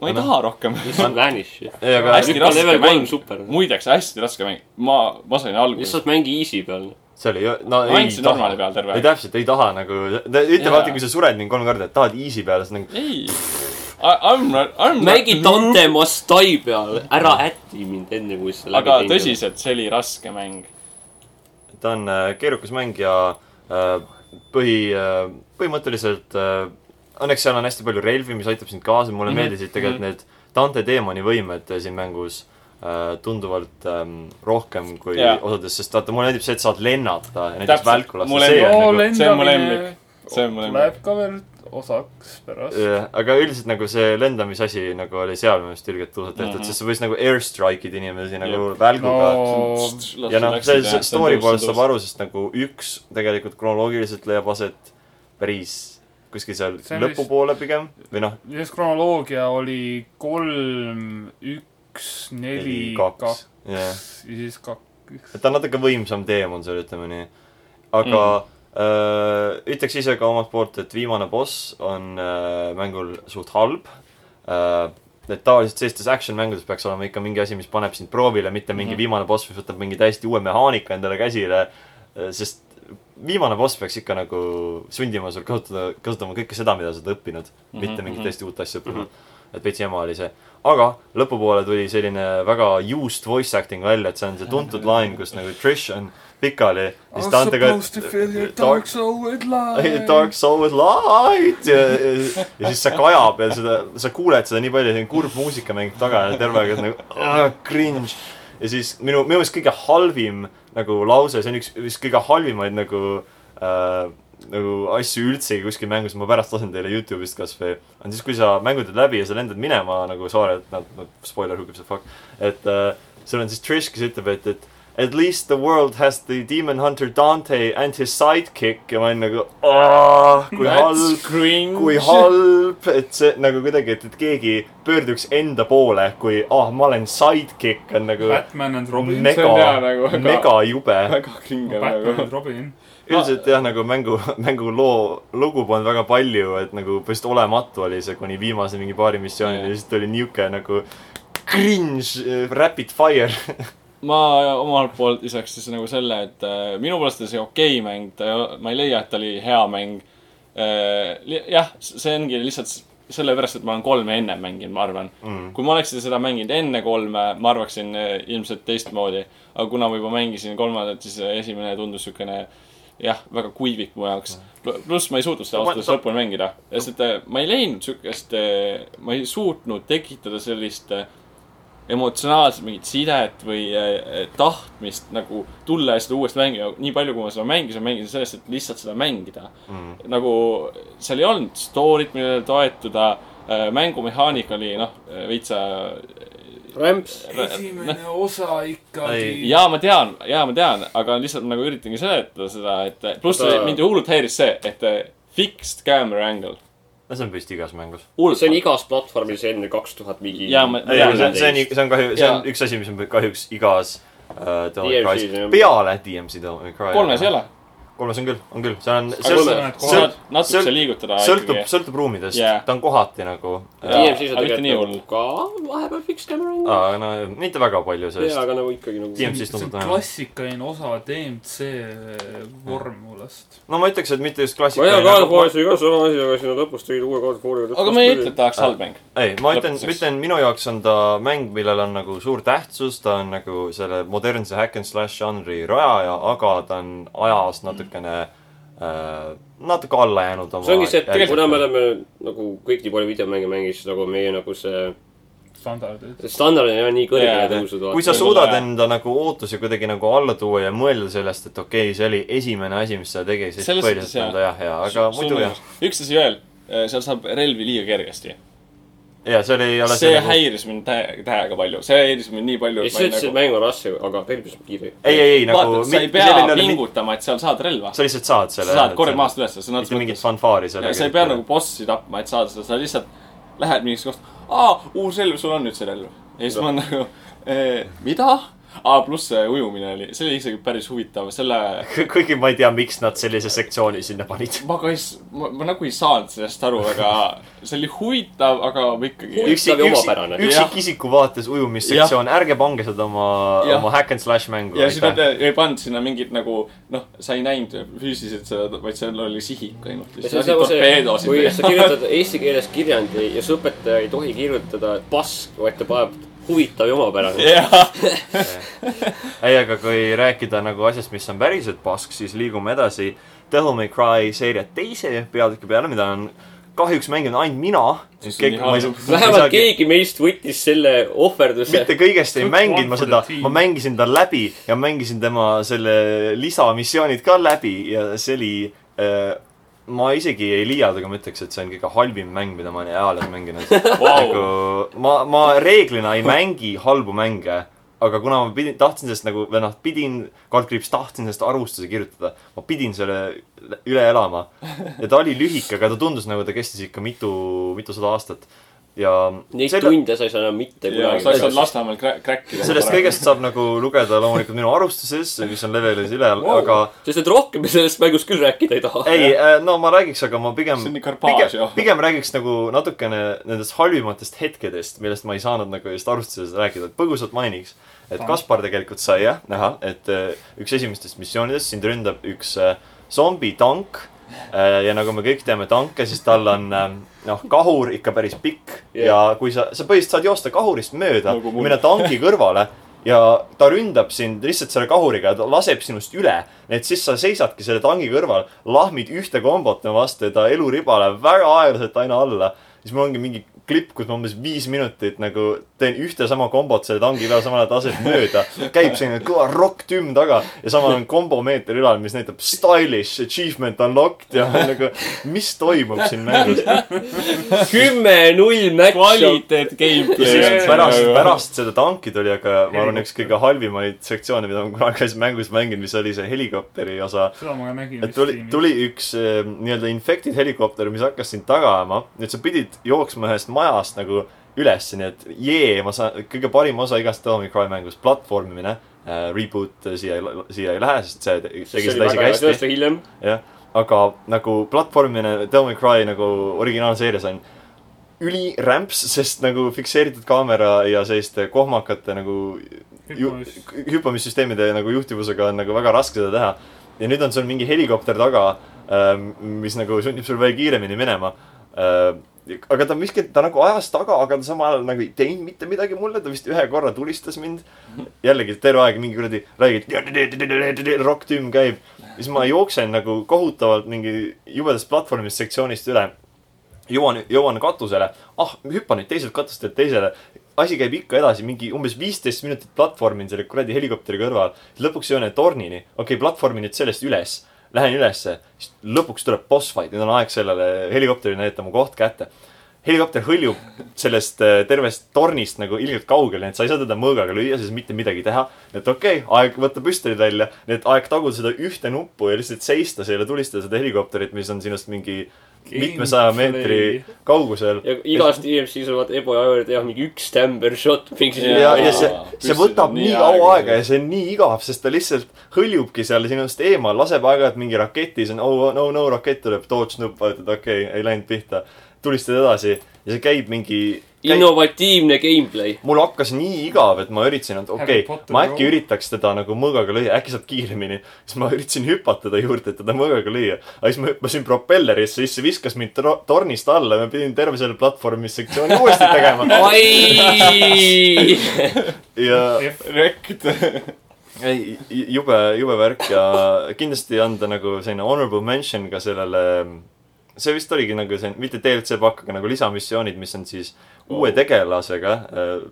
[SPEAKER 4] ma ei
[SPEAKER 1] Aga noh,
[SPEAKER 4] taha rohkem .
[SPEAKER 2] mis on Vanish ?
[SPEAKER 1] ei , aga
[SPEAKER 4] hästi raske
[SPEAKER 2] level
[SPEAKER 4] mäng.
[SPEAKER 2] kolm super .
[SPEAKER 4] muideks hästi raske mäng , ma , ma sain alguses ,
[SPEAKER 2] lihtsalt mängi easy peal .
[SPEAKER 1] see oli , no
[SPEAKER 4] ma
[SPEAKER 1] ei
[SPEAKER 4] mängisin normaali
[SPEAKER 1] taha .
[SPEAKER 4] peal terve
[SPEAKER 1] ei
[SPEAKER 4] aeg .
[SPEAKER 1] täpselt , ei taha nagu , ütle
[SPEAKER 4] Jaa.
[SPEAKER 1] vaata , kui sa sured mingi kolm korda , et tahad easy peale , siis nagu
[SPEAKER 4] ei , I m not , I m not .
[SPEAKER 2] mängi Dante must die peal , ära äti mind enne , kui sa
[SPEAKER 4] aga . tõsiselt , see oli raske mäng .
[SPEAKER 1] ta on äh, keerukas mäng ja äh, põhi , põhimõtteliselt äh, õnneks seal on hästi palju relvi , mis aitab sind kaasa , mulle mm -hmm.
[SPEAKER 4] Mhm.
[SPEAKER 1] meeldisid tegelikult mm -hmm. need Dante teemani võimed siin mängus äh, tunduvalt ähm, rohkem kui
[SPEAKER 4] Jaa.
[SPEAKER 1] yeah. osades , sest vaata , mulle meeldib see , et saad lennata ja näiteks
[SPEAKER 4] Täpselt.
[SPEAKER 1] välku lasta ,
[SPEAKER 4] Mulle
[SPEAKER 1] see
[SPEAKER 4] meeldib-
[SPEAKER 1] on nagu
[SPEAKER 4] see on mu lemmik. See on mu lemmik.
[SPEAKER 3] Läheb ka veel osaks pärast .
[SPEAKER 1] jah , aga üldiselt nagu see lendamisasi nagu oli seal minu arust ilgelt tõusvalt tehtud mm ,
[SPEAKER 4] Mhm.
[SPEAKER 1] -hmm. sest sa võisid nagu airstrike id inimesi nagu välguga no, . ja noh , see , see story poolest saab aru , sest nagu üks tegelikult kronoloogiliselt leiab aset päris kuskil seal
[SPEAKER 3] See on
[SPEAKER 1] lõpupoole pigem või noh ,
[SPEAKER 3] ja siis kronoloogia oli kolm , üks , neli ,
[SPEAKER 1] kaks
[SPEAKER 3] kaks , ja
[SPEAKER 1] jah .
[SPEAKER 3] siis kaks .
[SPEAKER 1] et ta on natuke võimsam teemon seal , ütleme nii . aga Mm. öö, ütleks ise ka omalt poolt , et viimane boss on öö, mängul suht halb . et tavaliselt sellistes action mängudes peaks olema ikka mingi asi , mis paneb sind proovile , mitte mingi
[SPEAKER 4] Mhm.
[SPEAKER 1] viimane boss , mis võtab mingi täiesti uue mehaanika endale käsile . Äh, sest viimane boss peaks ikka nagu sundima sul kasutada , kasutama kõike seda , mida sa oled õppinud , mitte
[SPEAKER 4] Mhm,
[SPEAKER 1] mingit
[SPEAKER 4] mhm.
[SPEAKER 1] täiesti uut asja õppima . et veits jama oli see . aga lõpupoole tuli selline väga used voice acting välja , et see on see tuntud laen , kus nagu Trish on pikali . siis Dantega . Dark
[SPEAKER 3] soul with
[SPEAKER 1] Hey, Dark Soul with Light ja, ja, ja siis see kajab ja seda , sa kuuled seda nii palju , selline kurb muusika mängib taga ja terve aeg on nagu ah, cringe . ja siis minu , minu meelest kõige halvim nagu lause , see on üks , üks kõige halvimaid nagu äh, , nagu asju üldse kuskil mängus , ma pärast lasen teile Youtube'ist kasvõi . on siis , kui sa mängud läbi ja sa lendad minema nagu saare , et noh no, , spoiler , who gives a fuck , et äh, seal on siis Trish , kes ütleb , et , et At least the world has the demon hunter Dante and his sidekick ja ma olin nagu , kui halb .
[SPEAKER 4] cringe .
[SPEAKER 1] kui . halb , et see nagu kuidagi , et , et keegi pöörduks enda poole , kui ah , ma olen sidekick , on nagu
[SPEAKER 3] Batman and Robin .
[SPEAKER 4] Ne-
[SPEAKER 1] mega
[SPEAKER 4] on hea nagu, , aga-
[SPEAKER 1] mega jube .
[SPEAKER 4] väga cringe on
[SPEAKER 3] Batman
[SPEAKER 4] nagu
[SPEAKER 3] and . Robin .
[SPEAKER 1] üldiselt jah , nagu mängu , mängu loo , lugu polnud väga palju , et nagu põhimõtteliselt olematu oli see kuni viimase mingi paari missioonini
[SPEAKER 4] Jah.
[SPEAKER 1] ja siis tuli niuke nagu cringe äh, rapid fire .
[SPEAKER 4] ma omalt poolt lisaks siis nagu selle , et äh, minu poolest oli see okei mäng , ta ei ole , ma ei leia , et ta oli hea mäng äh, . jah , see ongi lihtsalt s- sellepärast , et ma olen kolme enne mänginud , ma arvan
[SPEAKER 1] Mhm.
[SPEAKER 4] mm. . kui ma oleksin seda mänginud enne kolme , ma arvaksin äh, ilmselt teistmoodi . aga kuna ma juba mängisin kolmandat , siis äh, esimene tundus siukene jah , väga kuivik mu jaoks . pluss ma ei suutnud
[SPEAKER 1] Mhm.
[SPEAKER 4] seda
[SPEAKER 1] Ma-
[SPEAKER 4] ausalt öeldes
[SPEAKER 1] ta-
[SPEAKER 4] lõpuni mängida , sest äh, ma ei leidnud siukest , ma ei suutnud tekitada sellist äh, emotsionaalselt mingit sidet või äh, tahtmist nagu tulla ja seda uuesti mängida . nii palju , kui ma seda mängisin , ma mängisin sellest , et lihtsalt seda mängida mm. . nagu seal ei olnud story't , millele toetuda . mängumehaanika oli noh , veitsa .
[SPEAKER 2] rämps .
[SPEAKER 3] esimene osa
[SPEAKER 1] Ei,
[SPEAKER 3] ikkagi .
[SPEAKER 4] ja noh, ma tean , ja ma tean , aga lihtsalt nagu üritangi seletada seda , et äh, pluss
[SPEAKER 2] Oota.
[SPEAKER 4] mind hullult häiris see , et äh, fixed camera angle .
[SPEAKER 1] no see on vist igas mängus .
[SPEAKER 2] see on igas platvormil see enne kaks tuhat mingi .
[SPEAKER 4] Jaa, ma-
[SPEAKER 1] see on , see on , see on kahju , see on
[SPEAKER 4] Ja.
[SPEAKER 1] üks asi , mis on kahjuks igas äh, Devil May
[SPEAKER 2] DMC-s,
[SPEAKER 1] Cry's
[SPEAKER 2] jah.
[SPEAKER 1] peale DMC Devil May Cry .
[SPEAKER 4] kolmes ei ole .
[SPEAKER 1] kolmes on küll , on küll , see on ,
[SPEAKER 4] aga
[SPEAKER 1] see
[SPEAKER 2] kolme-
[SPEAKER 1] on ,
[SPEAKER 3] mõned
[SPEAKER 4] sa saad
[SPEAKER 3] kohad .
[SPEAKER 4] natuke
[SPEAKER 1] sõlt-
[SPEAKER 4] liigutada
[SPEAKER 1] sõltub ,
[SPEAKER 4] ikkagi .
[SPEAKER 1] sõltub ruumidest
[SPEAKER 4] Jaa.
[SPEAKER 1] ta on kohati nagu
[SPEAKER 4] Jaa.
[SPEAKER 1] äh, .
[SPEAKER 2] DMC-s on
[SPEAKER 4] aga mitte nii hull.
[SPEAKER 2] tegelikult ka vahepeal fixed camera .
[SPEAKER 1] aga no mitte väga palju
[SPEAKER 2] jaa ,
[SPEAKER 1] sellest .
[SPEAKER 2] aga nagu ikkagi
[SPEAKER 1] Siin-
[SPEAKER 2] nagu .
[SPEAKER 1] DMC-st
[SPEAKER 3] see on
[SPEAKER 1] tundub vähem.
[SPEAKER 3] klassikaline osa DMC vormulast .
[SPEAKER 1] no ma ütleks , et mitte just
[SPEAKER 2] ma ei tea , God of
[SPEAKER 1] klassikaline . nagu
[SPEAKER 2] War oli ka sama asi , aga sinna lõpus tegid uue God of War'iga .
[SPEAKER 4] aga ma ei ütle , et ta oleks halb mäng .
[SPEAKER 1] ei , ma ütlen ,
[SPEAKER 4] lõpetuseks.
[SPEAKER 1] ütlen , minu jaoks on ta mäng , millel on nagu suur tähtsus , ta on nagu selle modernse hack and slash žanri rajaja , aga ta on ajas natukene äh, , natuke alla jäänud oma .
[SPEAKER 2] see ongi see , et tegelikult kuna me oleme nagu kõik nii palju videomänge mänginud , siis nagu meie nagu see
[SPEAKER 3] standardid .
[SPEAKER 2] see standard on jah nii kõrgele
[SPEAKER 4] Jaa.
[SPEAKER 2] tõusnud .
[SPEAKER 1] kui sa
[SPEAKER 4] Võib-olla
[SPEAKER 1] suudad
[SPEAKER 4] jah.
[SPEAKER 1] enda nagu ootusi kuidagi nagu alla tuua ja mõelda sellest , et okei okay, , see oli esimene asi , mis sa tegid , siis
[SPEAKER 4] Selles
[SPEAKER 1] põhiliselt
[SPEAKER 4] suhtes
[SPEAKER 1] on
[SPEAKER 4] jah.
[SPEAKER 1] ta jah , hea , aga muidu jah .
[SPEAKER 4] üks asi veel , seal saab relvi liiga kergesti .
[SPEAKER 1] ja see nagu- oli alles
[SPEAKER 4] see häiris mind tä- täiega palju , see häiris mind nii palju .
[SPEAKER 2] ja siis sa ütlesid , et mäng on raske , aga pelgis on kiire .
[SPEAKER 1] ei , ei , ei nagu
[SPEAKER 4] nagu- vaata , sa ei
[SPEAKER 1] mit- selline
[SPEAKER 4] pea
[SPEAKER 1] oli mit-
[SPEAKER 4] pingutama , et seal saad relva .
[SPEAKER 1] sa lihtsalt saad
[SPEAKER 4] sa
[SPEAKER 1] selle .
[SPEAKER 4] saad korjad maast üles ,
[SPEAKER 1] mitte
[SPEAKER 4] sõna otseses
[SPEAKER 1] mingit
[SPEAKER 4] mõttes .
[SPEAKER 1] fanfaari sellega .
[SPEAKER 4] sa ei pea nagu bossi tapma , et saada seda , sa lihtsalt lähed mingisse kohta . aa , uus relv , sul on nüüd see relv . ja siis ma olen nagu , mida ? aa , pluss see ujumine oli , see oli isegi päris huvitav , selle
[SPEAKER 1] kuigi ma ei tea , miks nad sellise sektsiooni sinna panid .
[SPEAKER 4] ma ka ei , ma, ma nagu ei saanud sellest aru , aga see oli huvitav , aga ma ikkagi .
[SPEAKER 1] üksik ,
[SPEAKER 2] ja
[SPEAKER 1] üksik
[SPEAKER 2] omapärane. ,
[SPEAKER 1] üksikisiku vaates ujumissektsioon , ärge pange seda oma ,
[SPEAKER 4] Jah.
[SPEAKER 1] oma hack and slash mängu .
[SPEAKER 4] ja siis nad ei pannud sinna mingit nagu noh , sa ei näinud füüsiliselt seda , vaid seal oli sihik ainult .
[SPEAKER 2] see on nagu see , kui sa
[SPEAKER 4] torpeedosid .
[SPEAKER 2] kirjutad eesti keeles kirjandi ja su õpetaja ei tohi kirjutada pask , vaid ta paneb huvitav ja omapärane .
[SPEAKER 4] jah ,
[SPEAKER 1] ei , aga kui rääkida nagu asjast , mis on päriselt pask , siis liigume edasi Devil May Cry seeria teise peatüki peale , mida on kahjuks mänginud ainult mina .
[SPEAKER 4] Siis on nii halb.
[SPEAKER 2] vähemalt . keegi meist võttis selle ohverduse .
[SPEAKER 1] mitte kõigest ei
[SPEAKER 3] Good
[SPEAKER 1] mänginud ma
[SPEAKER 3] one for
[SPEAKER 1] seda
[SPEAKER 3] the team. ,
[SPEAKER 1] ma mängisin ta läbi ja mängisin tema selle lisamissioonid ka läbi ja see oli äh, ma isegi ei liialda , kui ma ütleks , et see on kõige halvim mäng , mida ma olen eales mänginud .
[SPEAKER 4] vau .
[SPEAKER 1] nagu ma , ma reeglina ei mängi halbu mänge , aga kuna ma pidin , tahtsin sellest nagu , või noh , pidin , kaldkriips , tahtsin sellest arvustuse kirjutada , ma pidin selle üle elama . ja ta oli lühike , aga ta tundus nagu ta kestis ikka mitu , mitusada aastat ja
[SPEAKER 2] Neid
[SPEAKER 1] selle-
[SPEAKER 2] tunde sa ei saa enam mitte
[SPEAKER 4] ja sa saad
[SPEAKER 2] kunagi .
[SPEAKER 4] Lasnamäel krä- , kräkkida .
[SPEAKER 1] sellest . kõigest saab nagu lugeda loomulikult minu arvustuses , mis on levelis üleval wow. , aga
[SPEAKER 2] sest et rohkem me sellest mängust küll rääkida ei taha .
[SPEAKER 1] ei , no ma räägiks , aga ma pigem
[SPEAKER 4] See on nii karpaaž,
[SPEAKER 1] pigem,
[SPEAKER 4] jah.
[SPEAKER 1] pigem räägiks nagu natukene nendest halvimatest hetkedest , millest ma ei saanud nagu just arvustuses rääkida , et põgusalt mainiks . et Kaspar tegelikult sai jah näha , et eh, üks esimestest missioonidest sind ründab üks eh, äh, zombitank . ja nagu me kõik teame tanke , siis tal on eh, noh , äh, kahur ikka päris pikk ja kui sa , sa põhimõtteliselt saad joosta kahurist mööda
[SPEAKER 4] Nagu
[SPEAKER 1] ja
[SPEAKER 4] mul.
[SPEAKER 1] minna tanki kõrvale ja ta ründab sind lihtsalt selle kahuriga ja ta laseb sinust üle . et siis sa seisadki selle tangi kõrval , lahmid ühte kombot tema vastu ja ta eluriba läheb väga aeglaselt aina alla . siis mul ongi mingi klipp , kus ma umbes viis minutit nagu teen ühte sama kombot selle tangi peal , samal ajal ta laseb mööda . käib selline kõva rokktümm taga ja samal on kombomeeter ülal , mis näitab stylish achievement unlocked ja nagu , mis toimub siin mängus .
[SPEAKER 2] kümme null match-up .
[SPEAKER 4] kvaliteet
[SPEAKER 1] ja siis
[SPEAKER 4] gameplay . nagu
[SPEAKER 1] pärast , pärast seda tanki tuli aga ma arvan , üks kõige halvimaid sektsioone , mida ma kunagi selles mängus mänginud , mis oli see helikopteri osa .
[SPEAKER 3] seda ma ka nägin .
[SPEAKER 1] et tuli , tuli üks eh, nii-öelda infected helikopter , mis hakkas sind taga ajama . nüüd sa pidid jooksma ühest majast nagu üles , nii et jee , ma saan , kõige parim osa igast Tommy Cry mängust , platvormimine . Reboot eh, siia , siia ei lähe , sest see tegi seda isegi hästi .
[SPEAKER 2] tõesti hiljem .
[SPEAKER 1] jah , aga nagu platvormimine Devil May Cry nagu originaalseerias on ülirämps , sest nagu fikseeritud kaamera ja selliste kohmakate nagu ju-
[SPEAKER 3] Hüppamis-
[SPEAKER 1] k- hüppamissüsteemide nagu juhtivusega on nagu väga raske seda teha . ja nüüd on sul mingi helikopter taga , mis nagu sunnib sul veel kiiremini minema . aga ta miski , ta nagu ajas taga , aga ta samal ajal nagu ei teinud mitte midagi mulle , ta vist ühe korra tulistas mind . jällegi terve aeg mingi kuradi räägid , rokktümm käib . siis ma jooksen nagu kohutavalt mingi jubedast platvormist sektsioonist üle . jõuan , jõuan katusele , ah hüppan nüüd teiselt katustelt teisele . asi käib ikka edasi , mingi umbes viisteist minutit platvormin selle kuradi helikopteri kõrval . lõpuks jõuan tornini , okei okay, , platvormin nüüd sellest üles . Lähen ülesse , siis lõpuks tuleb boss fight , nüüd on aeg sellele helikopterile näidata mu koht kätte helikopter hõljub sellest äh, tervest tornist nagu ilgelt kaugele , nii et sa ei saa teda mõõgaga lüüa , siis mitte midagi teha . et okei okay, , aeg võtta püstolid välja , nii et aeg taguda seda ühte nuppu ja lihtsalt seista selle , tulistada seda helikopterit , mis on sinust mingi mitmesaja meetri kaugusel .
[SPEAKER 2] ja igast E DMC-s on vaata Ebo ja Aivar teha mingi üks tämber shot .
[SPEAKER 1] ja , ja
[SPEAKER 4] Jaa,
[SPEAKER 1] see , see
[SPEAKER 4] püstolid
[SPEAKER 1] võtab
[SPEAKER 4] on
[SPEAKER 1] nii
[SPEAKER 4] nii
[SPEAKER 1] kaua
[SPEAKER 4] aeglased.
[SPEAKER 1] aega ja see on nii igav , sest ta lihtsalt hõljubki seal sinust eemal , laseb aeg-ajalt mingi raketi , siis on oh no no rakett tuleb , dodge nupp , vajutad okei okay, , ei läinud pihta . tulistad edasi ja see käib mingi .
[SPEAKER 2] innovatiivne gameplay .
[SPEAKER 1] mul hakkas nii igav , et ma üritasin , et okei
[SPEAKER 3] Harry
[SPEAKER 1] okay, ,
[SPEAKER 3] Potter
[SPEAKER 1] ma äkki
[SPEAKER 3] roll.
[SPEAKER 1] üritaks teda nagu mõõgaga lüüa , äkki saab kiiremini . siis ma üritasin hüpata ta juurde , et teda mõõgaga lüüa . aga siis ma hüppasin propellerisse , siis see viskas mind tro- tornist alla ja ma pidin terve selle platvormi sektsiooni uuesti tegema .
[SPEAKER 2] ai ,
[SPEAKER 1] ja
[SPEAKER 4] Rekt .
[SPEAKER 1] ei , jube , jube värk ja kindlasti anda nagu selline honorable mention ka sellele see vist oligi nagu see , mitte DLC pakk , aga nagu lisamissioonid , mis on siis uue tegelasega ,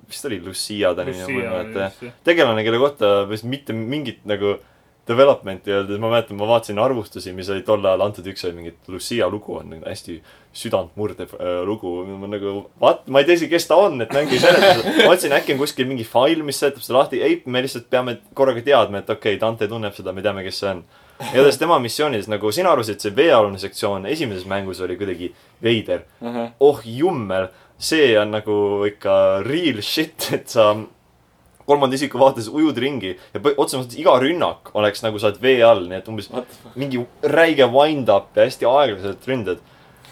[SPEAKER 1] vist oli Lucia ta nimi , ma ei
[SPEAKER 3] Lucia oli
[SPEAKER 1] mäleta
[SPEAKER 3] vist, jah. ,
[SPEAKER 1] tegelane , kelle kohta vist mitte mingit nagu development'i ei olnud , ma mäletan , ma vaatasin arvustusi , mis oli tol ajal antud , üks oli mingi Lucia lugu on nagu hästi südantmurdev äh, lugu , ma nagu , what , ma ei tea isegi , kes ta on , et mängi seletus . ma mõtlesin , äkki on kuskil mingi fail , mis seletab seda lahti , ei , me lihtsalt peame korraga teadma , et okei okay, , Dante tunneb seda , me teame , kes see on . igatahes tema missioonides , nagu sina arvasid , see veealune sektsioon esimeses mängus oli kuidagi veider . oh jummel , see on nagu ikka real shit , et sa kolmanda isiku vaates ujud ringi ja põ- otseses mõttes iga rünnak oleks nagu sa oled vee all , nii et umbes mingi räige wind-up ja hästi aeglaselt ründad .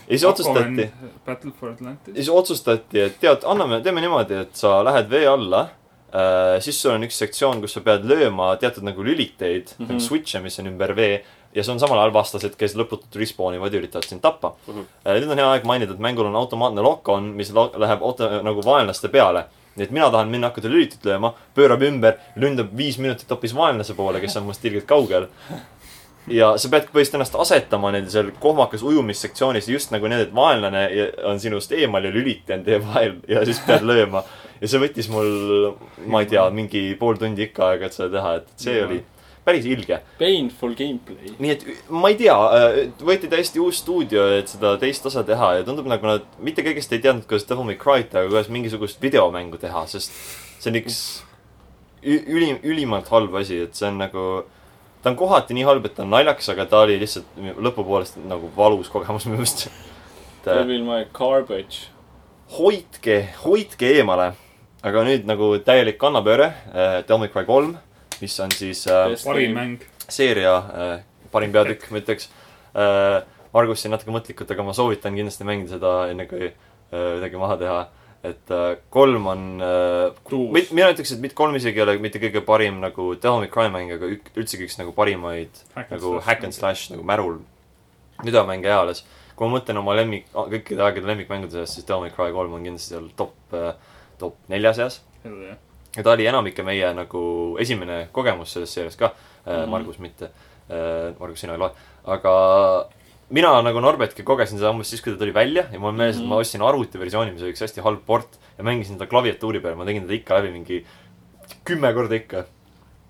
[SPEAKER 1] ja siis otsustati ,
[SPEAKER 3] Battle for Atlantis .
[SPEAKER 1] siis otsustati , et tead , anname , teeme niimoodi , et sa lähed vee alla äh, . siis sul on üks sektsioon , kus sa pead lööma teatud nagu lüliteid mm , -hmm. nagu switch'e , mis on ümber vee . ja see on samal ajal vastased , kes lõputult respawn ivad ja üritavad sind tappa mm .
[SPEAKER 2] Mhm.
[SPEAKER 1] -hmm. nüüd on hea aeg mainida , et mängul on automaatne lock-on , mis lo läheb auto nagu vaenlaste peale nii et mina tahan minna hakata lülitit lööma , pöörab ümber , lündab viis minutit hoopis vaenlase poole , kes on minust ilgelt kaugel . ja sa peadki põhimõtteliselt ennast asetama nende seal kohmakas ujumissektsioonis just nagu need , et vaenlane ja- on sinust eemal ja lüliti on teie vahel ja siis pead lööma . ja see võttis mul , ma ei tea , mingi pool tundi ikka aega , et seda teha , et see oli päris ilge .
[SPEAKER 4] Painful gameplay .
[SPEAKER 1] nii et ü- ma ei tea , võeti täiesti uus stuudio , et seda teist osa teha ja tundub nagu nad mitte kõigest ei teadnud , kuidas Devil May Cry't , aga kuidas mingisugust videomängu teha , sest see on üks ü- ülim , ülimalt halb asi , et see on nagu , ta on kohati nii halb , et ta on naljakas , aga ta oli lihtsalt lõpupoolest nagu valus kogemus minu meelest . et äh,
[SPEAKER 4] Devil my garbage .
[SPEAKER 1] hoidke , hoidke eemale . aga nüüd nagu täielik kannapööre , Devil May Cry kolm , mis on siis äh,
[SPEAKER 3] parim mäng .
[SPEAKER 1] seeria äh, parim peatükk , ma ütleks äh, . Margus siin natuke mõtlikult , aga ma soovitan kindlasti mängida seda enne kui äh, midagi maha teha . et äh, kolm on äh, ,
[SPEAKER 4] Tuus.
[SPEAKER 1] mina ütleks , et mitte kolm isegi ei ole mitte kõige parim nagu Devil May Cry mäng , aga ük, üldsegi üks nagu parimaid
[SPEAKER 3] Hack and
[SPEAKER 1] nagu
[SPEAKER 3] slash.
[SPEAKER 1] hack and slash nagu märul videomänge eales . kui ma mõtlen oma lemmik , kõikide aegade lemmikmängude seas , siis Devil May Cry kolm on kindlasti seal top , top nelja seas .
[SPEAKER 3] jah .
[SPEAKER 1] ja ta oli enamike meie nagu esimene kogemus selles seerias ka mm , -hmm.
[SPEAKER 4] Mhm.
[SPEAKER 1] Margus mitte . Margus , sina ei loe , aga mina nagu Norbetki kogesin seda umbes siis , kui ta tuli välja ja mul on meeles , et ma
[SPEAKER 4] Mhm.
[SPEAKER 1] ostsin arvutiversiooni , mis oli üks hästi halb port ja mängisin teda klaviatuuri peal , ma tegin teda ikka läbi mingi kümme korda ikka .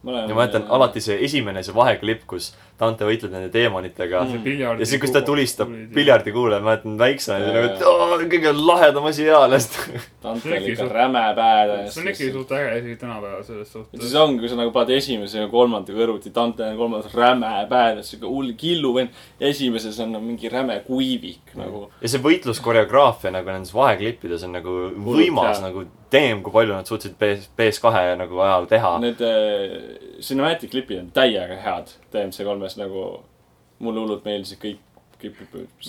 [SPEAKER 1] ja ma mäletan alati see esimene , see vaheklipp , kus Dante võitleb nende teemonitega
[SPEAKER 4] Mhm.
[SPEAKER 1] ja siis , kus ta tulistab . piljardikuule , ma mäletan väiksena , see oli nagu , et oo , kõige lahedam asi eales .
[SPEAKER 4] Dante
[SPEAKER 3] See on
[SPEAKER 4] oli ikka
[SPEAKER 3] ikkagi
[SPEAKER 4] räme päev
[SPEAKER 3] see on ikkagi . suht äge isegi tänapäeval selles
[SPEAKER 4] ja siis
[SPEAKER 3] suhtes .
[SPEAKER 4] ongi , kui sa nagu paned esimese ja kolmanda kõrvuti , Dante on kolmandas räme päev , siuke hull killu vend . esimeses on nagu mingi räme kuivik nagu .
[SPEAKER 1] ja see võitluskoreograafia nagu nendes vaheklippides on nagu võimas
[SPEAKER 4] hea.
[SPEAKER 1] nagu , damn , kui palju nad suutsid PS , PS2 nagu ajal teha .
[SPEAKER 4] Need äh, cinematic klipid on täiega head DMC3-s nagu . mulle hullult meeldisid kõik , kõik .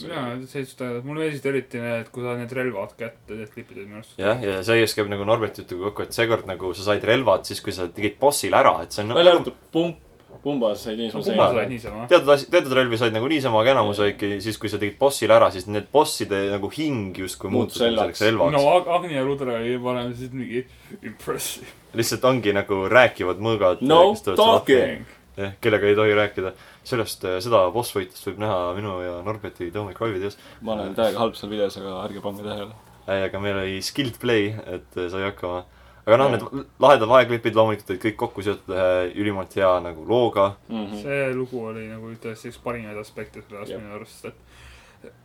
[SPEAKER 3] mina seisust ajada , mulle meeldisid eriti need , kui sa need relvad kätte , need klipid olid minu arust .
[SPEAKER 1] jah , ja see just käib nagu Norbert jutuga kokku , et seekord nagu sa said relvad siis , kui sa tegid bossil ära , et see on
[SPEAKER 4] välja
[SPEAKER 1] nagu,
[SPEAKER 4] arvatud pump , pumbas sai niisama
[SPEAKER 1] Pumbas
[SPEAKER 4] seina
[SPEAKER 1] sai. .
[SPEAKER 3] said niisama .
[SPEAKER 1] teatud asi , teatud relvi said nagu niisama , aga enamus olidki siis , kui sa tegid bossil ära , siis need bosside nagu hing justkui
[SPEAKER 4] Muutus
[SPEAKER 1] muutus nagu selleks
[SPEAKER 4] relvaks.
[SPEAKER 1] relvaks
[SPEAKER 3] no
[SPEAKER 1] no. .
[SPEAKER 3] Ag- Agni ja Rudra oli varem siis mingi impressive .
[SPEAKER 1] lihtsalt ongi nagu rääkivad mõõgad .
[SPEAKER 4] No talking.
[SPEAKER 1] jah , kellega ei tohi rääkida . sellest , seda boss-võitlust võib näha minu ja Norberti Tomic Roy videos .
[SPEAKER 4] ma olen täiega halb seal videos , aga ärge pange tähele .
[SPEAKER 1] ei , aga meil oli skilled play , et äh, sai hakkama . aga noh , need lahedad vaheklipid loomulikult olid kõik kokku seotud ühe ülimalt hea nagu looga .
[SPEAKER 4] Mhm.
[SPEAKER 3] see lugu oli nagu tõesti üks parimaid aspekte selle jaoks
[SPEAKER 4] Mm. Jah.
[SPEAKER 3] minu arust ,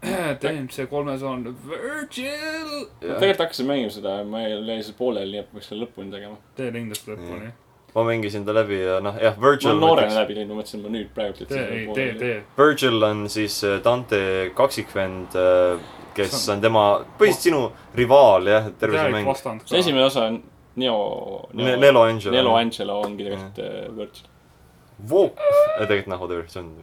[SPEAKER 3] et DMC kolmes on Virgil .
[SPEAKER 4] ma tegelikult hakkasin mängima seda , ma jäin lihtsalt pooleli , nii et peaks selle lõpuni tegema .
[SPEAKER 3] tee lindast lõpuni .
[SPEAKER 1] ma mängisin ta läbi ja noh , jah ,
[SPEAKER 4] ma
[SPEAKER 1] Virgil
[SPEAKER 4] olen . noorena läbi teinud , ma mõtlesin , et ma nüüd praegu
[SPEAKER 3] tee , ei tee , tee .
[SPEAKER 1] Virgil on siis äh, Dante kaksikvend , kes on tema , põhiliselt sinu rivaal jah , et terve see mäng .
[SPEAKER 3] vastand
[SPEAKER 4] see
[SPEAKER 3] ka .
[SPEAKER 4] esimene osa on Neo ,
[SPEAKER 1] Nelo Angel .
[SPEAKER 4] Nelo . Angelo ongi tegelikult äh, Virgil .
[SPEAKER 1] Voop , tegelikult noh , whatever , see on ,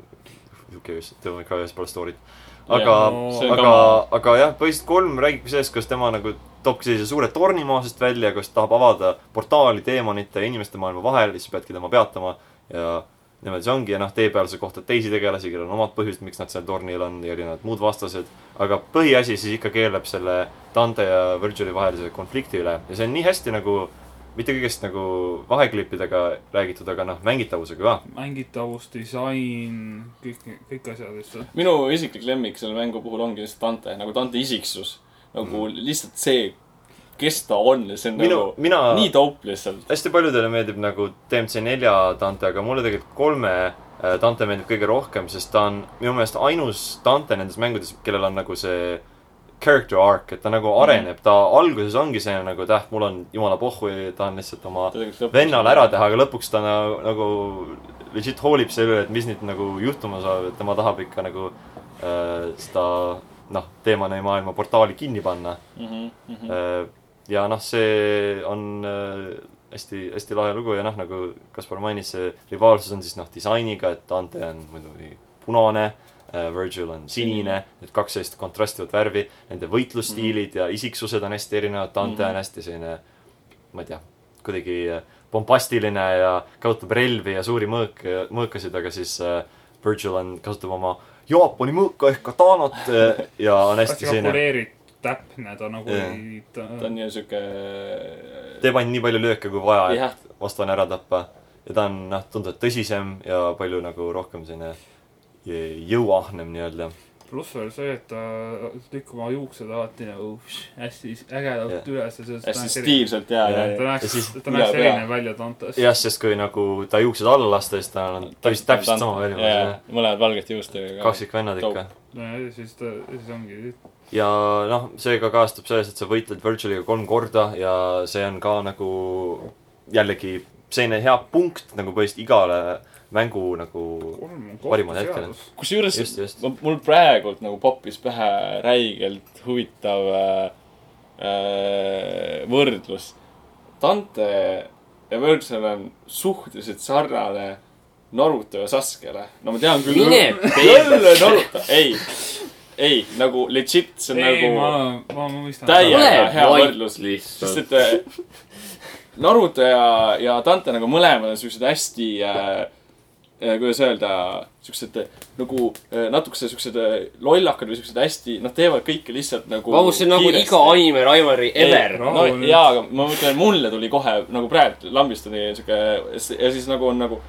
[SPEAKER 1] who cares , tema ikka ühes pole story't . aga
[SPEAKER 4] Jah,
[SPEAKER 3] no
[SPEAKER 1] yeah, ,
[SPEAKER 4] see on
[SPEAKER 1] aga
[SPEAKER 4] kama. ,
[SPEAKER 1] aga jah , põhiliselt kolm räägibki sellest , kas tema nagu toobki sellise suure torni maa seest välja , kas tahab avada portaali teemonite ja inimeste maailma vahel , siis peadki tema peatama ja niimoodi see ongi ja noh , tee peal sa kohtad teisi tegelasi , kellel on omad põhjused , miks nad seal tornil on ja erinevad muud vastased . aga põhiasi siis ikka keelab selle Dante ja Virgili vahelise konflikti üle ja see on nii hästi nagu mitte kõigest nagu vaheklippidega räägitud , aga noh , mängitavusega ka .
[SPEAKER 3] mängitavus , disain , kõik , kõik asjad lihtsalt .
[SPEAKER 4] minu isiklik lemmik selle mängu puhul ongi lihtsalt Dante , nagu Dante isiksus . nagu lihtsalt see , kes ta on ja see on
[SPEAKER 1] Mhm. minu ,
[SPEAKER 4] nagu
[SPEAKER 1] mina ,
[SPEAKER 4] nii dope lihtsalt .
[SPEAKER 1] hästi paljudele meeldib nagu DMC nelja Dante , aga mulle tegelikult kolme äh, Dante meeldib kõige rohkem , sest ta on minu meelest ainus Dante nendes mängudes , kellel on nagu see character arc , et ta nagu areneb , ta alguses ongi see nagu , et ah , mul on jumala pohhu ja tahan lihtsalt oma vennale ära . teha , aga lõpuks ta na- nagu legit hoolib selle üle , et mis nüüd nagu juhtuma saab , et tema tahab ikka nagu äh, seda noh , teemane maailma portaali kinni panna .
[SPEAKER 4] Mhm,
[SPEAKER 1] Äh, ja noh , see on äh, hästi , hästi lahe lugu ja noh , nagu Kaspar mainis , see rivaalsus on siis noh , disainiga , et Dante on muidugi punane . Virgil on sinine , need kaks sellist kontrastivat värvi , nende võitlusstiilid mm -hmm. ja isiksused on hästi erinevad , Dante mm
[SPEAKER 4] Mhm.
[SPEAKER 1] -hmm. on hästi selline , ma ei tea , kuidagi äh, pompastiline ja kasutab relvi ja suuri mõõk , mõõkasid , aga siis äh, Virgil on , kasutab oma Jaapani mõõka ehk katanat äh, ja on hästi
[SPEAKER 3] hästi
[SPEAKER 1] selline
[SPEAKER 3] kalkuleeritud , täpne ta nagu
[SPEAKER 1] Jah.
[SPEAKER 3] ei , ta
[SPEAKER 4] ta on nii siuke .
[SPEAKER 1] teeb ainult nii palju lööke , kui vaja ,
[SPEAKER 4] Jah.
[SPEAKER 1] et vastane ära tappa . ja ta on noh , tunduvalt tõsisem ja palju nagu rohkem selline e, jõuahnem nii-öelda .
[SPEAKER 3] pluss veel see , et ta lükkab oma juuksed alati nagu hästi ägedalt
[SPEAKER 1] Jah.
[SPEAKER 3] üles ja sellest
[SPEAKER 4] hästi . stiilselt ja , ja ,
[SPEAKER 3] ta
[SPEAKER 4] ja .
[SPEAKER 1] Ja
[SPEAKER 3] näeks
[SPEAKER 1] siis- ,
[SPEAKER 3] ta näeks
[SPEAKER 4] üle pea.
[SPEAKER 3] erinev välja Dantes .
[SPEAKER 1] jah , sest kui nagu ta juuksed alla lasta , siis ta on täpselt , täpselt sama välja
[SPEAKER 4] välja . mõlemad valget juustega .
[SPEAKER 1] kaksikvennad ikka .
[SPEAKER 3] ja siis ta , siis ongi ,
[SPEAKER 1] ja noh , see ka kajastub selles , et sa võitled Virgiliga kolm korda ja see on ka nagu jällegi selline hea punkt nagu põhimõtteliselt igale mängu nagu
[SPEAKER 3] kolm on
[SPEAKER 1] Parimad hetked.
[SPEAKER 3] kohtuseadus .
[SPEAKER 4] kusjuures
[SPEAKER 1] Just, just.
[SPEAKER 4] ma- mul praegult nagu popis pähe räigelt huvitav äh, äh, võrdlus . Dante ja Virgil on suhteliselt sarnane Naruto ja Saskele . no ma tean küll .
[SPEAKER 2] Mine
[SPEAKER 4] loll on Naruto , ei , ei nagu legit , see on
[SPEAKER 3] ei ,
[SPEAKER 4] nagu
[SPEAKER 3] ma , ma mõistan .
[SPEAKER 4] Täie-
[SPEAKER 2] ole
[SPEAKER 4] hea võrdlus.
[SPEAKER 2] vait lihtsalt .
[SPEAKER 4] sest et äh, Naruto ja , ja Dante nagu mõlemad on siuksed hästi äh, eh, kuidas öelda , siuksed eh, nagu eh, natukese siuksed eh, lollakad või siuksed hästi , nad teevad kõike lihtsalt nagu .
[SPEAKER 2] Vau , see on nagu iga anime Raivari ever .
[SPEAKER 4] no
[SPEAKER 3] Rahul.
[SPEAKER 4] jaa , aga ma mõtlen , mulle tuli kohe nagu praegu lambist oli siuke ja siis nagu on nagu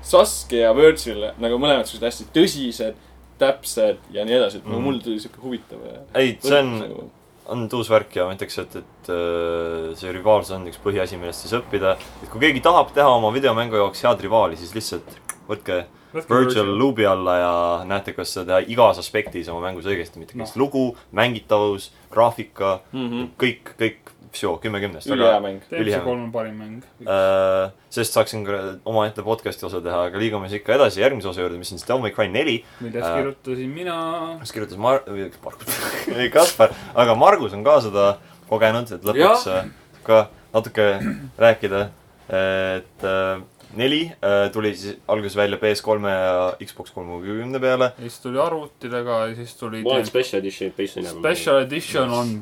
[SPEAKER 4] Sasuke ja Virgil nagu mõlemad siuksed hästi tõsised , täpsed ja nii edasi , et nagu
[SPEAKER 1] Mhm.
[SPEAKER 4] mulle tuli siuke huvitav . äh, nagu
[SPEAKER 1] ei , see on , on uus värk ja ma ütleks , et , et äh, see rivaalsus on üks põhiasi , millest siis õppida . et kui keegi tahab teha oma videomängu jaoks head rivaali , siis lihtsalt võtke Virgil luubi alla ja näete , kas seda igas aspektis oma mängus õigesti , mitte kas lugu , mängitavus , graafika , kõik , kõik , kümme kümnest .
[SPEAKER 4] ülihea mäng .
[SPEAKER 3] teeme
[SPEAKER 1] ülihea.
[SPEAKER 3] see kolm on parim mäng .
[SPEAKER 1] Äh, sest saaksin ka omaette podcast'i osa teha , aga liigume siis ikka edasi järgmise osa juurde , mis on siis Devil May Cry neli ,
[SPEAKER 3] millest
[SPEAKER 1] äh,
[SPEAKER 3] kirjutasin mina .
[SPEAKER 1] mis kirjutas Mar- , Margus , ei Kaspar , aga Margus on ka seda kogenud , et lõpuks äh, ka natuke rääkida . et äh, neli äh, tuli siis alguses välja PS3-e ja Xbox kolmekümne peale .
[SPEAKER 3] ja siis tuli arvutile ka ja siis tuli
[SPEAKER 2] ma olen Special Edition'i teist näinud .
[SPEAKER 3] Special Edition on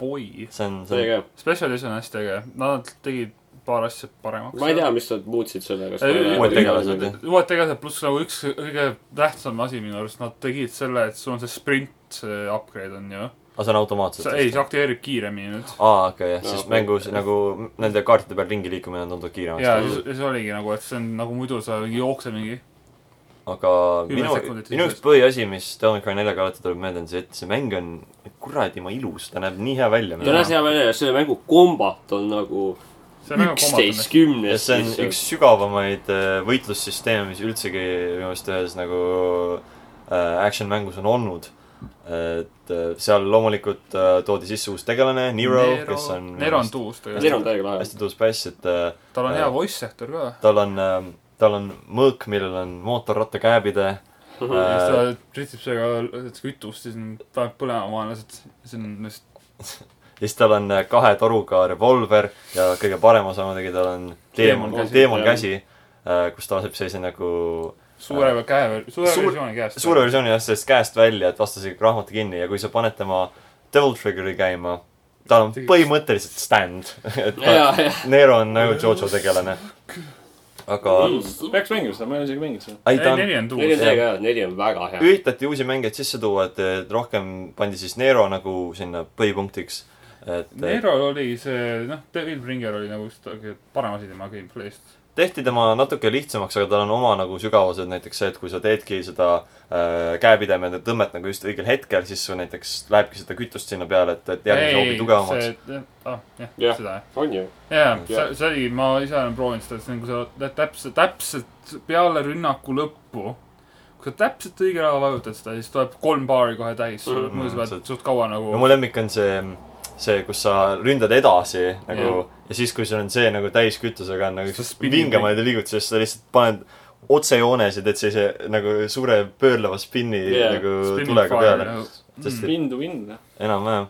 [SPEAKER 3] boy .
[SPEAKER 1] see on , see
[SPEAKER 2] seega ,
[SPEAKER 3] Special Edition on hästi äge , nad tegid paar asja paremaks .
[SPEAKER 2] ma ei tea , mis nad muutsid selle , kas .
[SPEAKER 3] Ei,
[SPEAKER 1] uued tegelased, jah.
[SPEAKER 3] uued tegelased , pluss nagu üks kõige tähtsam asi minu arust , nad tegid selle , et sul on see sprint see upgrade on ju .
[SPEAKER 1] on , see on automaatselt .
[SPEAKER 3] ei , see aktiveerib kiiremini nüüd .
[SPEAKER 1] aa , okei , jah , siis
[SPEAKER 2] Jaa.
[SPEAKER 1] mängus nagu nende kaartide peal ringi liikumine on tunduvalt kiirem .
[SPEAKER 3] ja siis , siis oligi nagu , et see on nagu muidu sa jooksed mingi .
[SPEAKER 1] aga
[SPEAKER 3] Kümme
[SPEAKER 1] minu ,
[SPEAKER 3] sekundit
[SPEAKER 1] minu üks
[SPEAKER 3] sisust.
[SPEAKER 1] põhiasi , mis Devil May Cry neljaga alati tuleb meelde , on see , et see mäng on kuradi ma ilus , ta näeb nii hea välja .
[SPEAKER 2] ta näeb hea välja ja selle mängu kombat on nagu
[SPEAKER 3] see on väga
[SPEAKER 2] üksteist
[SPEAKER 3] kummaline .
[SPEAKER 1] ja
[SPEAKER 2] kümnest .
[SPEAKER 1] see on üks sügavamaid äh, võitlussüsteeme , mis üldsegi minu meelest ühes nagu äh, action mängus on olnud . et äh, seal loomulikult äh, toodi sisse uus tegelane , Nero, Nero , kes on minu
[SPEAKER 3] Nero on
[SPEAKER 1] meelest
[SPEAKER 3] tuus
[SPEAKER 2] see
[SPEAKER 3] tegelikult .
[SPEAKER 2] on täiega lahe .
[SPEAKER 1] hästi tuus päss , et äh,
[SPEAKER 3] tal on hea voice actor ka .
[SPEAKER 1] tal on äh, , tal on mõõk , millel on mootorrattakääbide
[SPEAKER 3] ja siis ta
[SPEAKER 1] äh, .
[SPEAKER 3] tritsib seega kütust ja siis on- ta läheb põlema vaenlased . see on lihtsalt ,
[SPEAKER 1] ja siis tal on äh, kahe toruga revolver ja kõige parem osa muidugi tal on
[SPEAKER 3] Teemon
[SPEAKER 1] teemon
[SPEAKER 3] käsi. ,
[SPEAKER 1] teemon käsi , kus ta laseb sellise nagu
[SPEAKER 3] suure käe , suure
[SPEAKER 1] Äh. Suur-
[SPEAKER 3] versiooni käest .
[SPEAKER 1] suure versiooni jah , sellest käest välja , et vastase rahmata kinni ja kui sa paned tema Devil Triggeri käima , tal on põhimõtteliselt stand . et ta,
[SPEAKER 2] ja , ja ,
[SPEAKER 1] Nero on nagu Jojo tegelane . aga ,
[SPEAKER 4] peaks mängima seda , ma ei ole isegi mänginud seda .
[SPEAKER 1] ei ta
[SPEAKER 3] ei ,
[SPEAKER 1] on ,
[SPEAKER 3] neli
[SPEAKER 2] neli
[SPEAKER 3] on
[SPEAKER 2] on
[SPEAKER 3] tuus .
[SPEAKER 2] täiega hea , neli on väga hea .
[SPEAKER 1] üritati uusi mängeid sisse tuua , et et rohkem pandi siis Nero nagu sinna põhipunktiks . et Nero.
[SPEAKER 3] Nerol oli see , noh , Devil Bringer oli nagu üks kõige parem asi tema gameplay'st .
[SPEAKER 1] tehti tema natuke lihtsamaks , aga tal on oma nagu sügavused , näiteks see , et kui sa teedki seda äh, käepidemed ja tõmmet nagu just õigel hetkel , siis sul näiteks lähebki seda kütust sinna peale , et , et järgmise hoobi tugevamaks ..
[SPEAKER 3] ah , jah
[SPEAKER 2] Jah.
[SPEAKER 3] yeah. , seda jah .
[SPEAKER 2] on ju ?
[SPEAKER 3] jaa ,
[SPEAKER 2] Jah.
[SPEAKER 3] see , see oli , ma ise olen proovinud seda , et see on , kui sa oled täpselt , täpselt peale rünnaku lõppu , kui sa täpselt õige ajal vajutad seda , siis tuleb kolm baari kohe täis , sul
[SPEAKER 2] Mhm.
[SPEAKER 3] muidu sa
[SPEAKER 1] See-
[SPEAKER 3] pead suht kaua
[SPEAKER 1] no
[SPEAKER 3] nagu
[SPEAKER 1] mu lemmik on see , see , kus sa ründad edasi nagu yeah. ja siis , kui sul on see nagu täiskütusega on nagu
[SPEAKER 3] Sa
[SPEAKER 1] üks
[SPEAKER 3] spinnid
[SPEAKER 1] vingemaid liigutusi , siis sa lihtsalt paned otsejoones ja teed sellise nagu suure pöörleva spinni
[SPEAKER 2] Yeah.
[SPEAKER 1] yeah. nagu
[SPEAKER 3] Spinning
[SPEAKER 1] tulega
[SPEAKER 3] fire,
[SPEAKER 1] peale .
[SPEAKER 3] nagu-
[SPEAKER 1] sest et
[SPEAKER 4] Win to win , noh. jah .
[SPEAKER 1] enam-vähem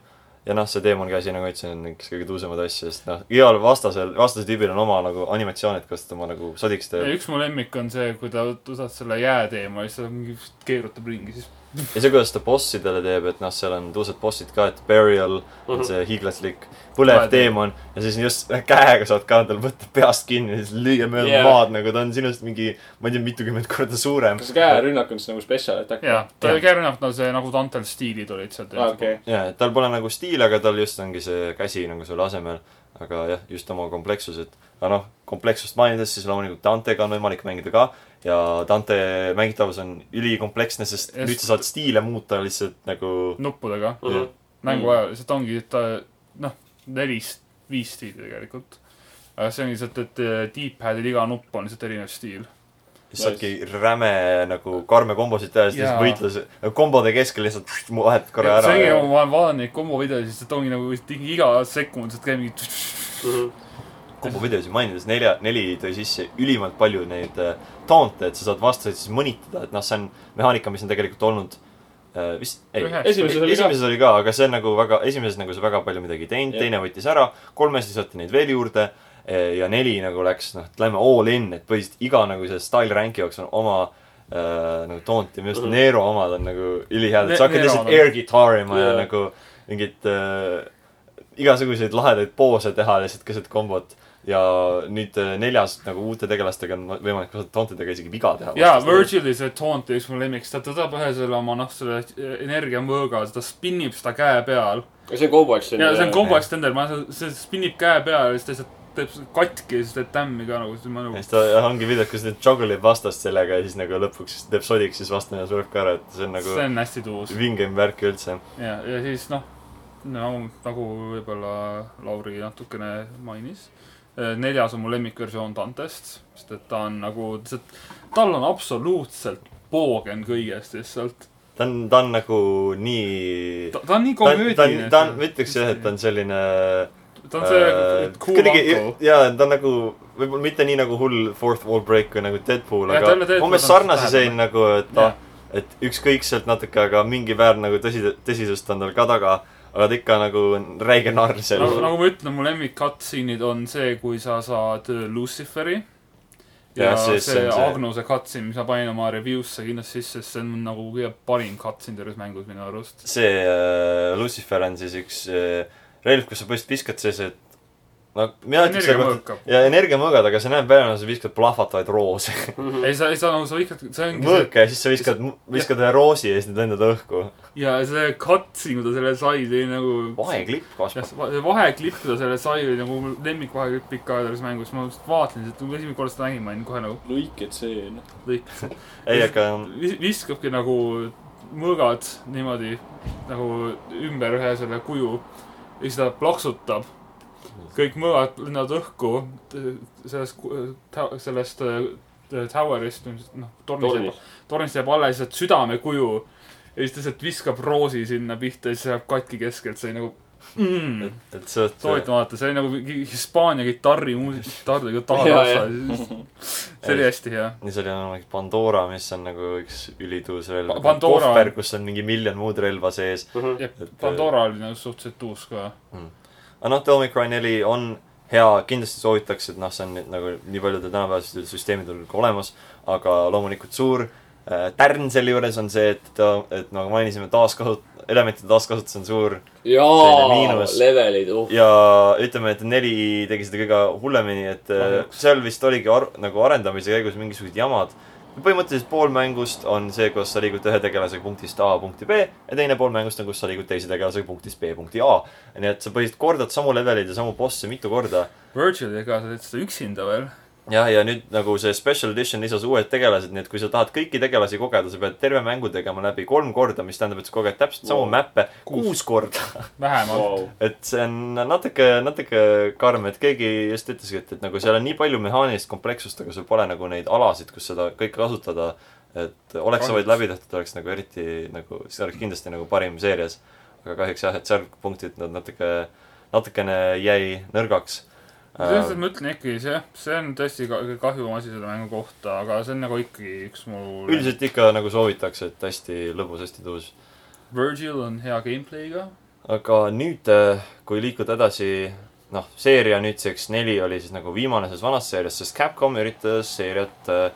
[SPEAKER 1] ja noh , see teemon käsi , nagu ma ütlesin , on üks kõige tuusemaid asju , sest noh , igal vastasel , vastase tüübil on oma nagu animatsioonid , kuidas ta oma nagu sodiks
[SPEAKER 3] ja
[SPEAKER 1] teeb .
[SPEAKER 3] üks mu lemmik on see , kui ta võtad selle jää teema ja siis ta mingi keerutab ringi , siis
[SPEAKER 1] ja see , kuidas ta bossidele teeb , et noh , seal on tuused bossid ka , et Burial on see hiiglaslik põlev
[SPEAKER 3] Põlev
[SPEAKER 1] teemon ja siis just käega saad ka tal võtta peast kinni ja siis lüüa mööda
[SPEAKER 2] Jaa.
[SPEAKER 1] yeah. maad nagu ta on sinust mingi , ma ei tea , mitukümmend korda suurem .
[SPEAKER 4] kas see käerünnak on siis nagu special attack ?
[SPEAKER 3] jaa , ta
[SPEAKER 1] Jah.
[SPEAKER 3] oli käärunevalt , no see nagu Dantel stiilid olid seal
[SPEAKER 4] aa , Ah, okei .
[SPEAKER 1] jaa , et tal pole nagu stiili , aga tal just ongi see käsi nagu selle asemel . aga jah , just oma komplekssused . aga noh , komplekssust mainides , siis loomulikult Dantega on võimalik mängida ka ja Dante mängitavus on ülikompleksne , sest
[SPEAKER 3] Ja
[SPEAKER 1] nüüd sa saad stiile muuta lihtsalt nagu
[SPEAKER 3] nuppudega
[SPEAKER 1] jah.
[SPEAKER 3] mängu ajal , lihtsalt ongi , et ta noh , nelist viis stiili tegelikult . aga see on lihtsalt , et eh, D-pad'il iga nupp on lihtsalt erinev stiil .
[SPEAKER 1] siis saadki räme nagu karme kombosid teha , siis
[SPEAKER 3] Jaa.
[SPEAKER 1] võitlus , kombode keskel lihtsalt vahetad
[SPEAKER 3] see
[SPEAKER 1] korra ära
[SPEAKER 3] ongi ,
[SPEAKER 1] ja
[SPEAKER 3] nagu ma olen vaadanud neid kombovideosid , siis et ongi nagu lihtsalt iga- iga sekund lihtsalt käib mingi
[SPEAKER 2] Mhm.
[SPEAKER 1] kombovideosid mainides nelja , neli tõi sisse ülimalt palju neid äh, taunte , et sa saad vastaseid siis mõnitada , et noh , see on mehaanika , mis on tegelikult olnud äh, vist , ei ,
[SPEAKER 3] ühe .
[SPEAKER 4] esimeses oli ka .
[SPEAKER 1] esimeses oli ka , aga see on nagu väga , esimeses nagu sa väga palju midagi ei teinud ,
[SPEAKER 4] Jah.
[SPEAKER 1] teine võttis ära , kolmes lisati neid veel juurde eh, ja neli nagu läks , noh , et lähme all in , et põhiliselt iga nagu selle style rank'i jaoks on oma äh, nagu taunt ja minu arust
[SPEAKER 2] Mhm.
[SPEAKER 1] Nero omad on nagu ülihead ,
[SPEAKER 3] Ne-
[SPEAKER 1] et sa hakkad
[SPEAKER 3] Nero
[SPEAKER 1] lihtsalt
[SPEAKER 3] omad.
[SPEAKER 1] air guitar ima ja
[SPEAKER 4] Jaa.
[SPEAKER 1] nagu mingit äh, igasuguseid lahedaid poose teha lihtsalt keset kombot . ja nüüd äh, neljas nagu uute tegelastega on võimalik kasvada tauntidega isegi viga teha .
[SPEAKER 3] jaa , Virgili see taunt on üks mu lemmiks , ta tõdab ühe selle oma noh , selle energiamõõga , ta spinnib seda käe peal .
[SPEAKER 2] ja see on Kobo Action .
[SPEAKER 3] ja see on kombo extender , ma , see spinnib käe peal ja siis ta lihtsalt teeb seda katki ja siis teeb tämmi ka nagu , siis ma
[SPEAKER 1] ja
[SPEAKER 3] nagu
[SPEAKER 1] siis . ta jah, ongi video , kus ta juggle ib vastast sellega ja siis nagu lõpuks siis teeb sodiks , siis vastane sureb ka ära , et see on nagu
[SPEAKER 3] see on hästi tuus .
[SPEAKER 1] vingem värk üldse .
[SPEAKER 3] ja , ja siis noh , nagu , nagu võib-olla Lauri natukene mainis , neljas on mu lemmikversioon Dantest , sest et ta on nagu lihtsalt , tal on absoluutselt poogen kõigest lihtsalt .
[SPEAKER 1] ta on , ta on nagu nii
[SPEAKER 3] ta , ta on nii
[SPEAKER 1] ta on , ta on
[SPEAKER 3] komöödiline .,
[SPEAKER 1] ta on , ma ütleks jah , et ta on äh, selline
[SPEAKER 3] ta on see nagu- cool
[SPEAKER 1] kuidagi
[SPEAKER 3] uncle .
[SPEAKER 1] jaa , ta on nagu võib-olla mitte nii nagu hull fourth wall break või nagu Deadpool ,
[SPEAKER 3] Jah,
[SPEAKER 1] aga
[SPEAKER 3] ta oli Deadpool,
[SPEAKER 1] umbes
[SPEAKER 3] ta on
[SPEAKER 1] sarnase sein nagu , et ta , et ükskõikselt natuke , aga mingi väär nagu tõsi , tõsisust on tal ka taga , aga ta ikka nagu on räige narr seal
[SPEAKER 3] nagu , nagu ma ütlen , mu lemmik cutscene'id on see , kui sa saad äh, Luciferi .
[SPEAKER 1] Jah,
[SPEAKER 3] ja, ja see,
[SPEAKER 1] see- see
[SPEAKER 3] see
[SPEAKER 1] on see-
[SPEAKER 3] Agnuse cutscene , mis ma panin oma review'sse kindlasti sisse , sest see on nagu kõige parim cutscene terves mängus minu arust .
[SPEAKER 1] see äh, Lucifer on siis üks äh, relv , kus sa põhimõtteliselt viskad sellised no mina ütleks
[SPEAKER 3] energia
[SPEAKER 1] nagu
[SPEAKER 3] mõõkab .
[SPEAKER 1] ja energiamõõgad , aga see näeb välja , nagu sa viskad plahvatavaid roose .
[SPEAKER 3] ei , sa , ei sa nagu , sa viskad , see ongi see
[SPEAKER 1] mõõke ja siis sa viskad , viskad ühe roosi ja siis need lendavad õhku .
[SPEAKER 3] ja see cutscene , kui ta selle sai , see oli nagu .
[SPEAKER 1] vaheklipp
[SPEAKER 3] jah ,
[SPEAKER 1] kasvab .
[SPEAKER 3] see va- see vaheklipp , kui ta selle sai , oli nagu mu lemmikvaheklipp pikka aega selles mängus , ma just vaatasin , et kui esimene kord seda nägin , ma olin kohe nagu
[SPEAKER 4] lõiketseen .
[SPEAKER 3] lõik- ,
[SPEAKER 1] ei , aga
[SPEAKER 3] vis- viskabki nagu mõõgad niimoodi nagu ümber ühe selle kuju ja siis ta plaksutab . kõik mõõgad lendavad õhku t- sellest , sellest äh, tower'ist , noh , tornist
[SPEAKER 2] tornis .
[SPEAKER 3] tornist jääb alles lihtsalt südamekuju ja siis ta lihtsalt viskab roosi sinna pihta ja siis läheb katki keskelt , see oli nagu mm,
[SPEAKER 1] et , et sa oled
[SPEAKER 3] soovitan vaadata , see oli nagu mingi Hispaania kitarrimuusika , kitarridega
[SPEAKER 2] Jaa,
[SPEAKER 3] taha-tassa . see oli hästi hea .
[SPEAKER 1] ja seal on olemas Pandora , mis on nagu üks ülituus relv
[SPEAKER 3] Pa- . Pandora-
[SPEAKER 1] kohver , kus on mingi miljon muud relva sees .
[SPEAKER 2] Mhm.
[SPEAKER 3] jah , Pandora oli nagu suhteliselt uus ka .
[SPEAKER 1] aga noh , The Omicron neli on hea , kindlasti soovitaks , et noh , see on nüüd nagu nii paljudel tänapäevastel süsteemidel ka olemas , aga loomulikult suur äh, tärn selle juures on see , et ta , et nagu mainisime , taaskasut- , elementide taaskasutus on suur Selline
[SPEAKER 2] jaa
[SPEAKER 1] miinus. ,
[SPEAKER 2] levelid , uh .
[SPEAKER 1] ja ütleme , et neli tegi seda kõige hullemini , et äh,
[SPEAKER 3] Kahjuks.
[SPEAKER 1] seal vist oligi ar- , nagu arendamise käigus mingisugused jamad . põhimõtteliselt pool mängust on see , kus sa liigud ühe tegelasega punktist A punkti B ja teine pool mängust on , kus sa liigud teise tegelasega punktist B punkti A . nii et sa põhiliselt kordad samu leveleid ja samu bosse mitu korda .
[SPEAKER 3] Virgiliga sa teed seda üksinda veel .
[SPEAKER 1] jah , ja nüüd nagu see special edition lisas uued tegelased , nii et kui sa tahad kõiki tegelasi kogeda , sa pead terve mängu tegema läbi kolm korda , mis tähendab , et sa koged täpselt samu
[SPEAKER 2] Wow.
[SPEAKER 1] mäppe
[SPEAKER 3] Kuus.
[SPEAKER 1] kuus korda .
[SPEAKER 3] vähemalt .
[SPEAKER 2] Wow.
[SPEAKER 1] et see on natuke , natuke karm , et keegi just ütleski , et , et nagu seal on nii palju mehaanilist komplekssust , aga sul pole nagu neid alasid , kus seda kõike kasutada . et oleks sa vaid
[SPEAKER 3] Kahjuks.
[SPEAKER 1] läbi tehtud , oleks nagu eriti nagu , see oleks kindlasti nagu parim seerias . aga kahjuks jah , et seal punktid nad natuke , natukene jäi nõrgaks .
[SPEAKER 3] selles mõttes ma ütlen ikkagi , see , see on tõesti ka- kahju asi selle mängu kohta , aga see on nagu ikkagi üks mu .
[SPEAKER 1] üldiselt ikka nagu soovitakse , et hästi lõbus , hästi tõus .
[SPEAKER 3] Virgil on hea gameplay'ga .
[SPEAKER 1] aga nüüd , kui liikuda edasi , noh , seeria nüüdseks neli oli siis nagu viimane selles vanas seerias , sest Capcom üritas seeriat äh,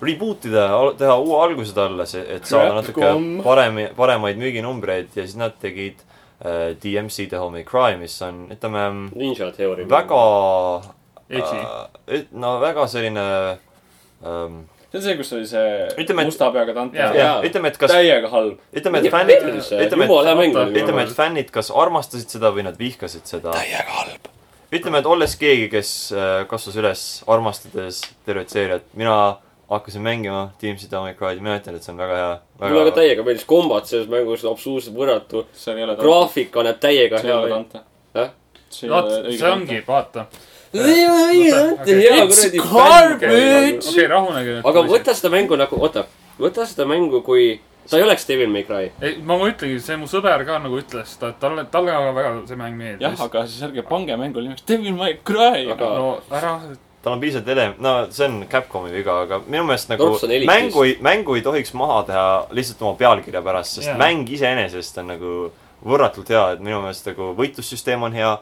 [SPEAKER 1] reboot ida , teha uue alguse talle , et saada natuke
[SPEAKER 2] Capcom.
[SPEAKER 1] paremi , paremaid müüginumbreid ja siis nad tegid äh, DMC The Homie Cry , mis on , ütleme ,
[SPEAKER 2] Ninja teooria .
[SPEAKER 1] väga
[SPEAKER 3] Edgy.
[SPEAKER 1] äh, , no väga selline ähm,
[SPEAKER 4] see on see , kus oli see
[SPEAKER 1] Ütleme, et-
[SPEAKER 4] musta peaga tant
[SPEAKER 3] Jaa.
[SPEAKER 1] jah , ütleme , et kas ,
[SPEAKER 4] täiega halb .
[SPEAKER 1] ütleme , et fännid , ütleme , et
[SPEAKER 2] jumala hea mäng oli .
[SPEAKER 1] ütleme , et fännid kas armastasid seda või nad vihkasid seda .
[SPEAKER 4] täiega halb .
[SPEAKER 1] ütleme , et olles keegi , kes äh, kasvas üles armastades tervet seeriat , mina hakkasin mängima Team City Omicroni , mina ütlen , et see on väga hea .
[SPEAKER 2] mulle ka täiega meeldis kombat selles mängus , absoluutselt võrratu .
[SPEAKER 4] seal ei ole tant .
[SPEAKER 2] graafika näeb täiega
[SPEAKER 4] seal ei
[SPEAKER 2] hea
[SPEAKER 4] ole
[SPEAKER 2] välja .
[SPEAKER 4] tante .
[SPEAKER 2] Jah?
[SPEAKER 3] vaat , see . ongi , vaata .
[SPEAKER 2] hea
[SPEAKER 4] It's
[SPEAKER 2] kuradi
[SPEAKER 4] garbage!
[SPEAKER 2] garbage .
[SPEAKER 3] okei , rahunege nüüd .
[SPEAKER 2] aga võta seda mängu nagu , oota , võta seda mängu kui , ta ei oleks Devil May Cry .
[SPEAKER 3] ei , ma ma ütlengi , see mu sõber ka nagu ütles seda , et talle , talle ka väga see mäng
[SPEAKER 4] jah ,
[SPEAKER 3] meeldis .
[SPEAKER 4] aga siis ärge pange mängu nimeks Devil May Cry .
[SPEAKER 2] Aga-
[SPEAKER 3] no ära ,
[SPEAKER 1] tal on piisavalt ele- , no see on Capcomi viga , aga minu meelest nagu
[SPEAKER 2] Torps on elitis.
[SPEAKER 1] mängu , mängu ei tohiks maha teha lihtsalt oma pealkirja pärast , sest
[SPEAKER 3] Jaa.
[SPEAKER 1] mäng iseenesest on nagu võrratult hea , et minu meelest nagu võitlussüsteem on hea ,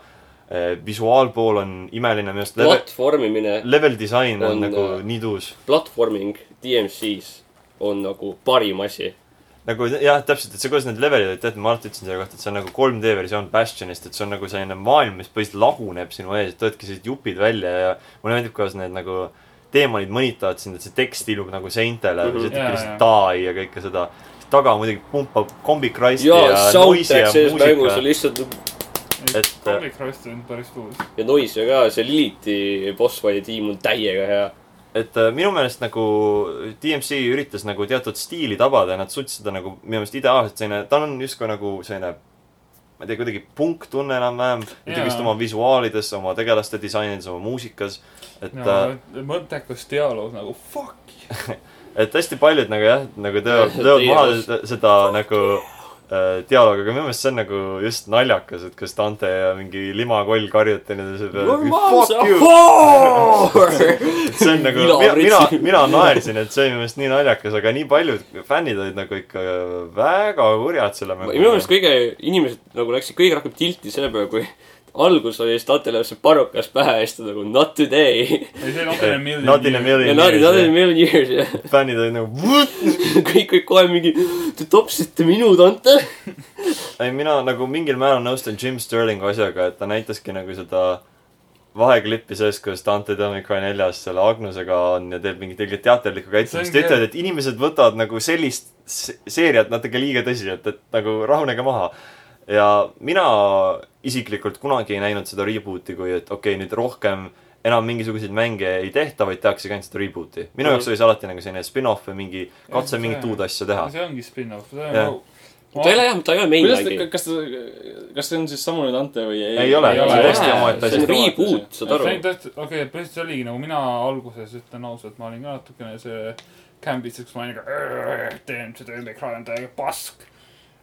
[SPEAKER 1] visuaalpool on imeline , minu arust level ,
[SPEAKER 2] platvormimine ,
[SPEAKER 1] level disain on,
[SPEAKER 2] on,
[SPEAKER 1] on nagu
[SPEAKER 2] äh,
[SPEAKER 1] nii tuus .
[SPEAKER 2] platvorming DMC-s on nagu parim asi .
[SPEAKER 1] nagu jah , täpselt , et see , kuidas need levelid olid tehtud , ma alati ütlesin selle kohta , et see on nagu 3D versioon Bastionist , et see on nagu selline maailm , mis põhimõtteliselt laguneb sinu ees , et võtke siit jupid välja ja mulle meeldib , kuidas need nagu teemonid mõnitavad sind , et see tekst ilub nagu seintele mm , -hmm.
[SPEAKER 2] Mhm.
[SPEAKER 1] see ütleb
[SPEAKER 3] Jaa,
[SPEAKER 1] lihtsalt
[SPEAKER 3] jaa.
[SPEAKER 1] die ja kõike seda . taga muidugi pumpab kombikraisti ja,
[SPEAKER 2] jaa ,
[SPEAKER 1] ja noisi ja
[SPEAKER 2] soundtrack selles mängus on
[SPEAKER 1] muusika .
[SPEAKER 2] lihtsalt
[SPEAKER 1] Et-
[SPEAKER 3] Public Rest on päris tuus .
[SPEAKER 2] ja noise ka , see Liliti boss fight'i tiim on täiega hea .
[SPEAKER 1] et äh, minu meelest nagu DMC üritas nagu teatud stiili tabada ja nad suutsid seda nagu minu meelest ideaalselt selline , tal on justkui nagu selline ma ei tea , kuidagi punktunne enam-vähem ,
[SPEAKER 3] Jaa.
[SPEAKER 1] muidugi vist oma visuaalides , oma tegelaste disainides , oma muusikas , et no, äh,
[SPEAKER 3] mõttekas dialoog nagu fuck you .
[SPEAKER 1] et hästi paljud nagu jah , nagu teevad ,
[SPEAKER 2] Jah,
[SPEAKER 1] teevad maha
[SPEAKER 2] dialoog.
[SPEAKER 1] seda, seda nagu äh, dialoogi , aga minu meelest see on nagu just naljakas , et kas Dante ja mingi limakoll karjuta nende peale . see on nagu , mina , mina , mina naersin , et see oli minu meelest nii naljakas , aga nii paljud fännid olid nagu ikka väga kurjad selle mängu
[SPEAKER 2] minu meelest . kõige , inimesed nagu läksid kõige rohkem tilti selle peale , kui algus oli Statile see parukas pähe ja siis ta nagu not today .
[SPEAKER 3] ei , see on Not in a Million .
[SPEAKER 1] Not in a
[SPEAKER 2] ja
[SPEAKER 1] million
[SPEAKER 2] not, not in a
[SPEAKER 1] years .
[SPEAKER 2] million years ja
[SPEAKER 1] fännid olid nagu what ?
[SPEAKER 2] kõik olid kohe mingi , te topsite minu tante .
[SPEAKER 1] ei , mina nagu mingil määral nõustun Jim Sterlingu asjaga , et ta näitaski nagu seda vaheklippi sellest , kuidas Dante Domicoi neljas selle Agnusega on ja teeb mingit õiget teaterlikku käitumist .
[SPEAKER 3] See
[SPEAKER 1] ta
[SPEAKER 3] on
[SPEAKER 1] ütleb , et inimesed võtavad nagu sellist se- seeriat natuke liiga tõsiselt , et nagu rahunege maha . ja mina isiklikult kunagi ei näinud seda reboot'i kui , et okei okay, , nüüd rohkem enam mingisuguseid mänge ei tehta , vaid tehaksegi ainult seda reboot'i . minu
[SPEAKER 2] Mhm.
[SPEAKER 1] jaoks oli see alati nagu selline spin-off või mingi katse
[SPEAKER 3] see-
[SPEAKER 1] mingit uut asja teha .
[SPEAKER 3] see ongi spin-off , see on
[SPEAKER 1] Jah.
[SPEAKER 3] nagu .
[SPEAKER 2] ta ei ole jah , ta ei ole main
[SPEAKER 4] kuidas
[SPEAKER 2] lag'i
[SPEAKER 4] ta ,. kas ta , kas see on siis samune Dante või ei ?
[SPEAKER 1] Ei ole,
[SPEAKER 3] see on täiesti
[SPEAKER 1] omaette
[SPEAKER 2] see on
[SPEAKER 1] asi.
[SPEAKER 2] reboot , saad aru
[SPEAKER 3] see . on tõesti , okei , põhimõtteliselt see oligi nagu mina alguses ütlen ausalt , ma olin ka natukene see kämbitseks , ma olin nagu teen seda ümberkraadi , täiega pask .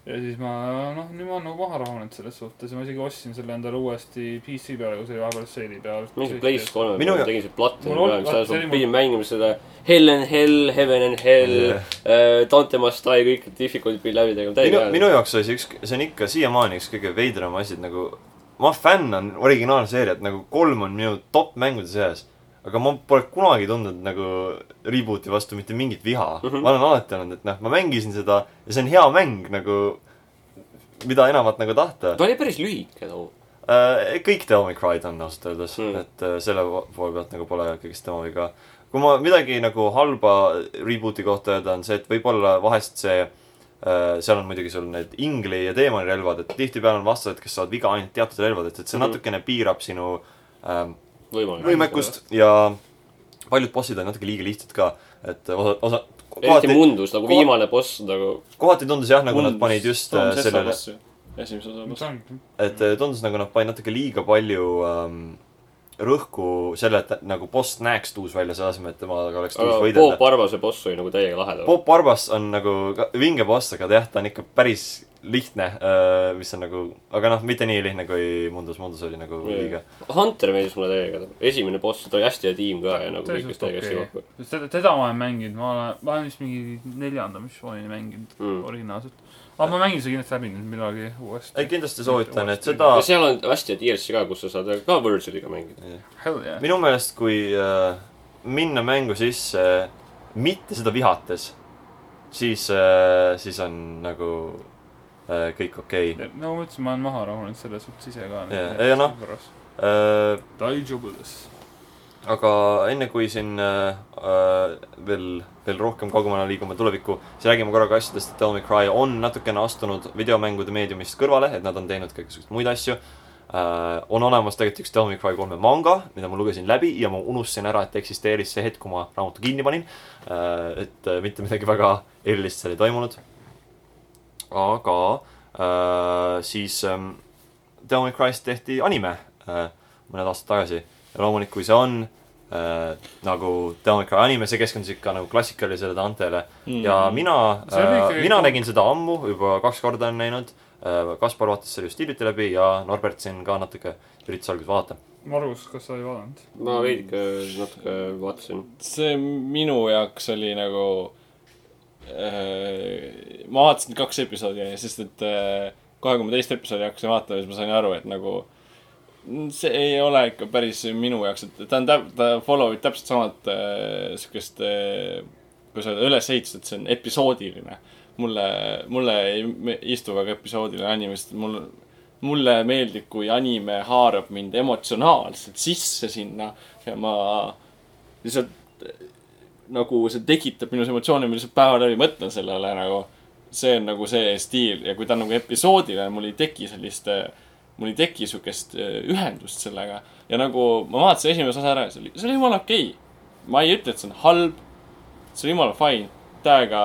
[SPEAKER 3] ja siis ma noh , nüüd ma olen nagu maha rahunenud selles suhtes ja ma isegi ostsin selle endale uuesti PC peale , kui see oli vahepeal seili peal .
[SPEAKER 2] mingi Playstation kolme
[SPEAKER 1] Minu-
[SPEAKER 2] peal ma tegin selle platvormi
[SPEAKER 3] Mul on-
[SPEAKER 2] peale , mis ajas
[SPEAKER 3] see
[SPEAKER 2] ma
[SPEAKER 3] oli mul-
[SPEAKER 2] pidin mängima seda Hell and Hell , Heaven and Hell
[SPEAKER 1] Jah.
[SPEAKER 2] yeah. , Dante must die , kõik need difficult'id pidin läbi tegema ,
[SPEAKER 1] minu , minu
[SPEAKER 2] täiega hea .
[SPEAKER 1] jaoks oli see üks , see on ikka siiamaani üks kõige veidram asi , et nagu ma fännan originaalseeriat , nagu kolm on minu top mängude seas . aga ma pole kunagi tundnud nagu reboot'i vastu mitte mingit viha mm .
[SPEAKER 2] Mhm.
[SPEAKER 1] -hmm. ma olen alati olnud , et noh , ma mängisin seda ja see on hea mäng nagu , mida enamat nagu tahta .
[SPEAKER 2] ta oli päris lühike too .
[SPEAKER 1] Äh, kõik The Omicron on ausalt öeldes
[SPEAKER 2] Mm.
[SPEAKER 1] mm. , et äh, selle po- poole pealt nagu pole kõigest tema viga . kui ma midagi nagu halba reboot'i kohta öelda , on see , et võib-olla vahest see äh, seal on muidugi sul need ingli ja teemani relvad , et tihtipeale on vastased , kes saavad viga ainult teatud relvadest , et see
[SPEAKER 2] Mhm.
[SPEAKER 1] natukene piirab sinu ähm,
[SPEAKER 2] võimalik .
[SPEAKER 1] võimekust ja paljud bossid on natuke liiga lihtsad ka , et osa , osa
[SPEAKER 2] eriti
[SPEAKER 1] kohati ,
[SPEAKER 2] Mundus nagu
[SPEAKER 1] kohati-
[SPEAKER 2] viimane boss nagu .
[SPEAKER 1] kohati tundus jah , nagu nad panid just äh, sellele
[SPEAKER 4] esimese osa vastu .
[SPEAKER 1] et eh, tundus nagu nad panid natuke liiga palju ähm, rõhku selle , et nagu boss näeks tuus välja , selle asemel , et temaga oleks tuus
[SPEAKER 2] aga Äh, Bob
[SPEAKER 1] võidelda .
[SPEAKER 2] Barba see boss oli nagu täiega lahe too .
[SPEAKER 1] Bob Barbas on nagu ka- vinge boss , aga jah , ta on ikka päris lihtne , mis on nagu , aga noh , mitte nii lihtne kui Mundus , Mundus oli nagu
[SPEAKER 2] Jaa.
[SPEAKER 1] liiga .
[SPEAKER 2] Hunter meeldis mulle täiega too , esimene boss , ta oli hästi hea tiim ka ja nagu kõik olid täiega hästi kokku .
[SPEAKER 3] seda , teda ma olen mänginud , ma olen , ma olen vist mingi neljanda missioonini mänginud
[SPEAKER 2] Mm.
[SPEAKER 3] originaalselt . aga ma mängin seda kindlasti läbi nüüd millalgi
[SPEAKER 1] ei ,
[SPEAKER 3] uuesti .
[SPEAKER 1] kindlasti soovitan , et seda
[SPEAKER 2] ja seal on hästi hea DLC ka , kus sa saad ka Virgiliga mängida .
[SPEAKER 3] Hell yeah .
[SPEAKER 1] minu meelest , kui äh, minna mängu sisse mitte seda vihates , siis äh, , siis on nagu äh, kõik okei okay. .
[SPEAKER 3] nagu ma ütlesin , ma olen maha rahunenud selles suhtes ise ka .
[SPEAKER 1] Jaa, ei noh. . Äh,
[SPEAKER 3] Daijobu des .
[SPEAKER 1] aga enne kui siin äh, äh, veel , veel rohkem kaugemale liigume tulevikku , siis räägime korraga asjadest , et Tell Me Cry on natukene astunud videomängude meediumist kõrvale , et nad on teinud ka igasuguseid muid asju äh, . on olemas tegelikult üks Tell Me Cry kolme manga , mida ma lugesin läbi ja ma unustasin ära , et eksisteeris see hetk , kui ma raamatu kinni panin äh, . et äh, mitte midagi väga erilist seal ei toimunud . aga äh, siis ähm, Tell Me Cry'st tehti anime äh, mõned aastad tagasi ja loomulikult , kui see on äh, nagu Tell Me Cry anime , see keskendus ikka nagu klassikalisele Dantele mm. ja mina
[SPEAKER 3] See oli
[SPEAKER 1] äh,
[SPEAKER 3] ikkagi ,
[SPEAKER 1] mina
[SPEAKER 3] cool.
[SPEAKER 1] nägin seda ammu , juba kaks korda olen näinud äh, . Kaspar vaatas selle just hiljuti läbi ja Norbert siin ka natuke üritas alguses vaadata .
[SPEAKER 3] Margus , kas sa ei vaadanud ?
[SPEAKER 2] ma veidike natuke vaatasin .
[SPEAKER 4] see minu jaoks oli nagu äh, . ma vaatasin kaks episoodi , sest et äh, kohe , kui ma teist episoodi hakkasin vaatama , siis ma sain aru , et nagu . see ei ole ikka päris minu jaoks , et ta on täp- , ta follow ib täpselt samat äh, siukest äh, . kuidas öelda , ülesehitust , et see on episoodiline . mulle , mulle ei me- istu väga episoodile animest , mul , mulle meeldib , kui anime haarab mind emotsionaalselt sisse sinna ja ma lihtsalt nagu see tekitab minus emotsioone , ma lihtsalt päeva läbi mõtlen sellele nagu . see on nagu see stiil ja kui ta on nagu episoodile , mul ei teki sellist , mul ei teki siukest eh, ühendust sellega . ja nagu ma vaatasin esimese osa ära ja see oli , see oli jumala okei okay. . ma ei ütle , et see on halb . see oli jumala fine , täiega ,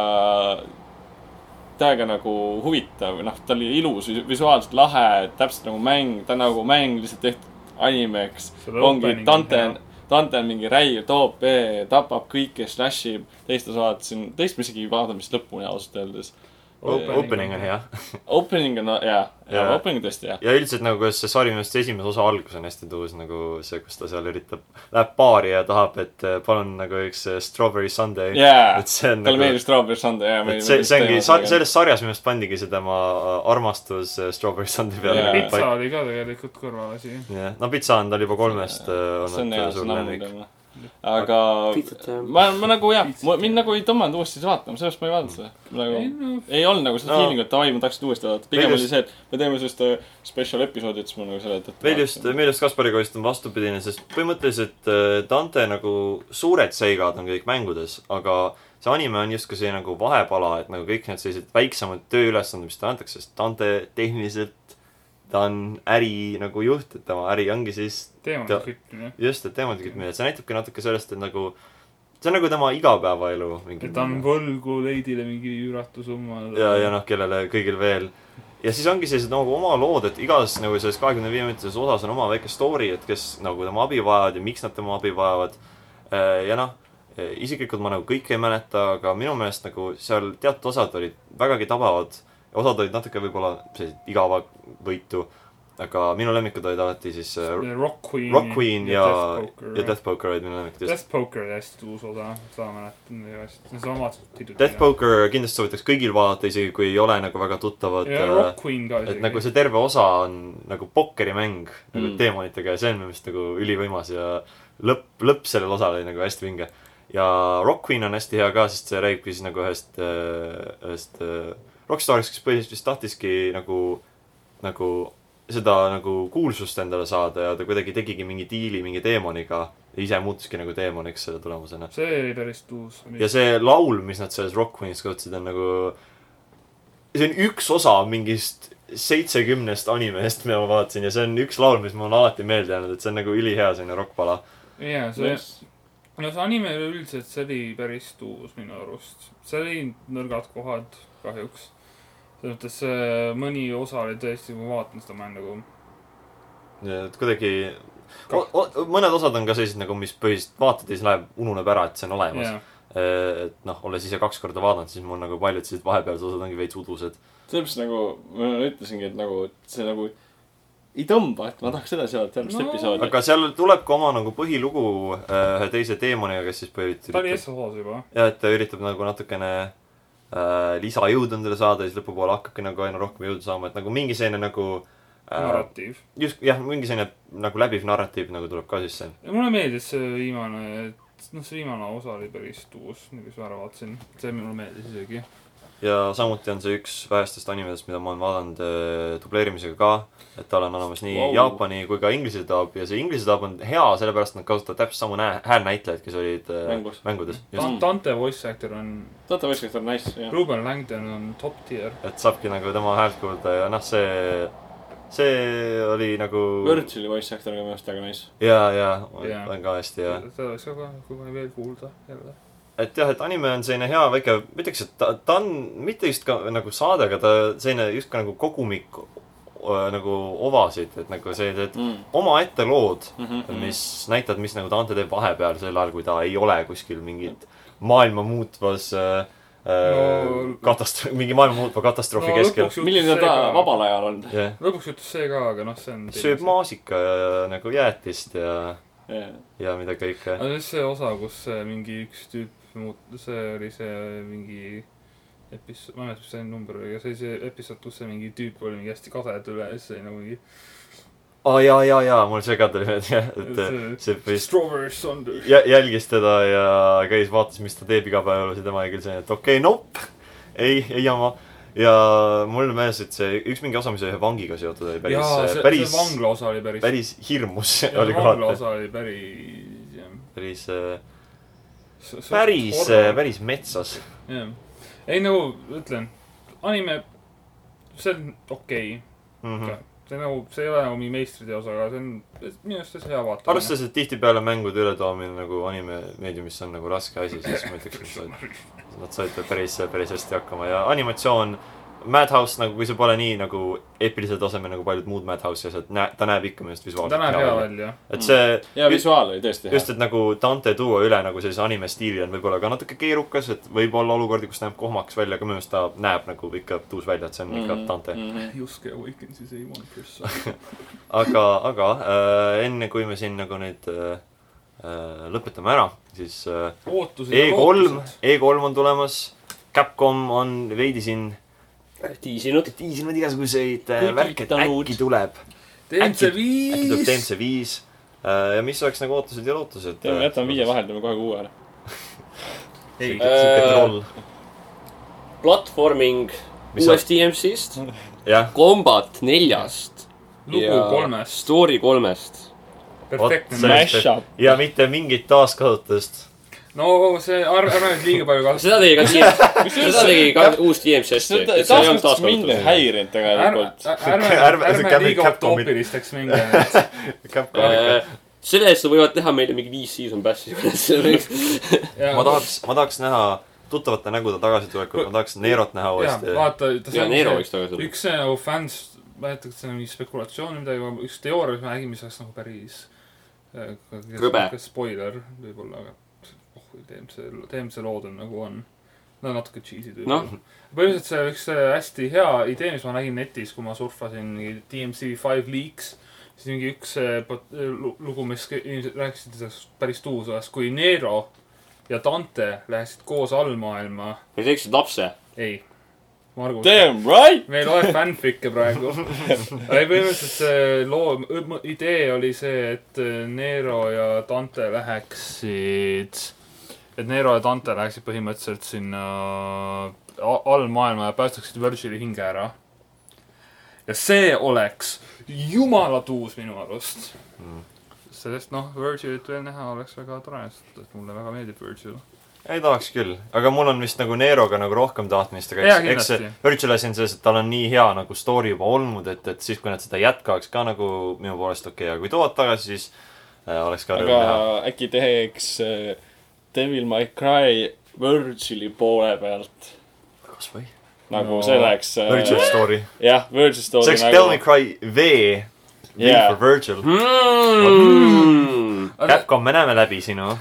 [SPEAKER 4] täiega nagu huvitav , noh , ta oli ilus , visuaalselt lahe , täpselt nagu mäng , ta on nagu mäng lihtsalt tehtud animeks .
[SPEAKER 3] Selle
[SPEAKER 4] ongi
[SPEAKER 3] opening on
[SPEAKER 4] Dante
[SPEAKER 3] hea.
[SPEAKER 4] on , Dante on mingi räige top , tapab kõike , slashib , teist ma vaatasin , teist ma isegi ei vaadanud vist lõpuni ausalt öeldes .
[SPEAKER 1] opening, opening
[SPEAKER 3] Opening
[SPEAKER 1] on
[SPEAKER 3] on
[SPEAKER 1] hea .
[SPEAKER 4] Opening on , jaa , jaa
[SPEAKER 1] Jaa. ,
[SPEAKER 4] opening tõesti hea .
[SPEAKER 1] ja üldiselt nagu see sari minu arust esimese osa algus on hästi tuus , nagu see , kus ta seal üritab , läheb baari ja tahab , et eh, palun nagu üks eh, strawberry sundae
[SPEAKER 4] jaa ,
[SPEAKER 1] et see on
[SPEAKER 4] talle
[SPEAKER 1] nagu
[SPEAKER 4] meeldis Strawberry Sunday , jaa .
[SPEAKER 1] et see , see ongi , selles sarjas minu arust pandigi see tema armastus eh, Strawberry Sunday peale
[SPEAKER 4] Jaa.
[SPEAKER 1] yeah.
[SPEAKER 3] pitsa oli ka tegelikult kõrvalasi .
[SPEAKER 1] jah , no pitsa on tal juba kolmest eh,
[SPEAKER 4] see on
[SPEAKER 1] olnud
[SPEAKER 4] hea ,
[SPEAKER 1] eh,
[SPEAKER 4] see
[SPEAKER 1] suur
[SPEAKER 4] on
[SPEAKER 1] lemmik .
[SPEAKER 4] ammu . aga
[SPEAKER 2] Pitsat ja-
[SPEAKER 4] ma , ma nagu jah ,
[SPEAKER 3] Pitsat ja-
[SPEAKER 4] mind nagu ei tõmmanud uuesti seda vaatama , sellepärast ma ei vaadanud seda . nagu
[SPEAKER 3] ei noh ,
[SPEAKER 4] ei olnud nagu seda
[SPEAKER 1] No.
[SPEAKER 4] feeling'ut , et davai , ma tahaks seda uuesti vaadata . pigem
[SPEAKER 1] Veidus-
[SPEAKER 4] oli see , et me teeme sellist äh, special episoodi , et siis ma nagu selle tõttu .
[SPEAKER 1] meil just , äh, meil just Kaspariga vist on vastupidine , sest põhimõtteliselt äh, Dante nagu suured seigad on kõik mängudes , aga see anime on justkui see nagu vahepala , et nagu kõik need sellised väiksemad tööülesanded , mis talle antakse , sest Dante tehniliselt ta on äri nagu juht , et tema äri ongi siis
[SPEAKER 3] teema
[SPEAKER 1] Ta-
[SPEAKER 3] on kriitiline .
[SPEAKER 1] just , et teemadega müüa , see näitabki natuke sellest , et nagu see on nagu tema igapäevaelu mingi
[SPEAKER 3] et ta on võlgu leidile mingi üüratu summa .
[SPEAKER 1] ja , ja noh , kellele kõigil veel . ja siis ongi sellised nagu oma lood , et igas nagu selles kahekümne viie minutises osas on oma väike story , et kes nagu tema abi vajavad ja miks nad tema abi vajavad . ja noh , isiklikult ma nagu kõike ei mäleta , aga minu meelest nagu seal teatud osad olid vägagi tabavad . osad olid natuke võib-olla sellised igavavõitu , aga minu lemmikud olid alati siis äh,
[SPEAKER 3] Rock Queen .
[SPEAKER 1] Rock Queen ja , ja
[SPEAKER 3] ja Death
[SPEAKER 1] Death Poker olid minu lemmikud just .
[SPEAKER 3] Death Poker oli hästi uus osa , seda ma mäletan , see on samad titulid .
[SPEAKER 1] Death Poker kindlasti soovitaks kõigil vaadata , isegi kui ei ole nagu väga tuttavad
[SPEAKER 3] ja
[SPEAKER 1] äh,
[SPEAKER 3] Rock Queen ka
[SPEAKER 1] et nagu see terve osa on nagu pokkerimäng nagu mm.
[SPEAKER 4] Mm.
[SPEAKER 1] teemonitega ja see on minu meelest nagu ülivõimas ja lõpp , lõpp sellel osal oli nagu hästi vinge . ja Rock Queen on hästi hea ka , sest see räägibki siis nagu ühest , ühest äh, rockstaarist , kes põhiliselt vist tahtiski nagu , nagu seda nagu kuulsust endale saada ja ta kuidagi tegigi mingi diili mingi teemoniga . ise muutuski nagu teemoniks selle tulemusena .
[SPEAKER 3] see oli päris uus .
[SPEAKER 1] ja see laul , mis nad selles Rock Queenis kasutasid , on nagu , see on üks osa mingist seitsekümnest animest , mida ma vaatasin ja see on üks laul , mis mul on alati meelde jäänud , et see on nagu ülihea selline rokkpala .
[SPEAKER 3] jaa , see , no see anime üleüldiselt , see oli päris uus minu arust . see oli nõrgad kohad kahjuks . selles mõttes see mõni osa oli tõesti , kui ma vaatan seda , ma olen nagu ,
[SPEAKER 1] et kuidagi , mõned osad on ka sellised nagu , mis põhiliselt vaatad ja siis läheb , ununeb ära , et see on olemas .
[SPEAKER 3] jah .
[SPEAKER 1] et noh , olles ise kaks korda vaadanud , siis mul nagu paljud sellised vahepealsed osad ongi veits udused .
[SPEAKER 4] sellepärast nagu ma ütlesingi , et nagu et see nagu ei tõmba , et ma tahaks edasi vaadata järgmist
[SPEAKER 3] No.
[SPEAKER 4] episoodi .
[SPEAKER 1] aga seal tuleb ka oma nagu põhilugu äh, ühe teise teemoniga , kes siis põhiliselt
[SPEAKER 3] ta oli eestlase osas juba .
[SPEAKER 1] jah , et ta üritab nagu natukene äh, lisajõudu endale saada ja siis lõpupoole hakkabki nagu aina rohkem jõudu saama , et nagu mingi selline nagu äh,
[SPEAKER 3] narratiiv .
[SPEAKER 1] just jah , mingi selline nagu läbiv narratiiv nagu tuleb ka sisse .
[SPEAKER 3] ja mulle meeldis see viimane , noh , see viimane osa oli päris uus , mis ma ära vaatasin . see mulle meeldis isegi .
[SPEAKER 1] ja samuti on see üks vähestest animedest , mida ma olen vaadanud äh, dubleerimisega ka , et tal on olemas nii wow.
[SPEAKER 4] Vau.
[SPEAKER 1] Jaapani kui ka Inglise dub ja see Inglise dub on hea , sellepärast et nad kasutavad täpselt samu nä- häälnäitlejaid , kes olid äh,
[SPEAKER 4] Mängus.
[SPEAKER 1] mängudes . just ,
[SPEAKER 3] Dante voice actor on ,
[SPEAKER 4] Data Weskit on nice , jah .
[SPEAKER 3] Ruben Langdon on top tier .
[SPEAKER 1] et saabki nagu tema häält kuulda ja noh , see , see oli nagu
[SPEAKER 4] Virtuali voice actor on ka minu arust väga nice .
[SPEAKER 1] ja , ja ,
[SPEAKER 3] Jaa.
[SPEAKER 1] on ka hästi hea
[SPEAKER 3] seda võiks ka kohe , kohe veel kuulda jälle .
[SPEAKER 1] et jah , et anime on selline hea väike , ma ütleks , et ta , ta on mitte just ka nagu saade , aga ta selline just ka nagu kogumik öö, nagu ovasid , et nagu sellised
[SPEAKER 3] Mm.
[SPEAKER 1] omaette lood ,
[SPEAKER 4] Mhm.
[SPEAKER 3] Mhm.
[SPEAKER 1] mis näitavad , mis nagu Dante teeb vahepeal sel ajal , kui ta ei ole kuskil mingit maailma muutvas äh, no,
[SPEAKER 3] No-
[SPEAKER 1] katastro- , mingi maailma muutva katastroofi no, keskel .
[SPEAKER 4] milline ta vabal ajal on .
[SPEAKER 1] jah ,
[SPEAKER 3] lõpuks juhtus see ka , aga noh , see on .
[SPEAKER 1] sööb . maasika ja nagu jäätist ja , ja mida kõike .
[SPEAKER 3] aga siis see osa , kus see mingi üks tüüp muut- , see oli see mingi episood , ma ei mäleta , mis see number oli , aga see oli see episood , kus see mingi tüüp oli mingi hästi kase tule ja siis oli nagu mingi
[SPEAKER 1] aa oh, , jaa , jaa , jaa , mul see ka tuli meelde , jah , et äh,
[SPEAKER 3] see-
[SPEAKER 1] see vist
[SPEAKER 3] Strawberry Thunder .
[SPEAKER 1] jä- , jälgis teda ja käis , vaatas , mis ta teeb igapäevaelus ja tema oli küll selline , et okei okay, , nopp . ei , ei jama . ja mul on meeles , et see üks mingi osa , mis oli ühe vangiga seotud , oli
[SPEAKER 3] jaa ,
[SPEAKER 1] päris ,
[SPEAKER 3] see ,
[SPEAKER 1] päris
[SPEAKER 3] see , vangla osa oli päris ,
[SPEAKER 1] päris hirmus
[SPEAKER 3] see
[SPEAKER 1] oli
[SPEAKER 3] vangla
[SPEAKER 1] kohati .
[SPEAKER 3] osa oli päris ,
[SPEAKER 1] päris , päris , äh, päris metsas .
[SPEAKER 3] jah . ei nagu , ütlen , anime , see on okei okay.
[SPEAKER 1] Mhm.
[SPEAKER 3] mm. , see nagu , see ei ole nagu mingi meistriteos , aga see on minu arust see on hea vaatamine .
[SPEAKER 1] arvestades , et tihtipeale mängude ületoomine nagu anime meediumisse on nagu raske asi , siis ma ütleks , et nad- nad said päris , päris hästi hakkama ja animatsioon . Madhouse nagu , kui see pole nii nagu eepilisel tasemel nagu paljud muud Madhouse'i asjad , näe- , ta näeb ikka minu arust
[SPEAKER 3] ta näeb mm. hea
[SPEAKER 1] visuaalselt .
[SPEAKER 3] välja .
[SPEAKER 1] et see .
[SPEAKER 4] ja visuaal oli tõesti hea
[SPEAKER 1] just ,. et nagu Dante tuua üle nagu sellise anime stiili on võib-olla ka natuke keerukas , et võib olla olukordi , kus ta näeb kohmakas välja , aga minu meelest ta näeb nagu ikka tuus välja , et see on
[SPEAKER 3] Mm,
[SPEAKER 1] ikka Dante .
[SPEAKER 2] Mhm.
[SPEAKER 4] -hmm.
[SPEAKER 3] Yusuke Awaken siis ei olnud küssa .
[SPEAKER 1] aga , aga äh, enne kui me siin nagu nüüd äh, äh, lõpetame ära , siis äh,
[SPEAKER 3] ootused ja
[SPEAKER 1] E3
[SPEAKER 3] lootused .,
[SPEAKER 1] E3 on tulemas . Capcom on veidi siin
[SPEAKER 2] tiisinud .
[SPEAKER 1] tiisinud igasuguseid äh,
[SPEAKER 2] Kutitanud.
[SPEAKER 1] värke , et äkki tuleb ,
[SPEAKER 3] DMC
[SPEAKER 1] äkki- äkki tuleb
[SPEAKER 3] viis .
[SPEAKER 1] DMC viis . ja mis oleks nagu ootused ja lootused ?
[SPEAKER 4] teeme , jätame viie . vahele , teeme kohe kuue ära .
[SPEAKER 3] ei ,
[SPEAKER 1] Äh,
[SPEAKER 2] platvorming
[SPEAKER 1] Mis
[SPEAKER 2] uuest DMC-st ,
[SPEAKER 1] jah ,
[SPEAKER 2] Combat neljast .
[SPEAKER 3] lugu kolmest ,
[SPEAKER 2] Story kolmest .
[SPEAKER 1] vot see-
[SPEAKER 3] perfektne .
[SPEAKER 4] Mash-up .
[SPEAKER 1] ja mitte mingit taaskasutust .
[SPEAKER 3] no see , ärme nüüd liiga palju kasuta .
[SPEAKER 2] seda tegi ka DMC , seda tegi ka
[SPEAKER 4] jah.
[SPEAKER 2] uus DMC hästi .
[SPEAKER 4] taaskasutust mind ei häirinud
[SPEAKER 3] ärme ,
[SPEAKER 4] tegelikult .
[SPEAKER 3] ärme ,
[SPEAKER 1] Ärme- see
[SPEAKER 3] ärme
[SPEAKER 1] Capcom-
[SPEAKER 3] liiga
[SPEAKER 1] Capcomit-
[SPEAKER 3] utoopiliseks minge .
[SPEAKER 2] Äh,
[SPEAKER 1] Capcom .
[SPEAKER 2] selle eest nad võivad teha meile mingi viis season pass'i .
[SPEAKER 1] ma tahaks , ma tahaks näha tuttavate nägude tagasitulekut , ma tahaks Neerot näha
[SPEAKER 3] jah
[SPEAKER 1] uuesti .,
[SPEAKER 3] vaata ,
[SPEAKER 2] ja Neero võiks tagasi tulla .
[SPEAKER 3] üks see nagu fänns , mäletad , see on mingi spekulatsioon või midagi , üks teooria , mis ma nägin , mis oleks nagu päris äh,
[SPEAKER 2] Krõbe.
[SPEAKER 3] kas spoiler võib-olla , aga oh, DMC , DMC lood on nagu on . no natuke cheesy'd võib-olla
[SPEAKER 2] Noh.
[SPEAKER 3] no. . põhimõtteliselt see üks äh, hästi hea idee , mis ma nägin netis , kui ma surfasin DMC Five Leaks , siis mingi üks äh, pot- lu- lugu , mis kõ- inimesed rääkisid sellest päris tuusast , kui Nero ja Dante läheksid koos allmaailma ,
[SPEAKER 2] ja teeksid lapse .
[SPEAKER 3] ei , Margus .
[SPEAKER 4] Damn right .
[SPEAKER 3] me ei loe fanfic'e praegu . ei , põhimõtteliselt see loo , idee oli see , et äh, Nero ja Dante läheksid , et Nero ja Dante läheksid põhimõtteliselt sinna äh, a- allmaailma ja päästaksid Virgili hinge ära . ja see oleks jumala tuus minu arust
[SPEAKER 1] Mm.
[SPEAKER 3] sest noh , Virgilit veel näha oleks väga tore , sest et mulle väga meeldib Virgil .
[SPEAKER 1] ei tahaks küll , aga mul on vist nagu Neeroga nagu rohkem tahtmist , aga
[SPEAKER 3] Jaa,
[SPEAKER 1] eks , eks see
[SPEAKER 3] kindlasti.
[SPEAKER 1] Virtual asi on selles , et tal on nii hea nagu story juba olnud , et , et siis , kui nad seda jätkaks ka nagu minu poolest okei okay. , aga kui toovad tagasi , siis äh, oleks ka rõõm
[SPEAKER 4] aga
[SPEAKER 1] näha .
[SPEAKER 4] äkki teeks äh, Devil May Cry Virgili poole pealt .
[SPEAKER 1] kas või ?
[SPEAKER 4] nagu
[SPEAKER 3] No.
[SPEAKER 4] no. see oleks
[SPEAKER 1] Virtual
[SPEAKER 4] äh, .
[SPEAKER 1] story .
[SPEAKER 4] jah , Virgil
[SPEAKER 1] see
[SPEAKER 4] story nagu-
[SPEAKER 1] oleks Devil May . Cry V . V
[SPEAKER 4] Jaa.
[SPEAKER 1] for Virgil .
[SPEAKER 2] Mm.
[SPEAKER 1] Capcom , me näeme läbi sinu .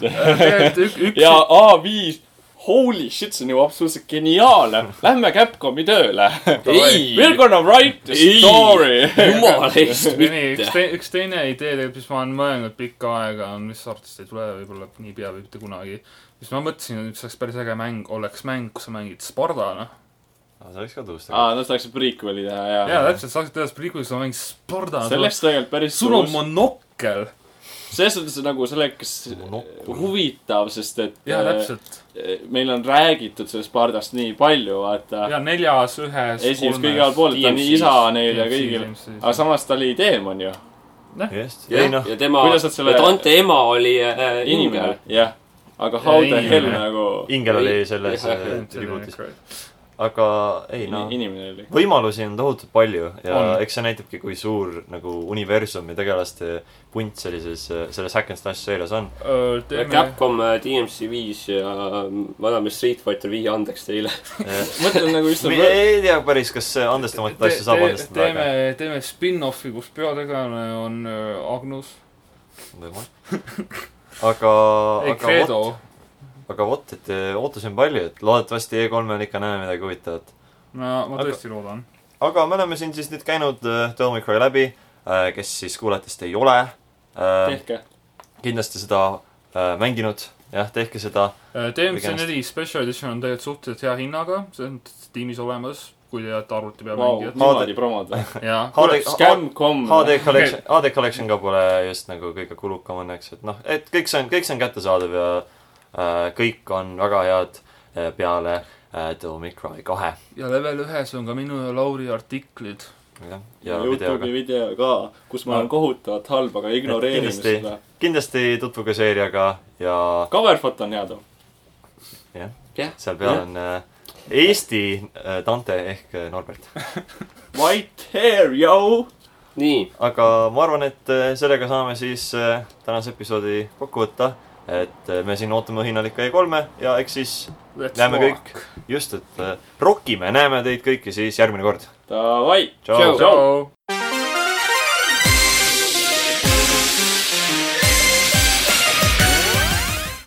[SPEAKER 4] ja A5 . Holy shit , see on ju absoluutselt geniaalne . Lähme Capcomi tööle .
[SPEAKER 2] Ei.
[SPEAKER 4] We are gonna write the
[SPEAKER 2] Ei.
[SPEAKER 4] story .
[SPEAKER 2] jumala eest
[SPEAKER 3] nii , üks
[SPEAKER 2] mitte .
[SPEAKER 3] te- , üks teine idee tegelikult , mis ma olen mõelnud pikka aega , on , mis artist ei tule võib-olla niipea või mitte kunagi . mis ma mõtlesin , et see oleks päris äge mäng , oleks mäng , kus sa mängid Spardana .
[SPEAKER 1] see oleks ka tõus
[SPEAKER 4] aa
[SPEAKER 1] tegelikult . ,
[SPEAKER 4] nad saaksid prequel'i teha ja,
[SPEAKER 3] jaa , täpselt , sa saaksid teha Sprigu , sa mängid Spardana .
[SPEAKER 4] see oleks tegelikult päris
[SPEAKER 3] sul on
[SPEAKER 4] suus.
[SPEAKER 3] monokkel .
[SPEAKER 4] selles suhtes nagu selleks
[SPEAKER 1] Monopol.
[SPEAKER 4] huvitav , sest et
[SPEAKER 3] jaa , täpselt .
[SPEAKER 4] äh, meil on räägitud sellest pardast nii palju , vaata .
[SPEAKER 3] ja neljas , ühes ,
[SPEAKER 4] esimeses kõige igal pool , et ta on
[SPEAKER 2] DMC-s.
[SPEAKER 4] isa neil ja kõigil . aga samas ta oli teemon ju .
[SPEAKER 1] just , ei
[SPEAKER 2] ja
[SPEAKER 1] noh ,
[SPEAKER 2] tema ,
[SPEAKER 4] Kuidas nad selle-
[SPEAKER 2] Dante ema oli äh, inimene
[SPEAKER 4] inimene ., jah . aga how
[SPEAKER 1] Ja
[SPEAKER 4] the
[SPEAKER 1] inimene.
[SPEAKER 4] hell nagu
[SPEAKER 1] ingel oli
[SPEAKER 2] Ei-
[SPEAKER 1] selles
[SPEAKER 2] jah,
[SPEAKER 1] äh,
[SPEAKER 2] jah,
[SPEAKER 1] tribuutis , aga ei
[SPEAKER 4] in-
[SPEAKER 1] noh
[SPEAKER 4] inimene oli .
[SPEAKER 1] võimalusi on tohutult palju ja on.
[SPEAKER 3] On.
[SPEAKER 1] eks see näitabki , kui suur nagu universum ja tegelaste punt sellises , selles Hack and Slash seerias on .
[SPEAKER 3] teeme ,
[SPEAKER 2] Capcom äh, DMC viis ja ähm, vaname Street Fighter viie andeks teile .
[SPEAKER 4] mõtlen nagu just
[SPEAKER 1] me . ei tea päris , kas see andestamatu asja saab andestada ,
[SPEAKER 3] teeme , teeme spin-offi , kus peategelane on öö, Agnus ,
[SPEAKER 1] aga . aga , aga
[SPEAKER 3] ei
[SPEAKER 1] vot ,
[SPEAKER 3] Credo .
[SPEAKER 1] aga vot , et eh, ootusi on palju , et loodetavasti E3-l ikka näeme midagi huvitavat .
[SPEAKER 3] no ma
[SPEAKER 1] Aga-
[SPEAKER 3] tõesti loodan .
[SPEAKER 1] aga me oleme siin siis nüüd käinud äh, Devil May Cry läbi , kes siis kuulajatest ei ole äh,
[SPEAKER 4] tehke .
[SPEAKER 1] kindlasti seda äh, mänginud , jah , tehke seda .
[SPEAKER 3] DMC
[SPEAKER 1] Või
[SPEAKER 3] Äh, neli Special Edition on tegelikult suhteliselt hea hinnaga , see on Steamis olemas , kui te olete arvuti peal
[SPEAKER 4] Vau ,
[SPEAKER 3] mängijad .
[SPEAKER 4] niimoodi promod või ?
[SPEAKER 3] jah ,
[SPEAKER 1] HD ,
[SPEAKER 4] Scam.com .
[SPEAKER 1] HD Collection , HD Collection ka pole just nagu kõige kulukam õnneks , et noh , et kõik see on , kõik see on kättesaadav ja äh, kõik on väga head äh, peale äh, The Omicroni kahe .
[SPEAKER 3] ja level ühes on ka minu ja Lauri artiklid .
[SPEAKER 1] jah , ja videoga
[SPEAKER 4] Youtube'i . video ka , kus ma olen kohutavalt halb , aga ignoreerin
[SPEAKER 1] kindlasti.
[SPEAKER 4] seda .
[SPEAKER 1] kindlasti tutvuge seeriaga ja
[SPEAKER 4] cover foto on hea too .
[SPEAKER 1] jah ,
[SPEAKER 2] jah ,
[SPEAKER 1] seal peal
[SPEAKER 2] Jah.
[SPEAKER 1] on äh, Eesti äh, Dante ehk äh, Norbert .
[SPEAKER 4] White hair , yo .
[SPEAKER 2] nii ,
[SPEAKER 1] aga ma arvan , et äh, sellega saame siis äh, tänase episoodi kokku võtta . et äh, me siin ootame õhinal ikka E3-e ja eks siis näeme kõik , just , et äh, rokime , näeme teid kõiki siis järgmine kord .
[SPEAKER 4] Davai .
[SPEAKER 1] tšau .
[SPEAKER 3] tšau .